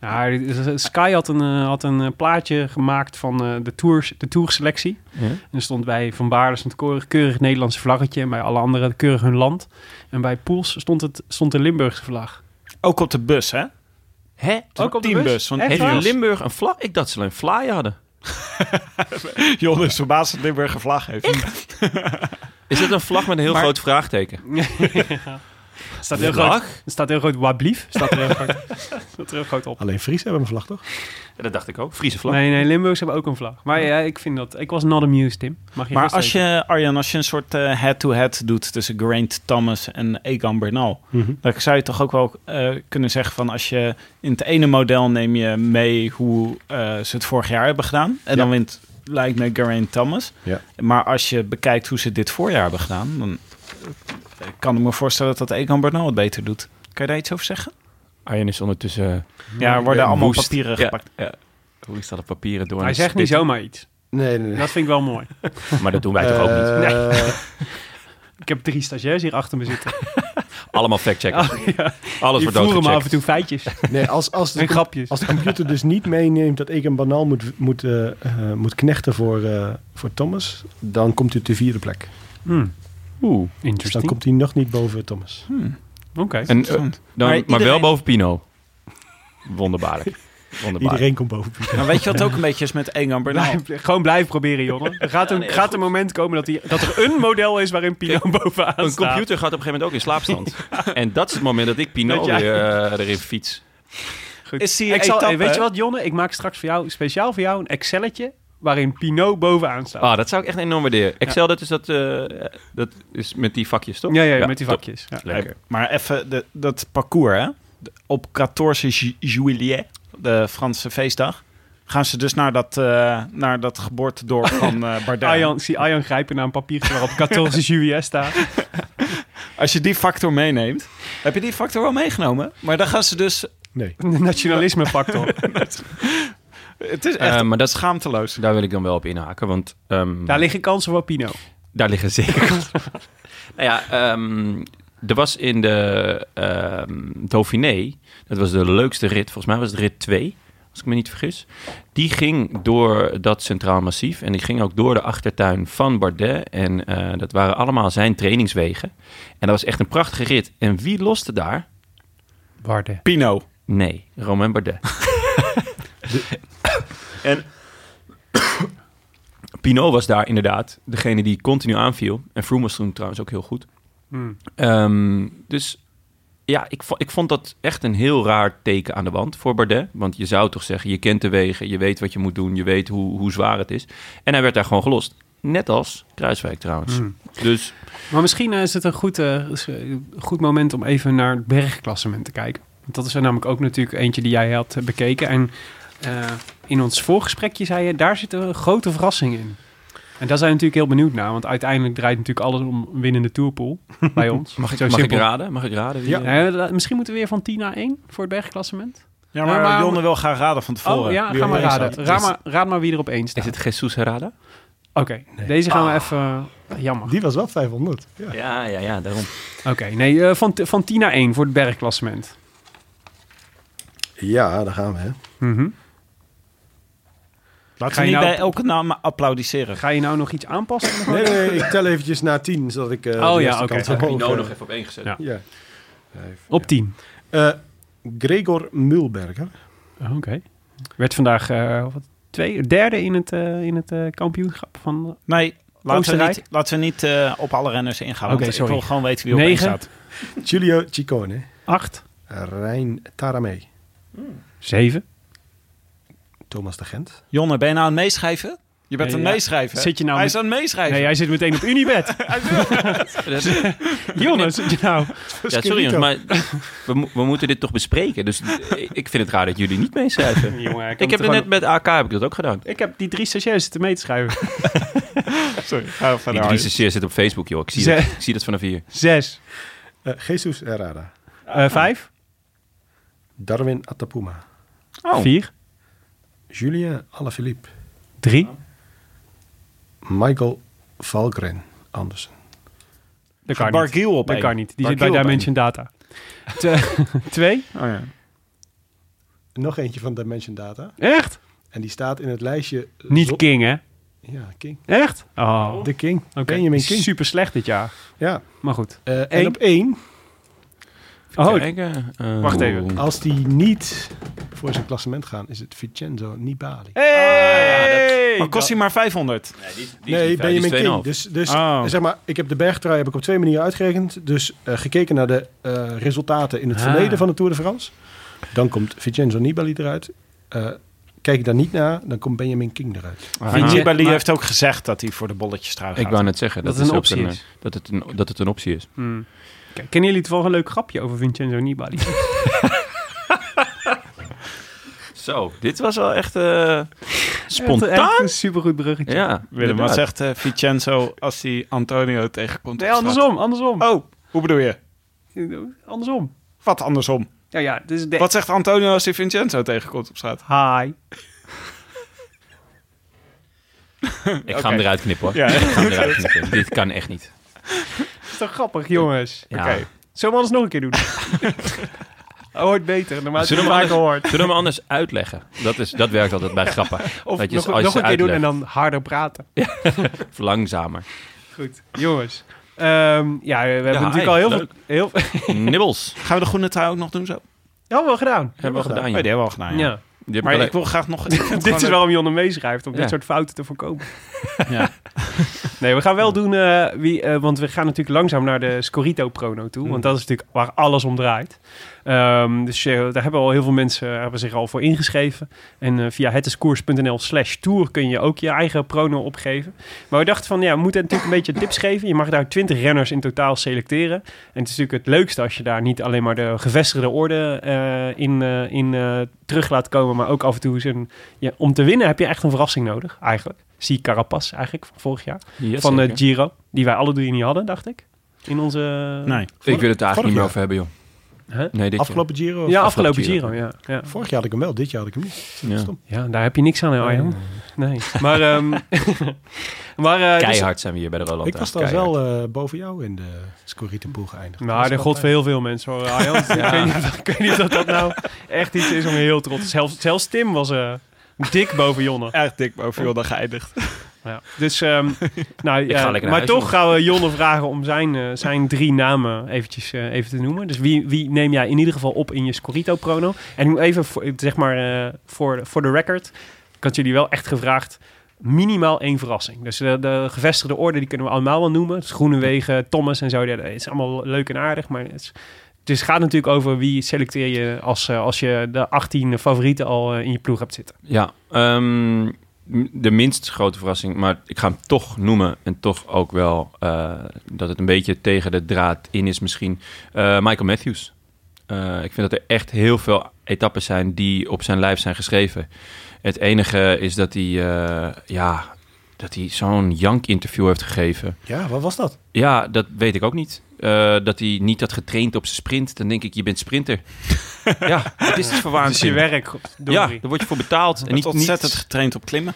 Ja, Sky had een, eh, had een eh, plaatje gemaakt van eh, de, tours, de tourselectie.
Ja.
En er stond bij Van Baarle stond keurig, keurig het Nederlandse vlaggetje. En bij alle anderen keurig hun land. En bij Poels stond, het, stond de Limburgse vlag.
Ook op de bus, hè?
Hè?
Ook op de
teambus,
bus?
want
Echt
Heeft
waar?
in Limburg een vlag? Ik dacht ze alleen een fly hadden.
(laughs) Jon is verbaasd dat Limburg een vlag heeft.
Is dit een vlag met een heel
Maar-
groot vraagteken?
Er staat heel
Vlag?
groot, er staat heel groot wablief. Staat er heel groot, staat er heel groot op.
alleen Fries hebben een vlag, toch?
Ja, dat dacht ik ook. Friese vlag.
Nee, nee, Limburgs hebben ook een vlag. Maar ja, ik vind dat... Ik was not amused, Tim. Mag je
Maar
best
als
weten.
je, Arjan, als je een soort eh, head-to-head doet tussen Grant Thomas en Egan Bernal,
Mhm.
dan zou je toch ook wel eh, kunnen zeggen van als je in het ene model neem je mee hoe eh, ze het vorig jaar hebben gedaan. En dan wint, lijkt me, Grant Thomas.
Ja.
Maar als je bekijkt hoe ze dit voorjaar hebben gedaan, dan eh, kan ik me voorstellen dat Egan Bernal het beter doet. Kan je daar iets over zeggen?
Arjen is ondertussen... eh,
Ja, er worden
ja,
allemaal
woest.
papieren
Ja.
gepakt.
hoe is dat op papieren door?
Hij
een
zegt niet
spit?
zomaar iets.
Nee, nee, Eh,
Dat vind ik wel mooi.
Maar dat doen wij toch ook
Eh,
niet?
Ik heb drie stagiairs hier achter me zitten.
Allemaal factchecken.
Oh, ja.
Alles
Die
wordt
voeren me af
doodgecheckt.
en toe
(laughs)
feitjes
(laughs) nee als, als, de,
en
com-
grapjes.
als de computer dus niet meeneemt dat ik een banaal moet, moet, eh, eh, moet knechten voor, eh, voor Thomas, dan komt hij op de vierde plek.
Hmm.
Oeh.
Dus dan
Interesting.
komt hij nog niet boven Thomas.
Oké.
En, eh, dan, maar,
Maar
wel
iedereen-
boven Pino. Wonderbaarlijk. Wonderbaarlijk.
Iedereen komt boven Pieter.
Maar weet je wat het ook een beetje is met Egan Bernal?
Blijf- gewoon blijven proberen,
(laughs)
jongen. Er gaat een, gaat een moment komen dat, die, dat er een model is waarin Pino bovenaan
(laughs) Een
staat.
computer gaat op een gegeven moment ook in
(laughs)
slaapstand. En dat is het moment dat ik Pino
Dat jij-
weer eh, erin fiets.
Goed.
Is die
ik zal,
etappe-
weet je wat, Jonne? Ik maak straks voor jou, speciaal voor jou een Excelletje waarin Pino bovenaan staat.
Ah, dat zou ik echt enorm waarderen. Excel, dat is dat, eh, dat is met die vakjes, toch?
ja, ja, met die
top.
vakjes. Ja.
Lekker.
Maar even de- dat parcours, hè? De- Op 14 ju- juillet, de Franse feestdag, gaan ze dus naar dat, eh, naar dat
(laughs)
geboortedorp van eh Bardet.
Arjan, ik zie Arjan grijpen naar een
(laughs)
papiertje waarop 14 juillet staat. (laughs)
Als je die factor meeneemt, heb je die factor wel meegenomen? Maar dan gaan ze dus...
Nee.
De nationalisme factor.
(laughs)
Het is echt
Eh, maar dat-
schaamteloos.
Daar wil ik dan wel op inhaken, want ehm,
Ehm, Daar liggen kansen voor Pino.
daar liggen
(laughs)
zeker kansen. nou ja, ehm, er was in de ehm Dauphiné, dat was de leukste rit, volgens mij was het rit 2, als ik me niet vergis. Die ging door dat Centraal Massief en die ging ook door de achtertuin van Bardet. En eh, dat waren allemaal zijn trainingswegen. En dat was echt een prachtige rit. En wie loste daar?
Waarde.
Pino.
Nee, Romain Bardet. (laughs) En (coughs) Pinot was daar inderdaad degene die continu aanviel. En Froome was toen trouwens ook heel goed. Ehm, dus ja, ik, vo- ik vond dat echt een heel raar teken aan de wand voor Bardet. Want je zou toch zeggen, je kent de wegen, je weet wat je moet doen, je weet hoe, hoe zwaar het is. En hij werd daar gewoon gelost. Net als Kruiswijk trouwens.
Hmm.
Dus
Maar misschien eh, is het een goed, eh, is, eh, goed moment om even naar het bergklassement te kijken. Want dat is er namelijk ook natuurlijk eentje die jij had eh, bekeken. En eh, in ons voorgesprekje zei je, daar zit een grote verrassing in. En daar zijn we natuurlijk heel benieuwd naar. Want uiteindelijk draait natuurlijk alles om een winnende tourpool bij ons.
mag ik,
Zo
mag ik
simpel.
raden? Mag ik raden? wie,
Ja.
eh,
Eh, la- misschien moeten we weer van 10 naar 1 voor het bergklassement.
Ja, maar,
Eh, maar-
Jonne wil gaan raden van tevoren.
oh ja,
eh, Wie
ga maar
op één
raden.
staat.
Raad maar, raad maar wie er op één staat.
Is het Jesus Herrada?
Oké, deze gaan we even... eh, jammer.
Die was wel 500. Ja.
Ja, ja, ja, daarom.
Oké, nee, eh, van, t- van 10 naar 1 voor het bergklassement.
ja, daar gaan we. Hè.
Mhm.
Laten
Ga
we
je
niet
nou-
bij elke naam applaudisseren.
Ga je nou nog iets aanpassen?
Nee, nee, ik tel eventjes naar 10, zodat ik. eh,
Oh
de
ja,
eerste
oké.
kant
Heb je
omhoog, eh,
even op één gezet.
Ja.
Ja.
Op 10.
Eh, Gregor Mulberger.
Oh, Oké. Werd vandaag eh, wat, twee, derde in het, eh, in het eh, kampioenschap van
Nee, laten we
Oostenrijk?
niet, laten we niet eh, op alle renners ingaan.
Oké,
want
sorry.
Ik wil gewoon weten wie op één
Negen.
staat.
Giulio Ciccone.
8,
Rijn Taramee.
7.
Thomas de Gent.
Jonne, ben je nou aan het meeschrijven? Je bent
Nee,
aan
ja.
het meeschrijven. hè?
Zit je nou
Hij
met-
is aan het meeschrijven.
Nee, hij zit meteen op
(laughs)
Unibed. Jonne, zit je nou?
Ja, sorry jongens, maar we, mo- we moeten dit toch bespreken. Dus ik ik vind het raar dat jullie niet meeschrijven.
Jongen,
Ik heb het net met AK heb ik dat ook gedaan.
ik heb die drie stagiairs zitten mee te
(laughs)
schrijven.
Sorry, ga even
Die
Oh, verder.
drie zeer zit op Facebook, joh. Ik zie,
Ze-
dat, ik zie dat vanaf hier.
Zes.
Eh, Jesus Herrera.
Ah.
eh, vijf.
Darwin Atapuma.
Oh.
Vier.
Julien Alaphilippe.
Drie.
Michael Valgren Andersen.
Dat
Ga
kan niet.
Barguil op
Dat
één.
kan niet. Die
Barguil
zit bij
op één.
Dimension
(laughs)
Data. Te- (laughs) twee.
Oh, ja.
Nog eentje van Dimension Data.
Echt?
En die staat in het lijstje...
Niet
zo-
King, hè?
Ja, King.
Echt? Oh,
De King.
oké.
Benjamin King.
Super slecht dit jaar.
Ja.
Maar goed.
Eh, en
Eén.
op één,
Ah,
Oh,
Kijken, eh,
Wacht even.
oeh.
als die niet voor zijn klassement gaan, is het Vincenzo Nibali.
Hey!
Maar kost hij maar 500?
Nee, Benjamin
die is
King.
2,5.
Dus, dus
Oh.
zeg maar, ik heb de bergtrui heb ik op twee manieren uitgerekend. Dus eh, gekeken naar de eh, resultaten in het
Ah.
verleden van de Tour de France. Dan komt Vincenzo Nibali eruit. Eh, kijk ik daar niet naar, dan komt Benjamin King eruit.
Vinci
Ah.
Nibali
Maar-
heeft ook gezegd dat hij voor de bolletjes trouwens
nou, Ik wou net zeggen
Dat
dat,
het
is
een
ook
optie
een,
is.
eh, Dat het, een, dat het een optie is.
Hmm. K- Kennen jullie toevallig een leuk grapje over Vincenzo (laughs) Nibali?
Zo, dit was wel echt eh,
Echt
spontaan.
echt een supergoed bruggetje.
Ja,
Willem,
inderdaad.
wat zegt eh, Vincenzo als hij Antonio tegenkomt?
Nee,
op straat?
andersom, andersom.
Oh, hoe bedoel je?
Andersom.
Wat andersom?
Ja, ja, dit is de...
Wat zegt Antonio als hij Vincenzo tegenkomt op straat?
Hi.
Ik ga hem eruit knippen hoor.
Ja.
Ik ga hem eruit knippen. Dit kan echt niet.
Is toch grappig, jongens?
Ja.
Oké.
Zullen we alles nog een (laughs) keer doen? Hij Oh, hoort beter, normaal is het
Zullen we,
vaker
anders,
hoort.
zullen we hem anders uitleggen? Dat, is, dat werkt altijd bij grappen.
Of
Dat je
nog,
ze- als
nog
je
een
ze
keer doen en
uitlegt.
dan harder praten.
Of langzamer.
Goed, jongens. Ehm, ja, we hebben
Ja,
natuurlijk
hi.
al heel
Leuk.
veel... Heel, (laughs) veel-
Nibbels
Gaan we de groene trui ook nog doen zo?
Hebben we gedaan.
hebben we gedaan.
Oh,
joh.
die hebben we al gedaan, ja.
Ja.
Die heb
Maar
ik al-
ik wil graag
(laughs)
nog... ik vind
Dit is
gewoon-
waarom Jonne meeschrijft, om
Ja.
dit soort fouten te voorkomen.
(laughs) Ja.
(laughs) Nee, we gaan wel doen, eh, wie, eh, want we gaan natuurlijk langzaam naar de Scorito-prono
Hmm.
toe. Want dat is natuurlijk waar alles om draait. Ehm, dus eh, daar hebben al heel veel mensen eh, hebben zich al voor ingeschreven. En eh, via hetescours.nl slash tour kun je ook je eigen prono opgeven. Maar we dachten van, ja, we moeten natuurlijk een beetje tips geven. Je mag daar 20 renners in totaal selecteren. En het is natuurlijk het leukste als je daar niet alleen maar de gevestigde orde eh, in, eh, in eh, terug laat komen, maar ook af en toe eens een... ja, om te winnen heb je echt een verrassing nodig, eigenlijk. Zie Carapaz eigenlijk van vorig jaar
Yes,
van
zeker.
eh, Giro. Die wij alle drie niet hadden, dacht ik. In onze...
Nee.
Ik wil het daar eigenlijk niet meer
jaar.
over hebben, joh.
Hè?
Nee, dit eh,
Afgelopen Giro? of-
Ja,
afgelopen
afgelopen
Giro.
Giro. Ja, ja.
Vorig jaar had ik hem wel, dit jaar had ik hem niet.
jaar. Ja.
Stom.
ja, daar heb je niks aan, hè, Arjan. Nee. Maar... ehm, maar eh, dus-
Keihard zijn we hier bij de Roland.
Ik was
daar
trouwens wel eh, boven jou in de Scorritenpoel geëindigd. Dat
nou,
was
de
wel
god voor
fijn.
heel veel mensen hoor, Arjan. ik, weet niet, of- ik weet niet dat dat nou echt iets is om je heel trots... Zelfs, zelfs Tim was eh, dik boven Jonne.
Echt dik, maar veel dan geëindigd.
Ja. Dus,
(laughs)
ehm, nou,
ga
eh,
lekker naar
maar
huis,
toch
jongen.
gaan we Jonne vragen om zijn, eh, zijn drie namen eventjes eh, even te noemen. Dus wie, wie neem jij in ieder geval op in je Scorito-prono? En ik moet even, voor, zeg maar, eh, voor voor de record, ik had jullie wel echt gevraagd, minimaal één verrassing. Dus de, de gevestigde orde, die kunnen we allemaal wel noemen. Dus Groenewegen, Thomas en zo, dat is allemaal leuk en aardig, maar het is... Dus het gaat natuurlijk over wie selecteer je als, eh, als je de 18 favorieten al eh, in je ploeg hebt zitten.
Ja, ehm, m- de minst grote verrassing, maar ik ga hem toch noemen. En toch ook wel eh, dat het een beetje tegen de draad in is misschien. Eh, Michael Matthews. Eh, ik vind dat er echt heel veel etappes zijn die op zijn lijf zijn geschreven. Het enige is dat hij, eh, ja, dat hij zo'n jank-interview heeft gegeven.
Ja, wat was dat?
Ja, dat weet ik ook niet. Eh, dat hij niet had getraind op zijn sprint. Dan denk ik, je bent (laughs) sprinter. ja, het is iets voor
Dat is je
waanzin.
werk.
Ja,
Ja.
daar word je voor betaald. En
Niet
niet, niet,
ontzettend getraind op klimmen.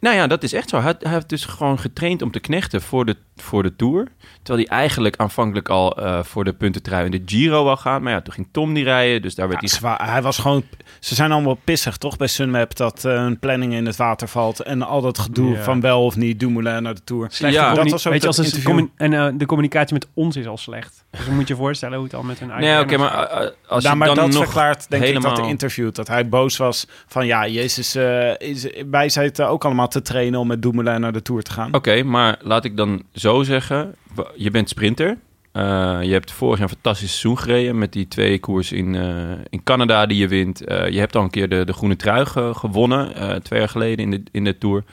nou ja, dat is echt zo. Hij, hij heeft dus gewoon getraind om te knechten voor de, voor de Tour. Terwijl hij eigenlijk aanvankelijk al eh, voor de puntentrui in de Giro wou gaan. Maar ja, toen ging Tom die rijden. Dus daar werd
Ja,
hij...
zwaar. Hij was gewoon. Ze zijn allemaal pissig, toch? Bij Sunmap dat eh, hun planning in het water valt en al dat gedoe
Ja.
van wel of niet Dumoulin naar de tour.
Slechte
Ja.
communi-
Dat was ook
weet je,
dat
als het
interview.
commu- en eh, de communicatie met ons is al slecht. Dus dan moet je je voorstellen hoe het al met hun eigen.
Nee, oké,
renners
maar eh, eh, als
Ja,
je
Nou, maar
dan
dat
nog...
verklaart denk ik dat
helemaal-
de interview dat hij boos was van ja, Jezus, eh, is, wij zitten ook allemaal te trainen om met Dumoulin naar de tour te gaan.
Oké, maar laat ik dan zo zeggen. w- Je bent sprinter. Eh, je hebt vorig jaar een fantastisch seizoen gereden met die twee koers in, eh, in Canada die je wint. Eh, je hebt al een keer de, de groene trui ge- gewonnen, eh, twee jaar geleden in de, in de Tour.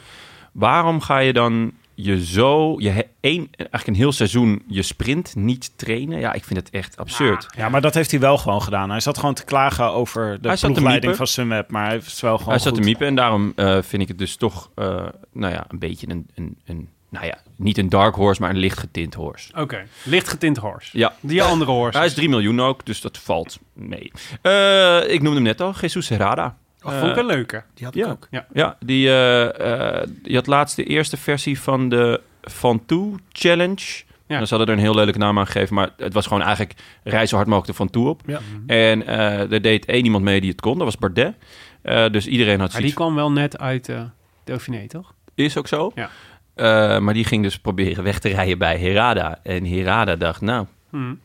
Waarom ga je dan je zo, je he- één, eigenlijk een heel seizoen, je sprint niet trainen? Ja, ik vind het echt absurd.
Ja, maar dat heeft hij wel gewoon gedaan. Hij zat gewoon te klagen over de
Hij zat te
ploegleiding
miepen.
van Sunweb, maar hij is wel gewoon
Hij zat
goed.
te miepen en daarom eh, vind ik het dus toch, eh, nou ja, een beetje een, een, een, nou ja, niet een dark horse, maar een licht getint horse.
zijn. Oké, licht getint horse.
Ja,
Die andere horse.
Hij is 3 miljoen ook, dus dat valt mee. Eh, ik noemde hem net al, Jesus Herrada.
Oh, vond ik een leuke.
Die had
Ja,
Ja.
ja die, eh, eh, die had laatst de eerste versie van de Van Toe Challenge.
Ja.
Ja. Ze hadden er een heel leuke naam aan gegeven, maar het was gewoon eigenlijk rij zo hard mogelijk de Van Toe op.
Ja.
Mhm.
En eh, er deed één iemand mee die het kon, dat was Bardet. Eh, dus iedereen had
Maar die
zoiets
kwam wel net uit eh Dauphiné, toch?
is ook zo.
Ja.
Eh, maar die ging dus proberen weg te rijden bij Herada. En Herada dacht, nou,
Hmm.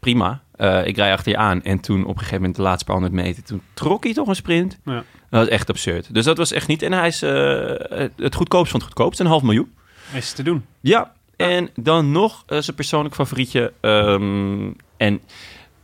prima. Eh, ik rij achter je aan. En toen op een gegeven moment de laatste paar honderd meter... toen trok hij toch een sprint.
Ja.
Dat was echt absurd. Dus dat was echt niet... En hij is eh, het goedkoopst van het goedkoopst. Een half miljoen.
Is te doen.
Ja. En dan nog eh, zijn persoonlijk favorietje. ehm, en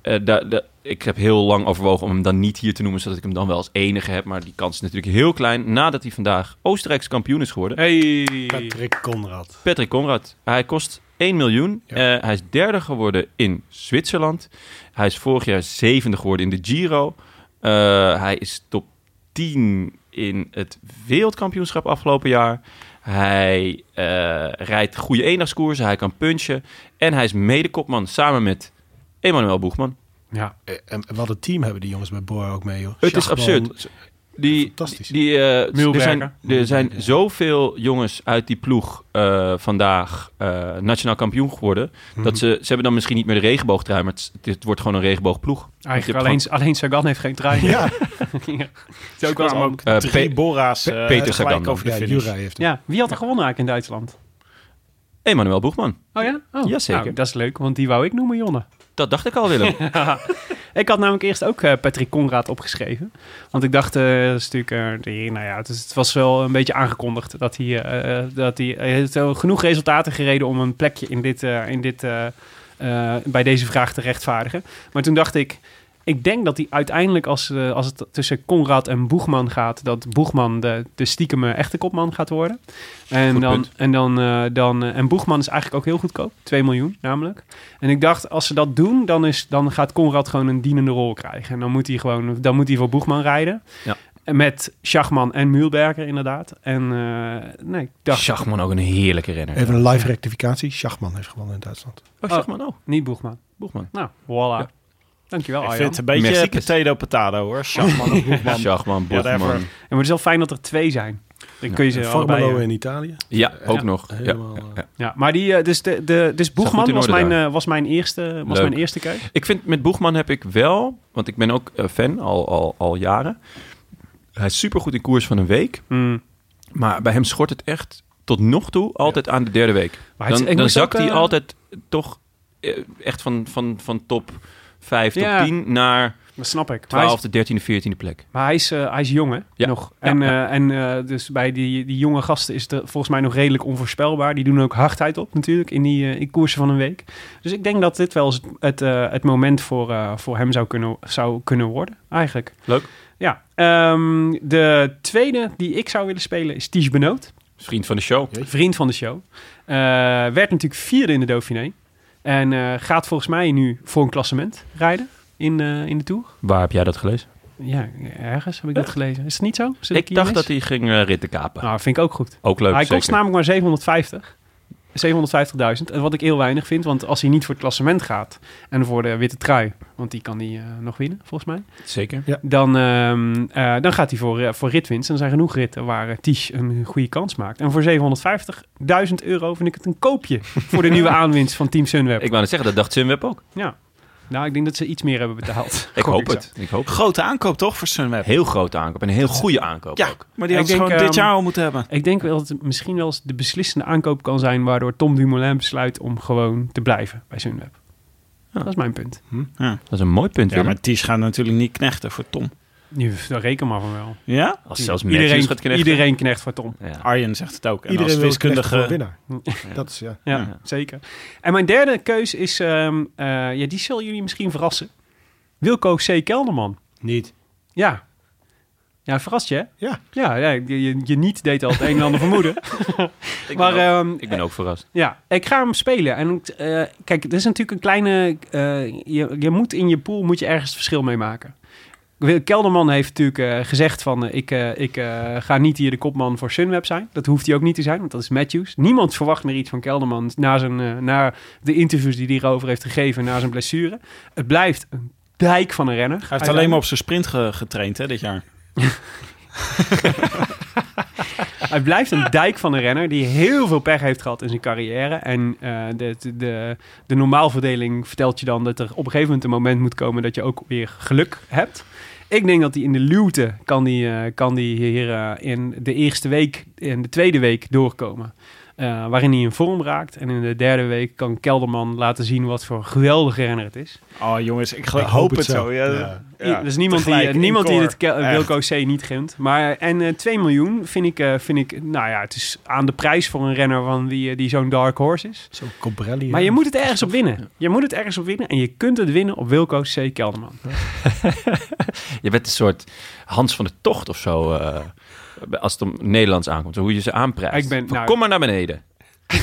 eh, da- da- ik heb heel lang overwogen om hem dan niet hier te noemen... zodat ik hem dan wel als enige heb. Maar die kans is natuurlijk heel klein. Nadat hij vandaag Oostenrijkse kampioen is geworden.
Hey.
Patrick Conrad.
Patrick Conrad. Hij kost 1 miljoen.
Ja.
Eh, hij is derde geworden in Zwitserland. Hij is vorig jaar zevende geworden in de Giro. Eh, hij is top 10 in het wereldkampioenschap afgelopen jaar. Hij eh, rijdt goede eendagskoersen. Hij kan punchen. En hij is medekopman samen met Emmanuel Boegman.
Ja.
Eh, En en wat een team hebben die jongens bij Boa ook mee, joh.
Het is
Schachman,
absurd. Die,
Fantastisch.
Die, eh, er
Mühlberger.
zijn, er zijn
Mühlberger.
zoveel jongens uit die ploeg eh, vandaag eh, nationaal kampioen geworden. Dat ze, ze hebben dan misschien niet meer de regenboogtrui, maar het, is- dit wordt gewoon een regenboogploeg. Want je
Eigenlijk
hebt
alleen, alleen Sagan heeft geen trein.
Ja,
ja. Het is ook wel
kwamen
ook.
gewoon, eh,
Drie
Pe-
Bora's eh,
Peter
gelijk
Sagan dan.
over de
ja
finish.
Jura heeft hem.
Ja, wie had er gewonnen eigenlijk in Duitsland?
Emmanuel Boegman.
Oh ja? Oh,
Jazeker.
nou, dat is leuk, want die wou ik noemen, Jonne.
Dat dacht ik al, Willem.
(laughs) Ik had namelijk eerst ook eh, Patrick Conrad opgeschreven. Want ik dacht, eh dat is natuurlijk, eh, die, nou ja, het, is- het was wel een beetje aangekondigd dat hij, eh, eh, dat hij, hij heeft wel genoeg resultaten gereden om een plekje in dit, eh, in dit, eh, eh, bij deze vraag te rechtvaardigen. Maar toen dacht ik, ik denk dat hij uiteindelijk als, eh, als het tussen Conrad en Boegman gaat, dat Boegman de, de stiekeme echte kopman gaat worden. En,
Goed
dan,
punt.
en, dan, eh, dan, eh, en Boegman is eigenlijk ook heel goedkoop, 2 miljoen namelijk. En ik dacht, als ze dat doen, dan, is, dan gaat Conrad gewoon een dienende rol krijgen. En dan moet hij gewoon, dan moet hij voor Boegman rijden.
Ja.
En Met Schachman en Mühlberger inderdaad. En eh, nee, ik dacht,
Schachman ook een heerlijke renner.
Even een live rectificatie. Schachman heeft gewonnen in Duitsland.
Oh, Schachman ook.
niet Boegman.
Boegman.
Nou, voilà.
Ja.
Dankjewel,
Ik
Arjan.
vind het een beetje
Merci.
potato potato hoor. Schachman en Hoefman.
Schachman, Boegman.
Whatever.
En maar het is wel fijn dat er twee zijn. Dan kun je ze allebei...
Formolo
eh,
in Italië.
Ja, ook
Ja.
nog. Ja.
Helemaal, eh,
Ja, maar die, eh, dus, de, de, dus
goed
Boegman
in
was
orde
mijn,
daar.
eh, was mijn eerste, was
Leuk.
mijn eerste keus.
Ik vind met Boegman heb ik wel, want ik ben ook eh, fan al, al, al jaren. Hij is supergoed in koers van een week.
Mm.
Maar bij hem schort het echt tot nog toe altijd aan de derde week.
Maar het is-
dan
ik
dan
moest
zakt
ook,
hij
eh,
altijd toch eh, echt van, van, van top 5,
Ja.
top 10 naar
Dat snap ik. Maar hij is-
12e, 13e, 14e plek.
Maar hij is, eh, hij is jong, hè?
Ja.
Nog.
Ja,
En, eh, en eh, dus bij die, die jonge gasten is het eh, volgens mij nog redelijk onvoorspelbaar. Die doen ook hardheid op natuurlijk in die eh, in koersen van een week. Dus ik denk dat dit wel eens het, het, eh, het moment voor, eh, voor hem zou kunnen, zou kunnen worden, eigenlijk.
Leuk.
Ja, ehm, de tweede die ik zou willen spelen is Ties Benoot.
Vriend van de show.
Vriend van de show. Eh, werd natuurlijk vierde in de Dauphiné. En eh, gaat volgens mij nu voor een klassement rijden in, eh, in de Tour.
Waar heb jij dat gelezen?
Ja, ergens heb ik dat gelezen. Is het niet zo? Zit
Ik
hier
dacht
mis?
dat hij ging eh, ritten kapen.
Nou, vind ik ook goed.
Ook leuk,
hij
zeker.
kost namelijk maar 750. 750.000. En wat ik heel weinig vind, want als hij niet voor het klassement gaat en voor de witte trui, want die kan hij eh, nog winnen, volgens mij.
Zeker.
Dan, ehm, eh, dan gaat hij voor, eh, voor ritwinst. En er zijn genoeg ritten waar eh, Ties een goede kans maakt. En voor 750.000 euro vind ik het een
(laughs)
koopje voor de nieuwe aanwinst van Team Sunweb.
Ik wou net zeggen, dat dacht Sunweb ook.
Ja. Nou, ik denk dat ze iets meer hebben
(laughs)
betaald.
Ik
Gok
hoop
zo.
het. Ik hoop het.
(laughs) Grote aankoop toch voor Sunweb?
Heel grote aankoop en een heel goede aankoop
Ja,
ook.
maar die
Ik
had ze
denk,
gewoon dit
ehm,
jaar al moeten hebben.
Ik denk wel dat het misschien wel eens de beslissende aankoop kan zijn... waardoor Tom Dumoulin besluit om gewoon te blijven bij Sunweb. Dat is mijn punt.
Dat is een mooi punt,
Ja,
Willem.
maar Ties gaat natuurlijk niet knechten voor Tom.
Nu, daar reken maar van wel.
Ja?
Als zelfs
iedereen,
Matthews gaat knechten.
iedereen knecht voor Tom.
Ja.
Arjen zegt het ook. En
Iedereen
als
wil knechten voor een
wiskundige...
winnaar. Dat is, ja.
Ja,
Ja.
zeker. En mijn derde keus is... ehm, eh, ja, die zal jullie misschien verrassen. Wilco C. Kelderman.
Niet.
Ja. Ja, verrast je, hè?
Ja.
Ja, ja, je, je- je niet deed al het een en ander vermoeden.
(laughs) Ik,
maar
ben ook,
ehm,
ik ben ook verrast.
ja, ik ga hem spelen. En eh, kijk, dit is natuurlijk een kleine... eh, je, je moet in je pool moet je ergens verschil mee maken. Wil- Kelderman heeft natuurlijk eh, gezegd van... eh, ik eh, ik eh, ga niet hier de kopman voor Sunweb zijn. Dat hoeft hij ook niet te zijn, want dat is Matthews. Niemand verwacht meer iets van Kelderman... na, zijn, eh, na de interviews die hij erover heeft gegeven... na zijn blessure. Het blijft een dijk van een renner.
Hij heeft alleen maar op zijn sprint ge- getraind hè, dit jaar.
Hij blijft een dijk van een renner die heel veel pech heeft gehad in zijn carrière. En eh, de, de- de, de normaalverdeling vertelt je dan dat er op een gegeven moment een moment moet komen dat je ook weer geluk hebt. Ik denk dat hij in de luwte kan die, eh, kan die hier eh, in de eerste week en de tweede week doorkomen. Eh, waarin hij in vorm raakt. En in de derde week kan Kelderman laten zien wat voor een geweldige renner het is.
Oh jongens, ik, gel- hoop het zo. Ja, Dus
Ja.
ja.
er is dus niemand die, eh,
Tegelijk, in
niemand die
koor.
dit Kel-
Echt.
Wilco C. niet gunt. Maar, en eh 2 miljoen vind ik, eh, vind ik, nou ja, het is aan de prijs voor een renner van die, eh, die zo'n dark horse is.
Zo Cobrelli. eh,
Maar
hè.
je moet het ergens op winnen. Je moet het ergens op winnen en je kunt het winnen op Wilco C. Kelderman.
Je bent een soort Hans van de Tocht of zo. eh, als het om Nederlands aankomt. Hoe je ze aanprijst.
Ik ben-
Van,
nou-
kom maar naar beneden.
Ik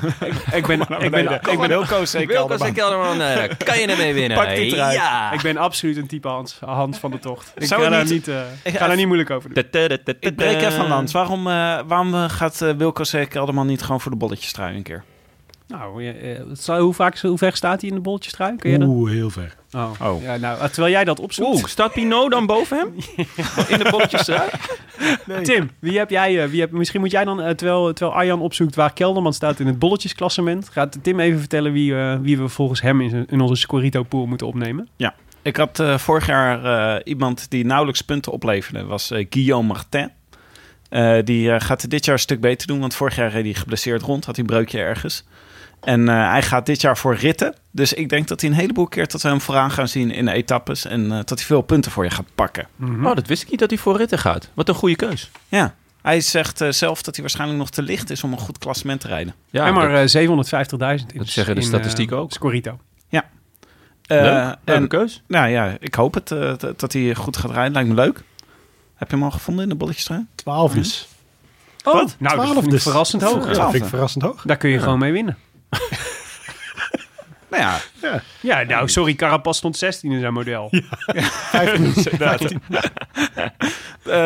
ben, ik ben, ik ben,
Wilco C.
Wilco C. Kelderman, eh, kan je ermee winnen?
Pak die trui.
Ja.
ik ben absoluut een type Hans, Hans van de Tocht. Ik
Zou
ga,
het
daar
niet-
niet, eh,
Ik
ga daar
ga-
niet moeilijk over doen.
Ta- ta- ta- ta- ta-
Ik breek
ta.
even aan land. Waarom, eh, waarom eh, gaat eh, Wilco C. Kelderman niet gewoon voor de bolletjes trui een keer?
Nou, eh, eh, het zou- hoe, vaak, hoe ver staat hij in de bolletjes trui? Kun je dat?
Oeh, heel ver.
Oh.
Oh.
Ja, nou, eh, terwijl jij dat opzoekt.
Oeh, staat Pinot dan boven
(laughs)
hem? In de bolletjes eruit?
Tim, wie heb jij? eh, Wie heb, misschien moet jij dan, eh, terwijl, terwijl Arjan opzoekt waar Kelderman staat in het bolletjesklassement, gaat Tim even vertellen wie, eh, wie we volgens hem in, zijn- in onze Scorito pool moeten opnemen.
Ik had eh, vorig jaar eh, iemand die nauwelijks punten opleverde. was eh, Guillaume Martin. Eh, die eh, gaat dit jaar een stuk beter doen. Want vorig jaar reed hij geblesseerd rond. Had hij een breukje ergens. En eh, hij gaat dit jaar voor ritten. Dus ik denk dat hij een heleboel keer dat we hem vooraan gaan zien in de etappes. En eh, dat hij veel punten voor je gaat pakken.
Oh, dat wist ik niet dat hij voor ritten gaat. Wat een goede keus.
Ja. Hij zegt eh, zelf dat hij waarschijnlijk nog te licht is om een goed klassement te rijden.
Ja,
en maar
dat-
eh, 750.000 in
dat zeggen de
in, eh,
statistieken ook.
Scorito.
Eh,
leuk. Leuke
en
keus.
nou ja, ik hoop het eh, dat- dat hij goed gaat rijden. Lijkt me leuk. Heb je hem al gevonden in de bolletjes
Twaalf dus.
Oh,
Wat?
nou, dat
12
vind ik
dus.
verrassend hoog.
Ja.
Dat vind ik verrassend hoog.
Daar kun je gewoon mee winnen.
Nou ja,
Ja, nou, sorry, Carapaz stond 16 in zijn model.
Eh,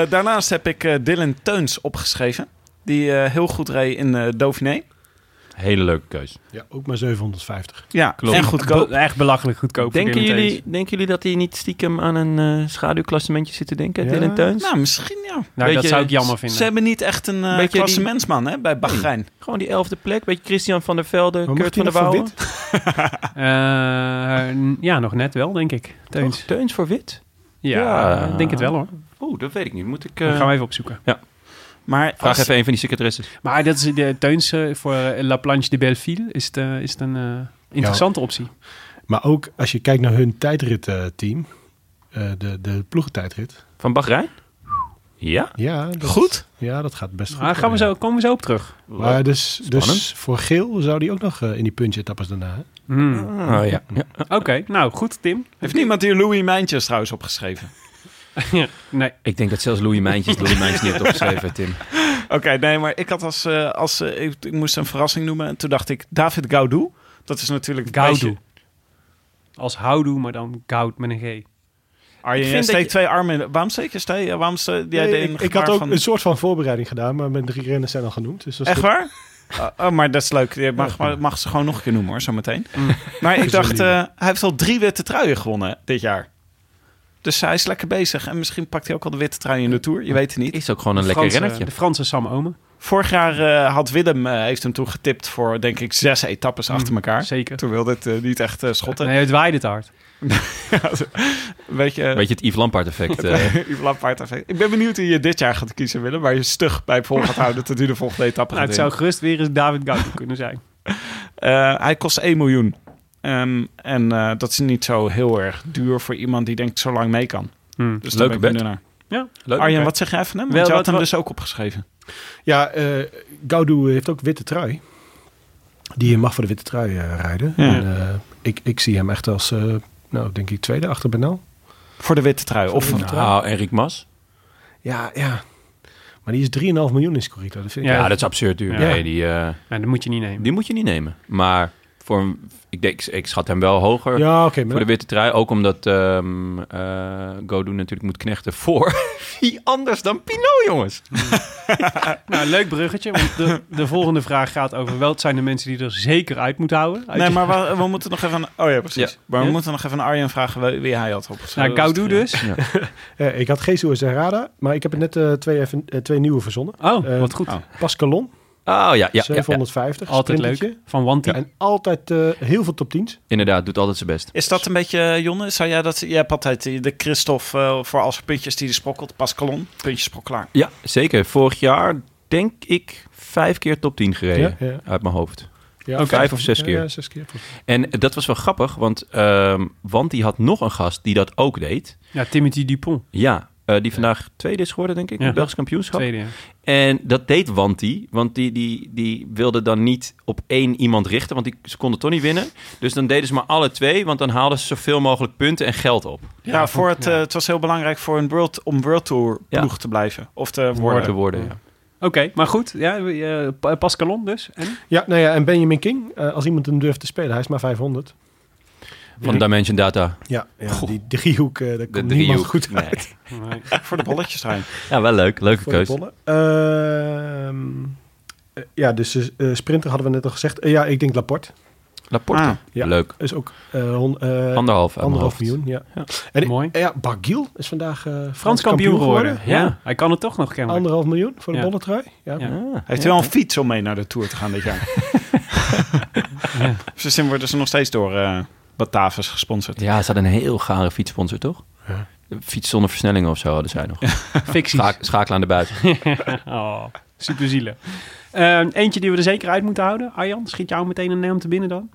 daarnaast heb ik eh, Dylan Teuns opgeschreven. Die eh, heel goed reed in eh Dauphiné.
Hele leuke keus.
Ja, ook maar 750.
Ja,
Klopt.
en goedkoop.
Be- echt belachelijk goedkoop. voor
Denken
Dylan
jullie,
Teuns.
denken jullie dat hij niet stiekem aan een eh, schaduwklassementje zit te denken,
Ja.
Dylan Teuns?
Nou, misschien ja.
Nou, dat
Beetje-
zou ik jammer vinden.
Ze hebben niet echt een eh
Beetje die-
klassementsman hè, bij Bahrein.
Gewoon die elfde plek, beetje Christian van der Velde,
Maar
Kurt
mocht
van
hij
der
nog voor
Wouwen.
wit?
Eh, n- ja, nog net wel, denk ik. Teuns.
Teuns voor wit?
Ja,
Ja.
ik denk het wel hoor.
Oeh, dat weet ik niet. Moet ik...
Dat
eh,
gaan we even opzoeken.
Maar
Vraag
als-
even een van die secretaresses.
Maar dat is de Teuns eh, voor eh, La Planche de Belleville is het, eh, is het een eh, interessante optie.
Maar ook als je kijkt naar hun tijdritteam, eh de, de ploegentijdrit.
Van Bahrein? Ja?
Ja, dat,
Goed.
Ja, dat gaat best goed.
Maar gaan we
ja.
zo, komen we zo op terug.
Maar dus, dus
Spannend.
voor Geel zou die ook nog eh, in die punch-etappes daarna. hè?
Hmm.
Oh ja. ja.
Oké, nou goed Tim.
(laughs)
Heeft niemand hier Louis Mijntjes trouwens opgeschreven?
nee.
Ik denk dat zelfs Louis Mijntjes Louis Mijntjes niet heeft opgeschreven, Tim.
Oké, nee, maar ik had als... eh, als eh, ik, ik moest een verrassing noemen. En toen dacht ik, David Gaudu. Dat is natuurlijk... een
Gaudu.
beetje-
Als houdoe, maar dan goud met een G.
Arjen,
Ik
jij
vind dat
steekt
je-
twee armen in. Waarom steek je steek? Waarom ste- jij
Nee,
deed een
ik, ik had
gebaar
ook
van-
een soort van voorbereiding gedaan, maar mijn drie renners zijn al genoemd. Dus dat is
Echt
goed.
waar? Oh, oh, maar dat is leuk. Je mag,
Ja,
mag, mag ze gewoon nog een keer noemen hoor, zometeen. Maar ik dacht, eh, hij heeft al drie witte truien gewonnen dit jaar. Dus hij is lekker bezig. En misschien pakt hij ook al de witte trui in de Tour. Je weet het niet.
Is ook gewoon een
De
lekker
Franse-
rennetje.
De Franse Sam Omen.
Vorig jaar eh, had Willem, eh, heeft hem toen getipt voor denk ik zes etappes achter elkaar.
Zeker.
Toen wilde het eh, niet echt eh, schotten.
Nee, het waaide het hard.
(laughs) Weet je,
Weet je het Yves Lampaard (laughs) effect? eh,
(laughs) Yves Lampaard effect. Ik ben benieuwd wie je dit jaar gaat kiezen, Willem. Waar je stug bij vol gaat houden tot u de volgende etappe
Nou,
gaat
het zou
winnen.
gerust weer eens David Goud (laughs) kunnen zijn.
Eh, hij kost 1 miljoen. Ehm, en eh, dat is niet zo heel erg duur voor iemand die denkt zo lang mee kan.
Hmm.
Dus
Leuke
daar ben ik
bet.
benieuwd naar.
leuk.
Arjen, wat zeg jij van hem? Want
Wel,
je had
wat-
hem
wat-
dus ook opgeschreven.
Ja, eh Gaudu heeft ook witte trui. Die mag voor de witte trui eh, rijden.
Ja.
En, eh, ik, ik zie hem echt als, eh, nou, denk ik tweede achter Benal.
Voor de witte trui. Of
Voor de witte
Nou, Enrik Mas?
Ja, ja. Maar die is 3,5 miljoen in Scorita. Dat vind ik
Ja,
Ja.
dat is absurd duur.
Ja.
Nee, die, eh,
Nou, dat moet je niet nemen.
die moet je niet nemen. Maar voor, een- ik, denk, ik schat hem wel hoger
Ja, oké.
voor
maar
de witte trui. Ook omdat ehm eh, Godou natuurlijk moet knechten voor (laughs) wie anders dan Pinot, jongens. Oh,
Nou, leuk bruggetje. Want de, de volgende vraag gaat over welk zijn de mensen die er zeker uit moeten houden. Uit
Nee,
je-
maar we, we moeten nog even... aan- Oh ja, precies.
Ja.
Maar we
Ja.
moeten nog even aan Arjen vragen wie, wie hij had opgeschreven.
nou, Gaudu dus.
eh, ik had Jesus en Rada, maar ik heb er net eh, twee, even, eh, twee nieuwe verzonnen.
Oh,
Eh,
wat goed.
oh.
Pascalon,
Oh ja, ja, ja, ja.
750.
Altijd
sprintertje.
leuk. Van Wanty.
En altijd eh, heel veel top 10's.
inderdaad, doet altijd zijn best.
Is dat een beetje, eh, Jonne? Zou jij dat... Jij hebt altijd die- de Christophe eh, voor als puntjes die hij sprokkelt. Pascalon, puntjes sprokkelaar.
Ja, zeker. Vorig jaar denk ik vijf keer top 10 gereden.
Ja, ja.
Uit mijn hoofd.
Ja,
Ook vijf of zes
ja,
keer.
Ja, zes keer.
En dat was wel grappig, want, ehm, want die had nog een gast die dat ook deed.
Ja, Timothy Dupont.
Ja, eh, die vandaag tweede is geworden, denk ik,
Ja.
in het Belgisch kampioenschap.
Tweede. ja.
En dat deed Wanti, want die, die, die wilde dan niet op één iemand richten, want die, ze konden toch niet winnen. Dus dan deden ze maar alle twee, want dan haalden ze zoveel mogelijk punten en geld op.
Ja, voor het, eh, het was heel belangrijk voor een world, om World Tour
Ja.
ploeg te blijven. Of te
Worden.
worden.
Te worden, ja.
Oké, maar goed. Ja, eh, Pa- Pascalon dus. En?
Ja, nou ja, en Benjamin King, eh, als iemand hem durft te spelen, hij is maar 500.
Van Dimension Data.
Ja, ja die driehoek, eh daar
De
komt niemand
driehoek.
goed
Nee.
uit.
Voor de bolletjes trein.
Ja, wel leuk. Leuke
voor de
keuze.
bollen. Ehm, eh, ja, dus eh, sprinter hadden we net al gezegd. Eh, ja, ik denk Laporte.
Laporte.
Ah,
ja.
Leuk.
Is ook eh, hon- eh,
Anderhalf. uit mijn
anderhalf
hoofd.
miljoen. Ja.
Ja.
En,
Mooi.
eh, ja, Bargiel is vandaag eh,
Frans kampioen geworden. Ja.
Ja.
hij kan het toch nog kennen.
Anderhalf miljoen voor de
Ja.
bolletrui. Ja.
Ja.
Ah.
Heeft hij wel een fiets om mee naar de Tour te gaan dit (laughs) jaar?
Ja.
Ze zijn- worden ze nog steeds door eh Batavus gesponsord.
Ja, ze hadden een heel gare fietssponsor, toch? Fiets zonder versnelling of zo hadden zij nog.
Ficties.
Schaak- schakelen aan de buiten.
(laughs) oh, super zielig. Ehm, eentje die we er zeker uit moeten houden. Arjan, schiet jou meteen een naam te binnen dan?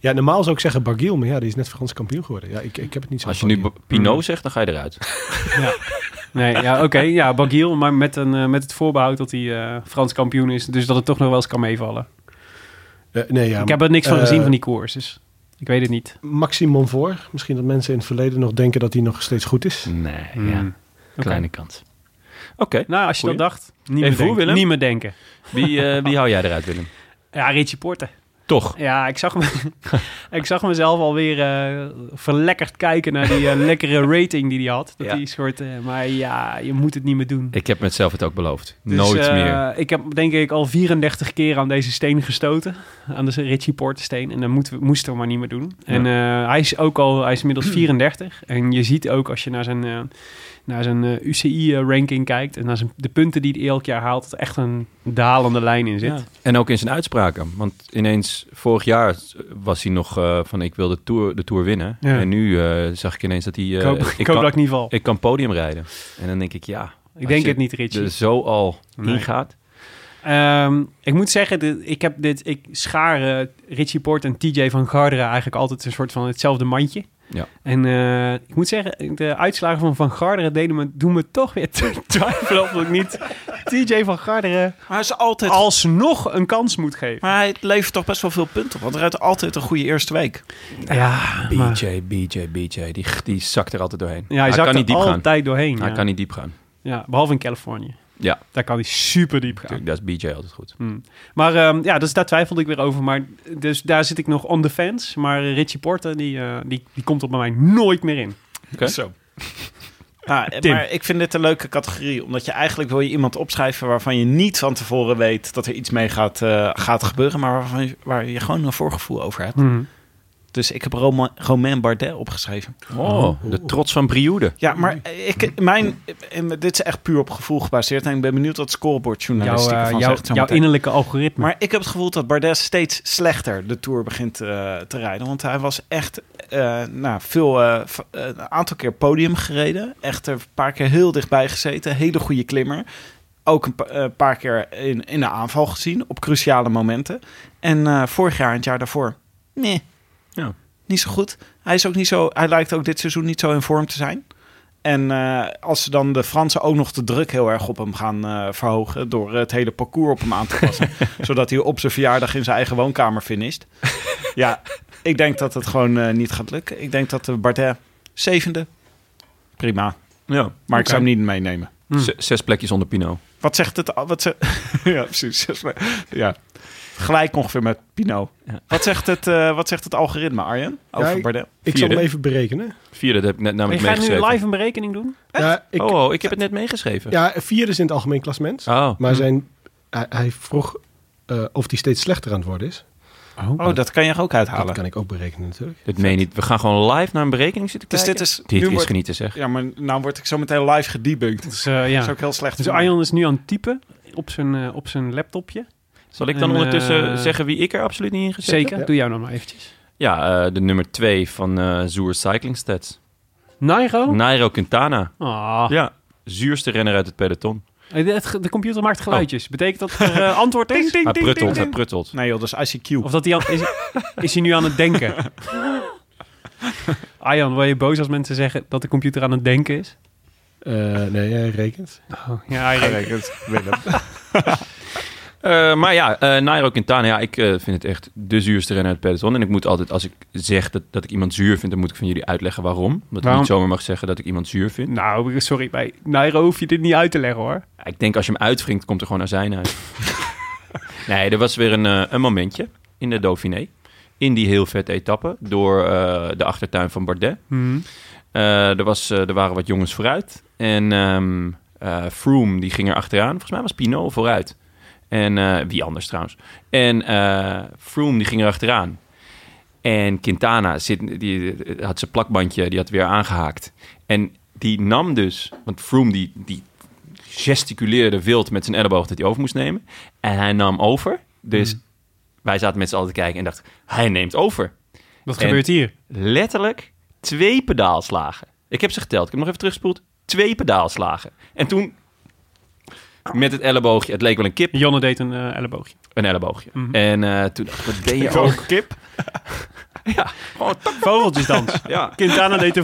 ja, normaal zou ik zeggen Bargiel, maar ja, die is net Frans kampioen geworden. Ja, ik, ik heb het niet zo
Als je
van
nu
die-
B- Pinot zegt, dan ga je eruit.
Nee, ja, oké. ja, Bagiel, maar met, een, eh, met het voorbehoud dat hij eh, Frans kampioen is. Dus dat het toch nog wel eens kan meevallen.
Eh, nee, ja,
ik heb er niks van
eh,
gezien van die koers, dus ik weet het niet.
Maxime Monfort. Misschien dat mensen in het verleden nog denken dat hij nog steeds goed is.
Nee,
Mm.
Hmm.
ja. Kleine kans. Oké.
Nou, als je
Goeie.
dat dacht,
Even
niet meer,
voor,
denken,
Willem.
niet meer denken.
Wie, eh, wie hou jij eruit, Willem?
Ja, Richie Porte.
Toch?
Ja, ik zag, (laughs) me, ik zag mezelf alweer eh verlekkerd kijken naar die eh, (laughs) lekkere rating die hij had. Dat
Ja.
die soort, eh, maar ja, je moet het niet meer doen.
Ik heb mezelf het ook beloofd.
Dus,
Nooit
eh,
meer.
Ik heb denk ik al 34 keer aan deze steen gestoten. Aan de Richie Porte steen. En dat moeten we, moesten we maar niet meer doen. En eh, hij is ook al, hij is inmiddels (clears throat) 34. En je ziet ook als je naar zijn, eh, naar zijn eh, UCI-ranking kijkt. En naar zijn, de punten die hij elk jaar haalt. Dat er echt een dalende lijn in zit.
Ja. En ook in zijn uitspraken. Want ineens, vorig jaar was hij nog eh, van ik wil de Tour, de tour winnen.
Ja.
En nu eh, zag ik ineens dat hij... eh,
ik hoop, ik hoop
kan,
dat ik niet val. Ik,
ik kan podium rijden. En dan denk ik, ja, als
denk
je dus
het niet, Richie.
er zo al
Nee.
ingaat.
Ehm, ik moet zeggen, dit- ik, heb dit, ik schaar eh, Richie Port en TJ van Garderen eigenlijk altijd een soort van hetzelfde mandje.
Ja.
En eh, ik moet zeggen, de uitslagen van Van Garderen deden me, doen me toch weer te (laughs) twijfelen of ik niet TJ Van Garderen
Maar hij is altijd...
alsnog een kans moet geven.
Maar hij levert toch best wel veel punten. Want hij heeft altijd een goede eerste week.
Ja, maar,
BJ, BJ, BJ. Die, die zakt er altijd doorheen.
ja hij
kan
zakt
niet
er
diep gaan.
altijd doorheen.
Hij
ja.
kan niet diep gaan.
ja, behalve in Californië.
Ja.
Daar kan hij super diep gaan.
Tuurlijk, dat is BJ altijd goed.
Maar ehm, ja, dus daar twijfelde ik weer over. Maar dus daar zit ik nog on the fence. Maar Richie Porter, die, eh, die, die komt er bij mij nooit meer in.
Oké.
Zo.
(laughs)
Ja,
Tim.
Nou, maar ik vind dit een leuke categorie. Omdat je eigenlijk wil je iemand opschrijven waarvan je niet van tevoren weet dat er iets mee gaat, eh, gaat gebeuren. Maar waarvan je, waar je gewoon een voorgevoel over hebt.
Hmm.
Dus ik heb Roma, Romain Bardet opgeschreven.
Oh, de trots van Brioude.
Ja, maar ik, mijn, en dit is echt puur op gevoel gebaseerd. En ik ben benieuwd wat
Jouw,
scorebordjournalistiek
eh,
ervan
jouw-
zegt. zo
jouw
meteen.
innerlijke algoritme.
Maar ik heb het gevoel dat Bardet steeds slechter de Tour begint eh, te rijden. Want hij was echt eh, nou, veel, eh, v- eh, een aantal keer podium gereden. Echt er een paar keer heel dichtbij gezeten. Hele goede klimmer. Ook een pa- eh, paar keer in, in de aanval gezien op cruciale momenten. En eh, vorig jaar en het jaar daarvoor, nee,
Ja.
niet zo goed. Hij, is ook niet zo, hij lijkt ook dit seizoen niet zo in vorm te zijn. En eh, als ze dan de Fransen ook nog de druk heel erg op hem gaan eh, verhogen... door het hele parcours op hem aan te passen... (laughs) zodat hij op zijn verjaardag in zijn eigen woonkamer finisht. ja, ik denk dat het gewoon eh, niet gaat lukken. Ik denk dat de Bardet zevende, prima. Maar
Ja.
ik zou hem niet meenemen.
Hmm.
Zes plekjes onder Pino.
Wat zegt het... al- Wat ze, (laughs) ja, precies. Zes maar- Ja. Gelijk ongeveer met Pino.
Ja.
Wat, zegt het, eh, wat zegt het algoritme, Arjen? Over
Ja, ik-
Bardet?
Ik zal hem
Vierde.
even berekenen.
Vierde, dat heb ik net
Maar je
namelijk
gaat nu
meegeschreven.
live een berekening doen?
Ja, ik,
Oh, ik heb het net meegeschreven.
ja, vierde is in het algemeen klassement.
Oh,
Maar zijn, hij, hij vroeg eh, of hij steeds slechter aan het worden is.
Oh, dat kan je er ook uithalen.
Dat kan ik ook berekenen natuurlijk.
dit meen je niet. We gaan gewoon live naar een berekening zitten
Dus
kijken.
dit is- nu
Dit is
wordt-
genieten, zeg.
Ja, maar nou word ik zo meteen live gedebunked. Dat
Dus, eh,
is
ja.
ook heel slecht.
dus Arjan is nu aan het typen op zijn, eh, op zijn laptopje.
Zal ik dan
En,
ondertussen
eh,
zeggen wie ik er absoluut niet in gezet heb?
Zeker, doe jou dan maar eventjes.
Ja, eh, de nummer twee van eh Zoer Cycling Stats.
Nairo?
Nairo Quintana.
Ah.
Ja, zuurste renner uit het peloton.
Eh, de- het- De computer maakt geluidjes. Betekent dat er eh, antwoord is?
Oh. Hij pruttelt, hij
ding.
pruttelt.
Nee joh, dat is ICQ.
Of dat hij al, is, is hij nu aan het (laughs) denken? Arjan, word je boos als mensen zeggen dat de computer aan het denken is?
Eh, nee, hij rekent.
Oh, ja, Arjan.
Eh, maar ja, eh, Nairo Quintana, ja, ik eh, vind het echt de zuurste renner uit het peloton. En ik moet altijd, als ik zeg dat, dat ik iemand zuur vind, dan moet ik van jullie uitleggen waarom. Omdat ik
Waarom?
niet zomaar mag zeggen dat ik iemand zuur vind.
Nou, sorry, bij Nairo hoef je dit niet uit te leggen hoor.
Ik denk als je hem uitwringt, komt er gewoon azijn uit. (laughs) nee, er was weer een, eh, een momentje in de Dauphiné. In die heel vette etappe door eh, de achtertuin van Bardet.
Hmm.
Eh, er, was, eh, er waren wat jongens vooruit. En ehm, eh, Froome, die ging er achteraan. Volgens mij was Pinot vooruit. En eh, wie anders trouwens. En eh, Froome, die ging er achteraan. En Quintana zit, die, eh, had zijn plakbandje, die had weer aangehaakt. En die nam dus... Want Froome, die, die gesticuleerde wild met zijn elleboog dat hij over moest nemen. En hij nam over. Dus wij zaten met z'n allen te kijken en dachten... Hij neemt over
Wat
En-
gebeurt hier?
letterlijk twee pedaalslagen. Ik heb ze geteld. Ik heb nog even teruggespoeld. Twee pedaalslagen. En toen met het elleboogje. Het leek wel een kip.
Jonne deed een eh, elleboogje.
Een elleboogje. En eh, toen dacht ik, wat deed je ook?
Oh, kip.
(laughs)
Vogeltjesdans.
Ja.
Quintana deed de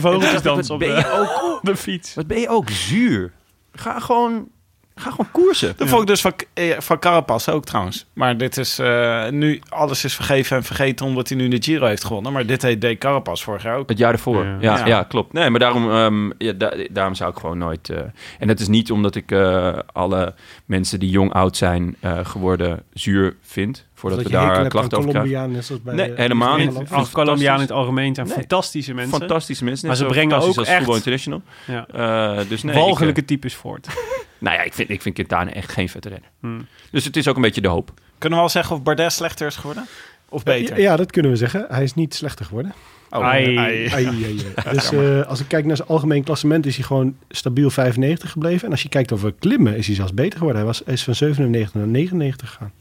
(laughs)
vogeltjesdans
Wat
op
ben
de,
je ook,
op de fiets.
wat ben je ook zuur? Ga gewoon, ga gewoon koersen.
Dat vond ik dus van, eh, van Carapaz ook trouwens. Maar dit is eh, nu... Alles is vergeven en vergeten omdat hij nu de Giro heeft gewonnen. Maar dit heet deed Carapaz vorig jaar ook.
Het jaar ervoor.
Ja.
Ja, ja.
Ja.
klopt. Nee, maar daarom, ehm, ja, da- daarom zou ik gewoon nooit. eh, en dat is niet omdat ik eh, alle mensen die jong oud zijn eh, geworden zuur vind. Voordat
Dat
we daar klachten
klachten
over krijgen.
Colombiaan, net zoals bij
Nee,
eh,
helemaal niet.
Nederland.
Als Colombiaan in het algemeen zijn
Nee.
fantastische mensen.
Fantastische mensen.
Maar
net
ze
zo
brengen
fantastisch
ook
als Voetbal
echt-
International.
Ja.
Eh, dus nee,
Walgelijke
Ik,
types voort.
eh, nou ja, ik vind, ik vind Quintana echt geen vette renner.
Hmm.
Dus het is ook een beetje de hoop.
Kunnen we al zeggen of Bardet slechter is geworden? Of beter?
Ja, dat kunnen we zeggen. Hij is niet slechter geworden.
Oh,
Ai.
ai.
Ai, ai, (laughs) ai. Dus eh, als ik kijk naar zijn algemeen klassement is hij gewoon stabiel 95 gebleven. En als je kijkt over klimmen is hij zelfs beter geworden. Hij, was, hij is van 97 naar 99 gegaan.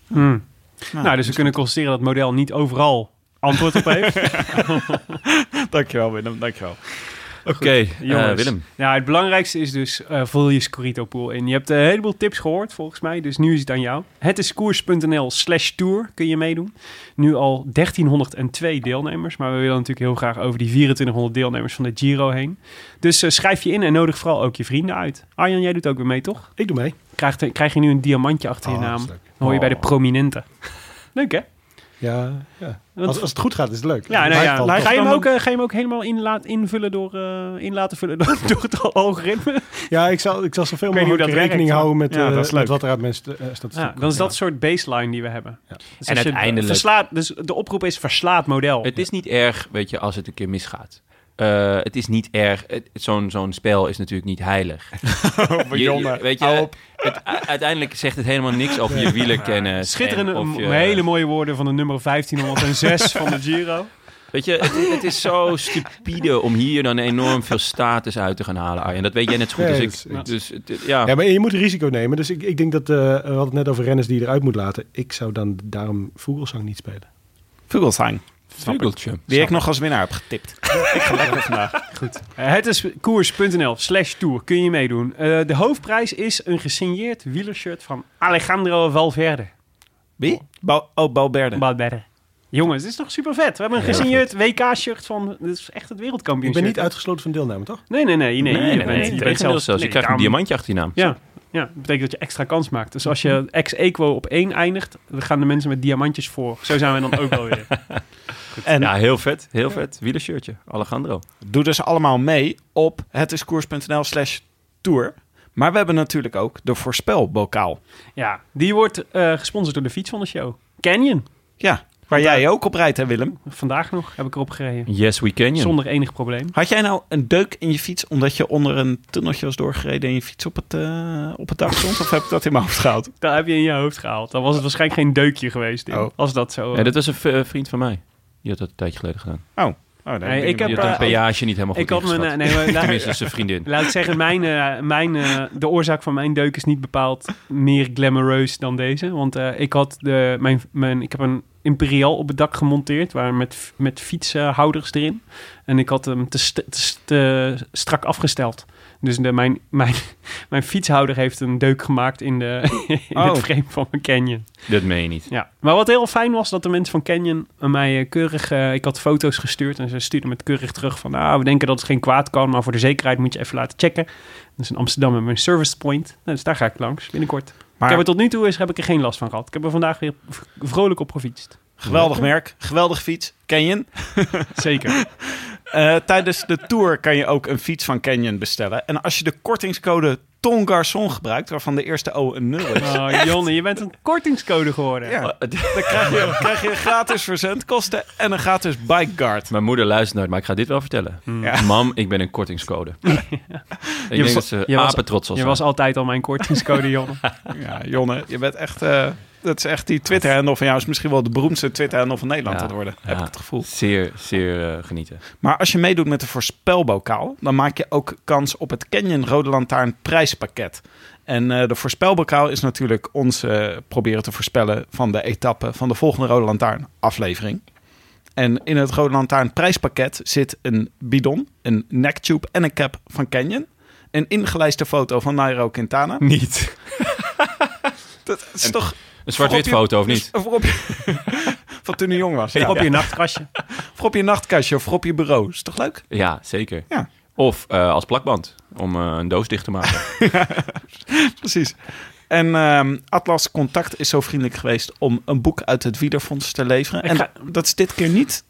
Nou,
nou, dus we kunnen constateren dat
(laughs)
het model niet overal antwoord op heeft.
Dankjewel Willem, dankjewel.
Oké, eh,
Jongens.
Willem.
Nou, het belangrijkste is dus eh vul je Scorito pool in. Je hebt eh, een heleboel tips gehoord volgens mij, dus nu is het aan jou. Het is koers.nl slash tour kun je meedoen. Nu al 1302 deelnemers, maar we willen natuurlijk heel graag over die 2400 deelnemers van de Giro heen. Dus eh, schrijf je in en nodig vooral ook je vrienden uit. Arjan, jij doet ook weer mee toch?
Ik doe mee.
Krijgt, eh, krijg je nu een diamantje achter je
Oh,
naam?
dat is
Dan
leuk.
hoor je bij de prominenten. (laughs) Leuk hè?
Ja, ja.
Want-
Als, als het goed gaat, is het leuk.
Ja, nou
Blijft
ja.
wel
Ga je,
tof.
hem ook, eh, ga je hem ook helemaal in, laat- invullen door, eh, in laten vullen (laughs) door, door het algoritme?
Ja, ik zal, ik zal zoveel
Ik weet niet
mogelijk
hoe dat
rekening
werkt,
houden met,
Ja,
eh,
dat is
met
leuk.
wat er uit mijn st- eh, statistiek
Ja, dan
komt.
is dat soort baseline die we hebben.
Ja.
Dus
En
als je-
uiteindelijk-
Verslaat, dus de oproep is verslaat model.
Het is niet erg, weet je, als het een keer misgaat. Eh, het is niet erg. het- Zo'n zo'n spel is natuurlijk niet heilig. Je-
jongen,
weet je, het- u- uiteindelijk zegt het helemaal niks over je wielenkennis.
Schitterende,
en of je-
hele mooie woorden van de nummer 1506 van de Giro.
Weet je, het, het is
(laughs)
zo stupide om hier dan enorm veel status uit te gaan halen, Arjen. Dat weet jij net zo goed
Nee,
als
dat
ik.
is-
Dus het- ja,
Ja, maar je moet risico nemen. Dus ik, ik denk dat, eh, we hadden het net over renners die je eruit moet laten. Ik zou dan daarom Vogelsang niet spelen.
Vugelsang.
vugeltje.
Die ik nog als winnaar heb getipt. (laughs) ik ga lekker vandaag.
Eh, het is koers.nl slash tour. Kun je meedoen. Eh, de hoofdprijs is een gesigneerd wielershirt van Alejandro Valverde.
Wie? Bal oh, Balberde.
Valverde. Jongens, dit is toch super vet. We hebben een gesigneerd WK-shirt van... Dit is echt het
Ik
wereldkampioenschap.
ben niet uitgesloten van deelname, toch?
Nee, nee, nee. nee,
Nee, nee,
je
nee,
bent- je
nee,
bent
Tegendeel
zelfs-
zelfs. Je
nee,
krijgt een
daarom-
diamantje achter je naam.
Ja, ja, dat betekent dat je extra kans maakt. Dus als je ex-equo op één eindigt, dan gaan de mensen met diamantjes voor. Zo zijn we dan ook wel
(laughs)
weer.
En
Ja, heel vet. Heel vet. Wielershirtje. Alejandro.
doe dus allemaal mee op hetiskoers.nl slash tour. Maar we hebben natuurlijk ook de voorspelbokaal.
Ja, die wordt eh, gesponsord door de fiets van de show. Canyon.
Ja, waar jij ook op rijdt hè Willem.
Vandaag nog heb ik erop gereden.
Yes, we can you.
Zonder enig probleem.
Had jij nou een deuk in je fiets omdat je onder een tunneltje was doorgereden en je fiets op het, eh, op het dak stond? of heb ik dat in mijn hoofd gehaald?
Dat heb je in je hoofd gehaald. Dan was het waarschijnlijk geen deukje geweest. Tim,
Oh.
Als dat zo.
Ja, dat was een v- eh, vriend van mij. Die had dat een tijdje geleden gedaan.
Oh, nee,
Nee, ik heb,
Die had een
eh,
peage niet helemaal goed
ik had mijn. eh,
ingeschat. (laughs)
nee, maar, laat,
Tenminste, dat is zijn
(laughs)
vriendin.
laat ik zeggen, mijn, eh, mijn, eh, de oorzaak van mijn deuk is niet bepaald meer glamoureus dan deze. Want eh, ik had de, mijn, mijn, ik heb een imperial op het dak gemonteerd, waar met, met fietshouders erin. En ik had hem te, st- te, st- te strak afgesteld. Dus de, mijn, (laughs) mijn, mijn fietshouder heeft een deuk gemaakt in, de, (laughs) in
Oh.
het frame van mijn Canyon.
Dat meen je niet.
Ja, maar wat heel fijn was, dat de mensen van Canyon aan mij eh, keurig... eh, ik had foto's gestuurd en ze stuurden me het keurig terug van... Nou, we denken dat het geen kwaad kan, maar voor de zekerheid moet je even laten checken. Dus in Amsterdam hebben we een service point. Nou, dus daar ga ik langs binnenkort.
Maar-
Ik heb er tot nu toe is, heb ik er geen last van gehad. Ik heb er vandaag weer v- vrolijk op gefietst.
Geweldig merk, geweldig fiets, Canyon. (laughs)
Zeker.
Eh, tijdens de tour kan je ook een fiets van Canyon bestellen. En als je de kortingscode TONGARSON gebruikt, waarvan de eerste O een 0 is,
Oh, Jonne, je bent een kortingscode geworden.
Ja.
Oh,
dan krijg je, krijg je gratis verzendkosten en een gratis bikeguard.
Mijn moeder luistert nooit, maar ik ga dit wel vertellen. Mam, ik ben een
(laughs)
kortingscode. Ik denk
was-
dat ze
je was-
apetrots was.
Je was altijd al mijn kortingscode, Jonne.
Ja, Jonne, je bent echt... eh, dat is echt die Twitter-handle van jou is misschien wel de beroemdste Twitter-handle van Nederland
Ja,
aan het worden.
ja.
Heb ik het gevoel.
Zeer, zeer eh,
(laughs)
genieten.
Maar als je meedoet met de voorspelbokaal, dan maak je ook kans op het Canyon Rode Lantaarn prijspakket. En eh, de voorspelbokaal is natuurlijk ons eh, proberen te voorspellen van de etappe van de volgende Rode Lantaarn aflevering. En in het Rode Lantaarn prijspakket zit een bidon, een necktube en een cap van Canyon. Een ingelijste foto van Nairo Quintana.
Niet.
Dat is toch...
Een zwart-wit foto, of niet?
(laughs) Voorop je, van toen hij jong was. (laughs) Ja.
Op
(laughs)
je nachtkastje.
Voor op je nachtkastje of voor op je bureau. Is toch leuk?
Dus-
Ja, zeker.
Ja.
Of eh, als plakband, om eh, een doos dicht te maken.
Precies. En ehm, Atlas Contact is zo vriendelijk geweest om een boek uit het Wiederfonds te leveren.
Ik
en
ga-
dat is dit keer niet.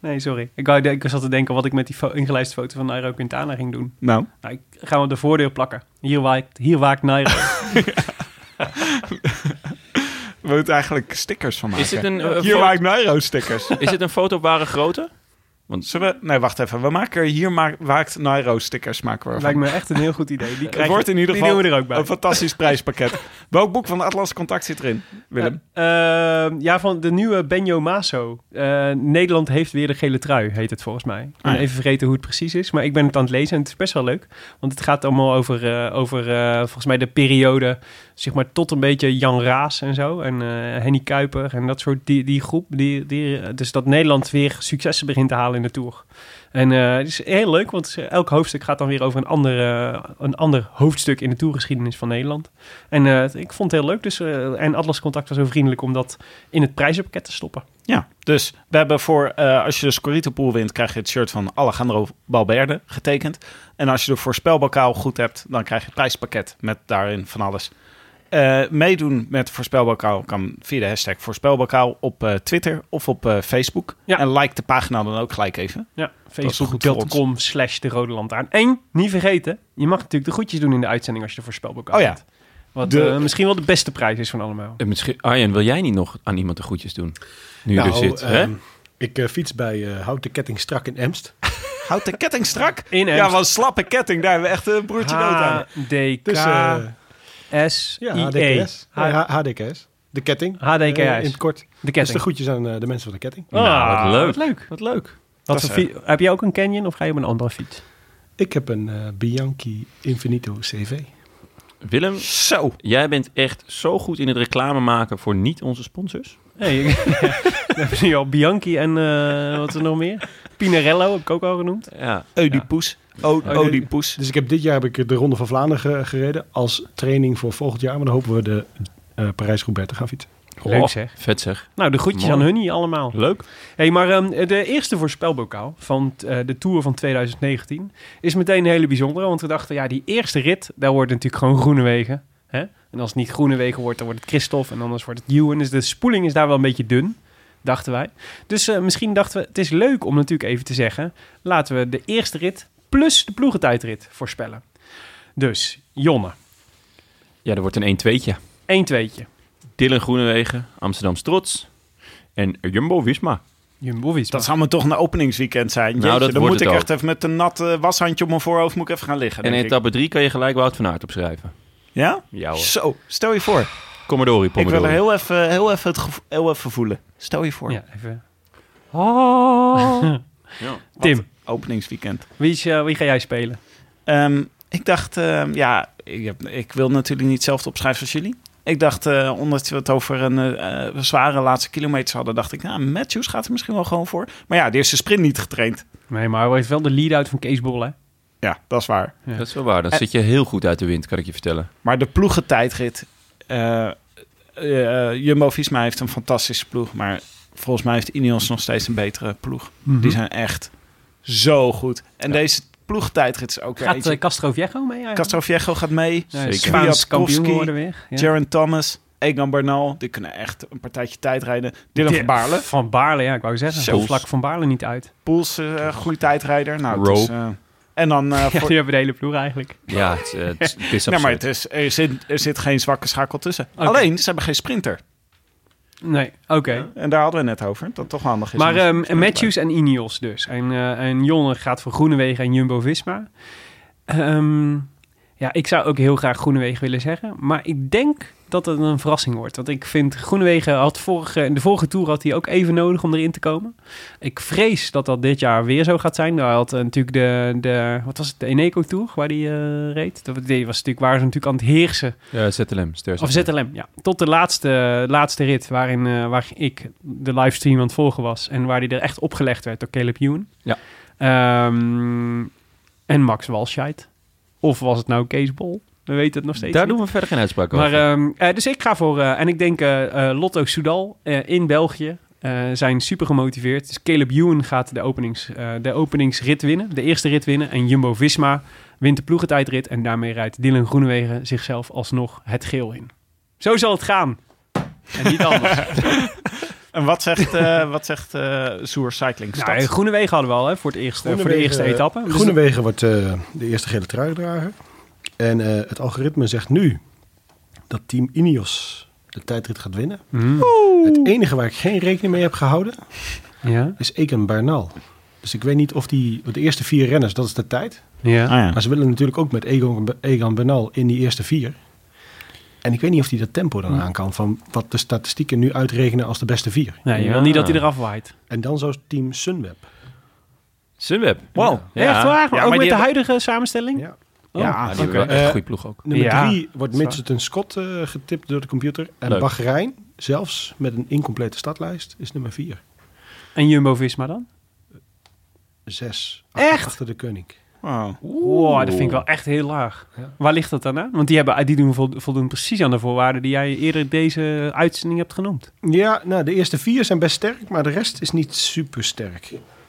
Nee, sorry. Ik, wou- ik zat te denken wat ik met die fo- ingelijste foto van Nairo Quintana ging doen.
Nou,
Nou, ik ga hem de voordeur plakken. Hier waakt, hier waakt Nairo.
we moeten eigenlijk stickers van maken.
Is het een, eh,
Hier
fo-
maak ik Nairo stickers. (laughs)
is het een foto op ware grootte?
Zullen we... Nee, wacht even. We maken er hier maak, waakt Nairo stickers. Maken we ervan.
Lijkt me echt een heel goed idee. Die
(laughs) het
krijg
wordt
je-
in ieder
die
geval
doen we er ook bij.
een fantastisch prijspakket. Welk boek van Atlas Contact zit erin, Willem?
Eh, ja, van de nieuwe Benjo Maso. Eh, Nederland heeft weer de gele trui, heet het volgens mij. Ik ben
Ah, ja.
even vergeten hoe het precies is, maar ik ben het aan het lezen en het is best wel leuk. Want het gaat allemaal over, eh, over eh, volgens mij de periode zeg maar tot een beetje Jan Raas en zo. En eh, Henny Kuiper en dat soort, die, die groep. Die, die, dus dat Nederland weer successen begint te halen in de Tour. En eh, het is heel leuk, want elk hoofdstuk gaat dan weer over een, andere, een ander hoofdstuk in de toergeschiedenis van Nederland. En eh, ik vond het heel leuk. Dus, eh, en Atlas Contact was zo vriendelijk om dat in het prijzenpakket te stoppen.
Ja, dus we hebben voor, eh, als je de Scorito-pool wint, krijg je het shirt van Alejandro Balberde getekend. En als je de voorspelbokaal goed hebt, dan krijg je het prijspakket met daarin van alles. Eh, meedoen met voorspelbokaal kan via de hashtag voorspelbokaal op eh, Twitter of op eh, Facebook.
Ja.
En like de pagina dan ook gelijk even.
Ja,
is goed voor ons.
facebook.com slash de rode lantaarn. En, niet vergeten, je mag natuurlijk de groetjes doen in de uitzending als je de voorspelboek
Oh ja.
hebt. Wat
De-
eh, misschien wel de beste prijs is van allemaal.
En Eh, misschien, Arjen, wil jij niet nog aan iemand de groetjes doen? Nu je er zit. hè?
ehm, Ik eh, fiets bij eh, Houd de Ketting Strak in Emst.
Houd de ketting strak.
In
Ja, wat nou een slappe ketting. Daar hebben we echt een broertje nood aan.
Dus eh
E.
Dus, eh,
ja,
H-D-K-S-I-E.
HDKS. Nee, H- HDKS. De ketting.
HDKS.
Eh, in het kort.
De
Dus de
ketting.
groetjes aan eh, de mensen van de ketting.
Ah,
Nou, wat leuk.
Wat leuk. Wat leuk. Wat
Dat is eh,
voor fi- heb jij ook een Canyon of ga je op een andere fiets?
Ik heb een eh, Bianchi Infinito CV.
Willem,
Zo.
jij bent echt zo goed in het reclame maken voor niet onze sponsors.
Nee, ik- (laughs) we hebben nu al Bianchi en eh, wat is er nog meer? Pinarello heb ik ook al genoemd.
Ja.
Oedipus. O- Oedipus.
Dus ik heb dit jaar heb ik de Ronde van Vlaanderen ge- gereden als training voor volgend jaar. Maar dan hopen we de eh Parijs-Roubaix te gaan fietsen.
Leuk
Oh,
zeg.
Vet zeg.
Nou, de groetjes
Mooi.
aan hun hier allemaal.
Leuk.
hey, maar ehm, de eerste voorspelbokaal van eh, de Tour van 2019 is meteen een hele bijzondere. Want we dachten, ja, die eerste rit, daar wordt natuurlijk gewoon Groenewegen. Hè? En als het niet Groenewegen wordt, dan wordt het Christophe en anders wordt het Ewan. Dus de spoeling is daar wel een beetje dun, dachten wij. Dus eh, misschien dachten we, het is leuk om natuurlijk even te zeggen... laten we de eerste rit plus de ploegentijdrit voorspellen. Dus, Jonne,
Ja, er wordt een 1-2'tje.
1 tweetje.
Dylan Groenewegen, Amsterdam Trots en Jumbo Visma.
Jumbo Visma.
Dat zou me toch een openingsweekend zijn. Jeetje,
Nou, dat
dan
wordt
moet
het
ik
ook.
echt even met een nat eh, washandje op mijn voorhoofd moet ik even gaan liggen.
En in
denk ik.
etappe 3 kan je gelijk Wout van Aert opschrijven.
Ja?
Ja hoor.
Zo, stel je voor.
Commodori,
Ik wil er
Pomodori.
heel even, heel, even het gevo- heel even voelen. Stel je voor.
Ja, even.
Ja.
Oh. Wat
(laughs) Tim.
een Openingsweekend.
Wie, is, eh, wie ga jij spelen?
Ehm, ik dacht, ehm, ja, ik, heb- ik wil natuurlijk niet hetzelfde opschrijven als jullie. Ik dacht, eh, omdat we het over een eh, eh, zware laatste kilometers hadden, dacht ik, nou, Matthews gaat er misschien wel gewoon voor. Maar ja, die heeft zijn sprint niet getraind.
Nee, maar hij heeft wel de lead-out van Kees Bol, hè?
Ja, dat is waar.
Dat is wel waar. Dan
En-
zit je heel goed uit de wind, kan ik je vertellen.
Maar de ploegentijdrit. eh eh Jumbo Visma heeft een fantastische ploeg. Maar volgens mij heeft Ineos nog steeds een betere ploeg.
Mhm.
Die zijn echt zo goed. En deze ploegentijdrit is ook weer.
Gaat
eentje.
eh, Castro Viejo mee eigenlijk?
Castro Viejo gaat mee.
Ja,
Zeker.
Spaans kampioen
Kwiatkowski,
worden weer. Ja.
Jaron Thomas. Egan Bernal. Die kunnen echt een partijtje tijd rijden. Dylan
Ja,
van Baarle.
Van Baarle, ja, ik wou zeggen.
Zo.
Zo vlak Van Baarle niet uit.
Poels, eh goede tijdrijder. Nou, het is, eh, en dan...
(laughs)
eh,
Ja,
voor-
nu hebben we de hele ploeg eigenlijk.
Ja, het, eh, het is- het
(laughs)
is
Nee, maar het
absurd.
is, er, zit, er zit geen zwakke schakel tussen.
Oké.
Alleen, ze hebben geen sprinter.
Nee, oké.
En daar hadden we net over. Dat toch wel handig is.
Maar
om een
ehm,
sprinter te
Matthews en Ineos dus. En, eh, en Jonne gaat voor Groenewegen en Jumbo-Visma. Ehm, ja, ik zou ook heel graag Groenewegen willen zeggen. Maar ik denk dat het een verrassing wordt. Want ik vind Groenewegen had vorige, in de vorige Tour had hij ook even nodig om erin te komen. Ik vrees dat dat dit jaar weer zo gaat zijn. Nou, Hij had eh, natuurlijk de, de, wat was het, de Eneco Tour waar hij eh, reed. Dat die was natuurlijk, waren ze natuurlijk aan het heersen
Ja, ZLM, Ster
of ZLM, ja. Tot de laatste, laatste rit waarin eh, waar ik de livestream aan het volgen was. En waar die er echt opgelegd werd door Caleb Ewan.
Ja.
Ehm, en Max Walscheid. Of was het nou Kees Bol? We weten het nog steeds
Daar
niet.
doen we verder geen uitspraak over.
Maar, ehm, eh, dus ik ga voor... eh, en ik denk eh, eh, Lotto Soudal eh, in België eh, zijn super gemotiveerd. Dus Caleb Ewan gaat de, openings, eh, de openingsrit winnen. De eerste rit winnen. En Jumbo-Visma wint de ploegentijdrit. En daarmee rijdt Dylan Groenewegen zichzelf alsnog het geel in. Zo zal het gaan. En niet
(laughs)
anders.
En wat zegt, eh (laughs) wat zegt eh Soer Cycling? Stad?
nou, Groenewegen hadden we al hè, voor, het eerste, Eh, voor de eerste etappe. Dus
eh, Groenewegen wordt eh, de eerste gele truidrager. En eh, het algoritme zegt nu dat team Ineos de tijdrit gaat winnen.
Mm.
Het enige waar ik geen rekening mee heb gehouden
Ja,
is Eken Bernal. Dus ik weet niet of die... want De eerste vier renners, dat is de tijd.
ja.
Ah, ja.
Maar ze willen natuurlijk ook met Egon, Egan Bernal in die eerste vier. En ik weet niet of hij dat tempo dan aan kan... van wat de statistieken nu uitrekenen als de beste vier.
Nee, je wil
Ja.
niet dat hij eraf waait.
En dan zo'n team Sunweb.
Sunweb.
Wow.
Ja.
Echt waar?
Ja,
ook
maar
met de
die hebben-
huidige samenstelling? Oh.
Ja.
ja,
Ja, die hebben
oké.
wel echt een
Eh,
goede ploeg ook.
Nummer
Ja,
drie wordt
is waar.
Mitchelton Scott eh, getipt door de computer. En
Leuk.
Bahrein, zelfs met een incomplete startlijst, is nummer vier.
En Jumbo-Visma dan?
Zes. Achter,
Echt?
Achter de koning.
Wow.
Wow, dat vind ik wel echt heel laag.
Ja.
Waar ligt dat dan aan? Want die, hebben, die doen vol- voldoen precies aan de voorwaarden die jij eerder deze uitzending hebt genoemd.
Ja, nou, de eerste vier zijn best sterk, maar de rest is niet super sterk.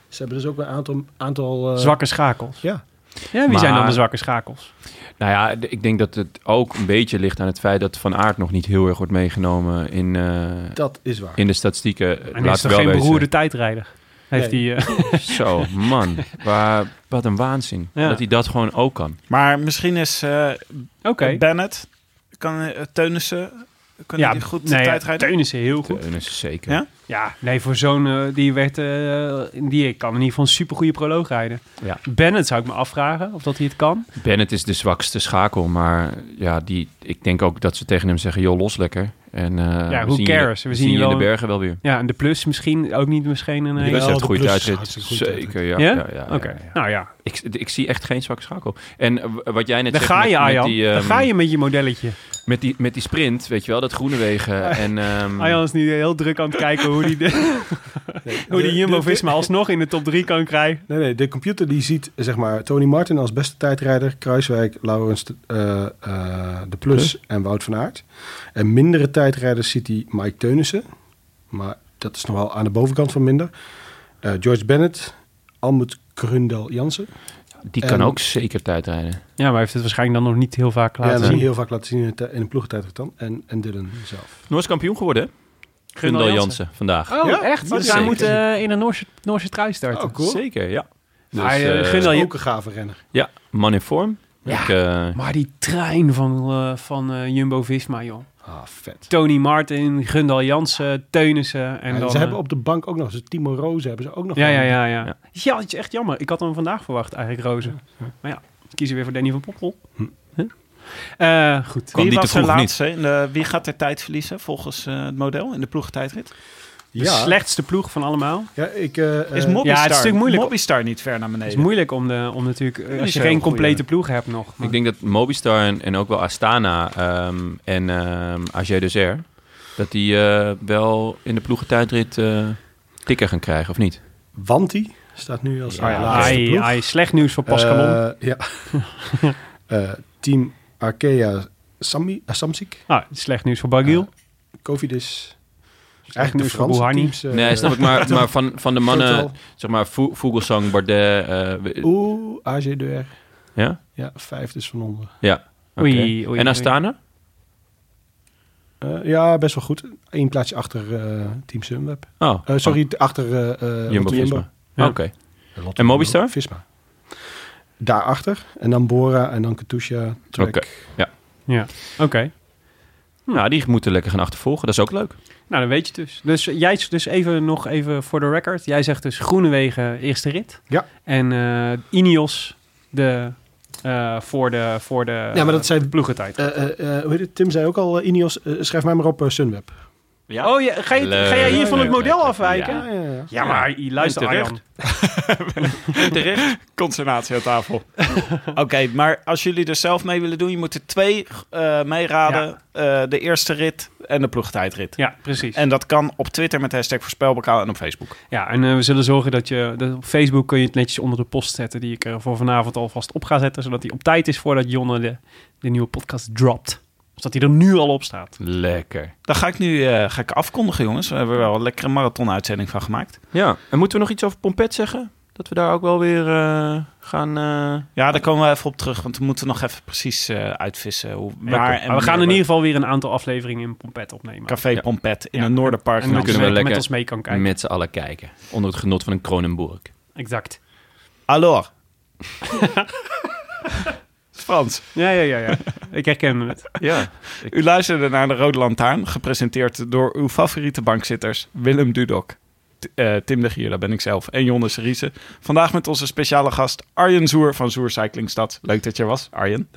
Ze hebben dus ook een aantal... aantal eh,
Zwakke schakels.
Ja.
Ja, wie
Maar-
zijn dan de zwakke schakels?
Nou ja, d- ik denk dat het ook een beetje ligt aan het feit dat Van Aert nog niet heel erg wordt meegenomen in, eh,
Dat is waar.
in de statistieken.
En
Laat
is er
wel
geen
wezen.
beroerde tijdrijder? Heeft
Nee.
die,
(laughs)
eh,
Zo, man. Waar, wat een waanzin.
Ja.
Dat hij dat gewoon ook kan.
Maar misschien is eh,
Oké.
Bennett, kan, eh, Teunissen, kan die goed de
nee,
tijd rijden?
Teunissen heel goed.
Teunissen Eh, zeker.
Ja?
Ja, nee, voor zo'n... eh, die, werd, eh, die kan in ieder geval een supergoeie proloog rijden.
Ja.
Bennett zou ik me afvragen of dat hij het kan.
Bennett is de zwakste schakel, maar ja, die, ik denk ook dat ze tegen hem zeggen, joh, los lekker. En, eh,
Ja,
we
who
zien
cares?
Je,
We zien
je
je
in de
wel-
bergen wel weer.
Ja, en de plus misschien ook niet misschien een...
Die
hele-
Jawel,
wedstrijd
de
goede
plus is
tijdrit.
hartstikke goed tijdrit.
Zeker, ja.
Ja?
ja? ja, ja,
Oké,
ja.
nou ja.
Ik, ik zie echt geen zwakke schakel. En eh, w- wat jij net
Daar
zegt
ga je,
met, met,
Arjan.
die,
Daar
ehm,
ga je met je modelletje.
met, die, met die sprint, weet je wel, dat Groenewegen. En, ehm,
Arjan is nu heel druk aan het kijken hoe die, de,
(laughs)
(laughs) hoe die Jumbo-Visma alsnog in de top 3 kan krijgen.
Nee, nee, de computer die ziet zeg maar Tony Martin als beste tijdrijder, Kruiswijk, Laurens de, eh, eh, de Plus en Wout van Aert. En mindere tijdrijders ziet hij Mike Teunissen, maar dat is nog wel aan de bovenkant van minder. Eh, George Bennett, Almut Grundel Jansen.
die kan
en-
ook zeker tijdrijden.
Ja, maar hij heeft het waarschijnlijk dan nog niet heel vaak
Ja,
laten
dat zie je
zien.
heel vaak laten zien in een tij- in een ploegentijdrit dan. En, en Dylan zelf.
Noors kampioen geworden, hè? Gundal Jansen vandaag.
Oh,
Ja?
echt?
Dat
Dus
is
hij
zeker.
moet eh, in een Noorse, Noorse trui starten.
Oh, cool.
Zeker, ja. Dus,
Ah, eh,
eh,
Gundal-
Ook een gave renner.
ja, man in vorm.
Ja.
Ik, eh,
Maar die trein van, eh, van eh, Jumbo-Visma, joh.
Ah, vet.
Tony Martin, Gundal Jansen, Teunissen. En
En
dan,
ze hebben
eh,
op de bank ook nog, dus Timo Rozen hebben ze ook nog.
Ja, ja,
genomen.
ja, ja.
Ja.
Ja, dat is echt jammer. Ik had hem vandaag verwacht, eigenlijk, Rozen. Maar ja, kiezen weer voor Danny van Poppel.
Hm.
Huh? Eh, goed.
Kwam
Wie
die te
was de
vroeg of niet?
laatste? In de- wie gaat er tijd verliezen volgens eh, het model in de ploegentijdrit?
De slechtste ploeg van allemaal.
Ja, ik, eh,
Is
eh,
Mobistar,
Ja, het is een stuk moeilijk.
Mobistar niet ver naar
Het is
beneden?
moeilijk om, de, om natuurlijk, eh,
is
als je
een
geen
hele
complete ploeg hebt nog. Maar-
Ik denk dat Mobistar en, en ook wel Astana ehm, en ehm AG de Zer... dat die eh, wel in de ploegentijdrit eh tikken gaan krijgen, of niet?
Wanti staat nu als
Ja,
Ah, laatste
Ah Ai,
ploeg.
ai, slecht nieuws voor Pascalon.
Eh, ja. (laughs) Eh, team Arkea Sami, eh, Samsic,
ah, slecht nieuws voor Bagiel.
Covidis.
Slecht
Eigenlijk
nieuws
de
voor
Franse
Rouhani.
teams. eh,
nee, snap ik.
(laughs)
Maar, maar van, van de mannen,
Total.
zeg maar, Vo- Vogelsang, Bardet... eh, we-
Oeh, AG2R.
ja?
Ja, vijf dus van onder.
Ja. oké.
Oei, oei,
en
oei.
Astana?
Eh, ja, best wel goed. Eén plaatsje achter eh, Team Sunweb.
Oh,
Eh, sorry, achter eh, eh,
oh,
Lotto
Jumbo-Visma.
Jumbo.
Oh, Oké. En Mobistar?
Visma. Daarachter. En dan Bora en dan Katusha. Trek.
Oké.
Ja, oké.
Nou, die moeten lekker gaan achtervolgen. Dat is ook leuk.
Nou, dan weet je het dus. Dus jij is dus even nog even voor de record. Jij zegt dus Groenewegen eerste rit.
Ja.
En eh Ineos de, eh, voor de, voor de
Ja, maar dat zijn-
ploegentijd.
Eh, eh, eh, hoe heet het? Tim zei ook al, eh, Ineos, eh, schrijf mij maar op eh, Sunweb.
Ja.
Oh, ja, ga, je,
Leuk,
ga jij hier van het
leuk,
model
leuk.
afwijken?
Ja.
Ja,
ja, ja.
maar luister
En terecht.
Arjan.
Terecht. Consternatie aan
(laughs)
tafel. Oké, maar als jullie er zelf mee willen doen, je moet er twee eh meeraden. Eh, de eerste rit en de ploegtijdrit.
Ja, precies.
En dat kan op Twitter met hashtag voorspelbokaal en op Facebook.
Ja, en eh, we zullen zorgen dat je... Dat op Facebook kun je het netjes onder de post zetten... die ik er voor vanavond alvast op ga zetten... zodat die op tijd is voordat Jonne de, de nieuwe podcast dropt. Zodat hij er nu al op staat.
Lekker.
Dan ga ik nu eh, ga ik afkondigen, jongens. We hebben er wel een lekkere marathon-uitzending van gemaakt.
Ja. En moeten we nog iets over Pompet zeggen? Dat we daar ook wel weer eh, gaan... eh,
Ja, daar komen we even op terug, want we moeten nog even precies eh, uitvissen. Hoe, waar en
Maar we gaan in
wanneer
ieder
we
geval weer een aantal afleveringen in Pompet opnemen.
Café
Ja.
Pompet in
Ja.
een Noorderpark.
En
in
dan
kunnen
kunnen
we lekker
Amsterdam.
met ons mee kan kijken.
met z'n allen kijken. Onder het genot van een Kronenburg.
Exact. (laughs)
Alors. Frans,
Ja, ja, ja, ja. ik herken het.
Ja.
u luisterde naar de Rode Lantaarn, gepresenteerd door uw favoriete bankzitters Willem Dudok, T- eh, Tim de Gier, dat ben ik zelf, en Jonne Riese. Vandaag met onze speciale gast Arjen Zoer van Zoer Cyclingstad. Leuk dat je er was, Arjen.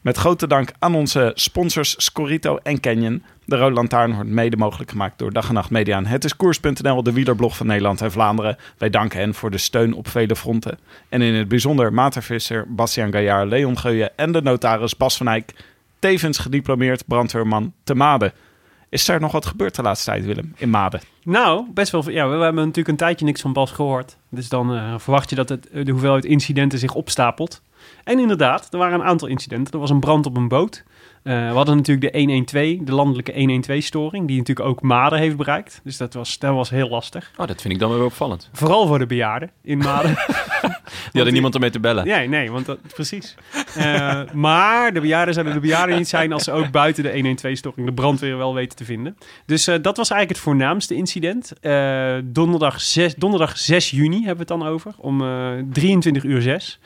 Met grote dank aan onze sponsors Scorito en Canyon. De Rode Lantaarn wordt mede mogelijk gemaakt door Dag en Nacht Media en Het is Koers.nl, de wielerblog van Nederland en Vlaanderen. Wij danken hen voor de steun op vele fronten. En in het bijzonder Maarten Visser, Bastiaan Gaillard, Leon Geuyen en de notaris Bas van Eyck. Tevens gediplomeerd brandweerman te Maden. Is er nog wat gebeurd de laatste tijd, Willem, in Maden?
Nou, best wel. veel- Ja, we, we hebben natuurlijk een tijdje niks van Bas gehoord. Dus dan eh, verwacht je dat het, eh, de hoeveelheid incidenten zich opstapelt. En inderdaad, er waren een aantal incidenten. Er was een brand op een boot. Eh, we hadden natuurlijk de 112, de landelijke 112-storing, die natuurlijk ook Maden heeft bereikt. Dus dat was, dat was heel lastig.
Oh, dat vind ik dan weer opvallend.
Vooral voor de bejaarden in Maden.
(laughs) Die hadden niemand ermee te bellen.
Nee, nee, want dat, precies. Eh, maar de bejaarden zouden de bejaarden niet zijn als ze ook buiten de 112-storing de brandweer wel weten te vinden. Dus eh, dat was eigenlijk het voornaamste incident. Eh, donderdag, 6, donderdag 6 juni hebben we het dan over, om eh 23 uur 6.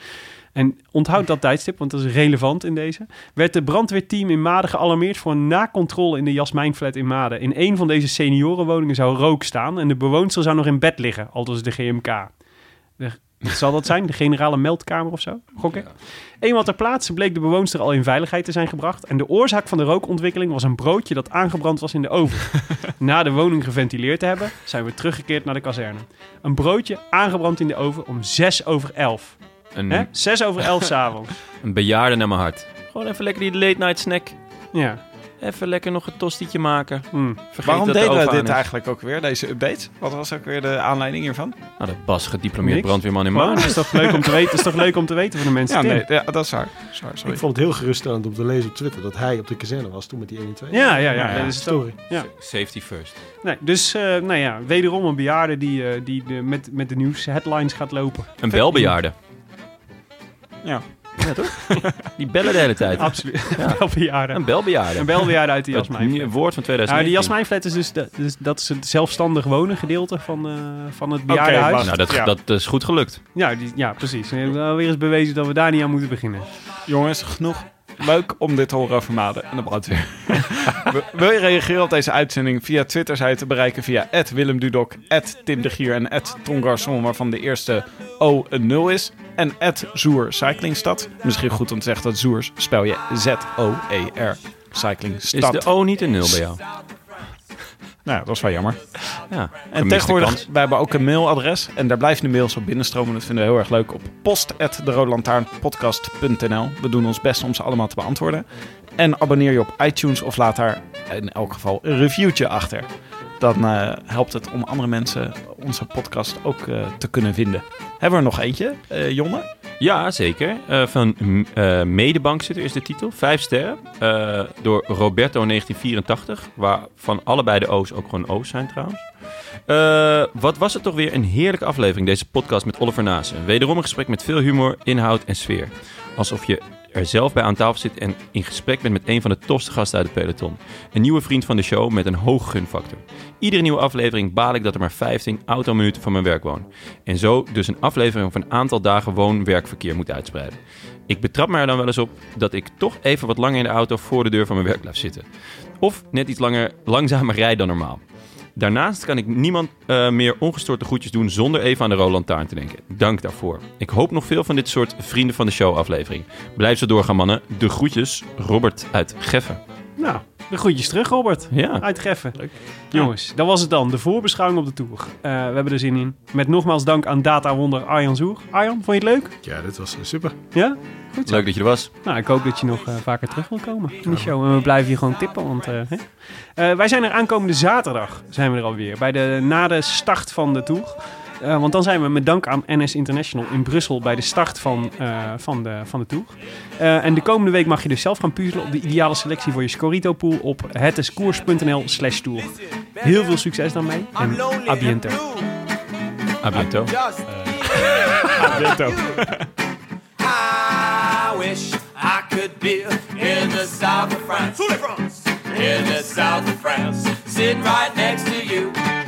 En onthoud dat tijdstip, want dat is relevant in deze. Werd de brandweerteam in Maden gealarmeerd voor een nakontrole in de Jasmijnflat in Maden. In een van deze seniorenwoningen zou rook staan en de bewoonster zou nog in bed liggen, aldus de GMK. Wat (laughs) zal dat zijn? De generale meldkamer of zo? Gokken. Eenmaal ter plaatse bleek de bewoonster al in veiligheid te zijn gebracht. En de oorzaak van de rookontwikkeling was een broodje dat aangebrand was in de oven.
(laughs)
Na de woning geventileerd te hebben, zijn we teruggekeerd naar de kazerne. Een broodje aangebrand in de oven om 6 over 11. Hè?
Hmm.
Een,
6 over 11
(laughs)
s'avonds.
een bejaarde naar mijn hart. Gewoon even lekker die late night snack.
Ja.
Even lekker nog een tostietje maken.
Hmm.
Vergeet
Waarom
dat de
deden we
oven aan
dit
is.
eigenlijk ook weer, deze update? Wat was ook weer de aanleiding hiervan?
Nou, dat Bas gediplomeerd
Niks.
brandweerman in
Maar
Maan.
dat Oh, is toch leuk om te weten, is toch leuk om te weten voor de mensen.
Ja,
Tim?
nee, ja, dat is waar. Dat is waar,
Ik
sorry.
vond het heel geruststellend om te lezen op Twitter dat hij op de kazerne was toen met die 1 en 2.
ja, ja, ja,
Ja, ja.
Dat is het ook.
Story.
Safety first.
Nee, dus, eh, nou ja, wederom een bejaarde die, eh, die de, met, met de nieuws headlines gaat lopen.
Een belbejaarde.
Ja.
Ja, toch? (laughs) Die bellen de hele tijd.
Absoluut. (laughs) Wel bejaarden.
Een belbejaarde.
Een belbejaarde uit de Jasmijn.
Het woord van 2019.
Nou, die Jasmijnflat is dus, de, dus dat is het zelfstandig wonen gedeelte van, eh, van het
Oké,
bejaardenhuis.
wacht.
Nou, dat,
Ja.
dat is goed gelukt.
ja, die, ja, precies. We hebben alweer eens bewezen dat we daar niet aan moeten beginnen.
Jongens, genoeg. Leuk om dit te horen over Maden en de (laughs) brandweer. W- Wil je reageren op deze uitzending? Via Twitter zijn te bereiken via Willem Dudok, Tim de Gier en Ton Garçon, waarvan de eerste O een 0 is. En Zoer Cyclingstad. Misschien goed om te zeggen dat Zoers spel je Z-O-E-R.
Is
Cyclingstad.
de O niet een nul bij jou?
Nou, dat is wel jammer.
Ja.
En tegenwoordig, wij hebben ook een mailadres. En daar blijven de mails op binnenstromen. Dat vinden we heel erg leuk. Op post.deroodlantaarnpodcast.nl We doen ons best om ze allemaal te beantwoorden. En abonneer je op iTunes of laat daar in elk geval een reviewtje achter. Dan eh, helpt het om andere mensen onze podcast ook eh, te kunnen vinden. Hebben we er nog eentje, eh, Jonne?
Ja, zeker. Eh, van mm, eh, Medebank zit er is de titel. Vijf sterren. Eh, door Roberto 1984. Waarvan allebei de O's ook gewoon O's zijn trouwens. Eh, wat was het toch weer een heerlijke aflevering, deze podcast met Oliver Naassen. Wederom een gesprek met veel humor, inhoud en sfeer. Alsof je er zelf bij aan tafel zit en in gesprek bent met een van de tofste gasten uit het peloton. Een nieuwe vriend van de show met een hoog gunfactor. Iedere nieuwe aflevering baal ik dat er maar 15 autominuten van mijn werk woon. En zo dus een aflevering van een aantal dagen woon-werkverkeer moet uitspreiden. Ik betrap me er dan wel eens op dat ik toch even wat langer in de auto voor de deur van mijn werk blijf zitten. Of net iets langer, langzamer rijd dan normaal. Daarnaast kan ik niemand eh, meer ongestoord de groetjes doen zonder even aan de Roland Taarn te denken. Dank daarvoor. Ik hoop nog veel van dit soort vrienden van de show aflevering. Blijf zo doorgaan mannen. De groetjes, Robert uit Geffen.
Nou, de groetjes terug, Robert.
Ja,
Uitgeffen. Jongens, dat was het dan. De voorbeschouwing op de Tour. Eh, we hebben er zin in. Met nogmaals dank aan Data Wonder Arjan Zoer. Arjan, vond je het leuk?
Ja, dit was eh, super.
Ja?
leuk dat je er was.
Nou, ik hoop dat je nog eh, vaker terug wil komen in de show. En we blijven je gewoon tippen, want eh, hè? Eh, wij zijn er aankomende zaterdag, zijn we er alweer, bij de, na de start van de Tour. Eh, want dan zijn we met dank aan NS International in Brussel bij de start van, eh, van, de, van de Tour. Eh, en de komende week mag je dus zelf gaan puzzelen op de ideale selectie voor je Scorito-pool op hetiskoers.nl slash tour. Heel veel succes daarmee en a biento.
A bientôt.
I wish I could be in the south of France. In the south of France. Sitting right next to you.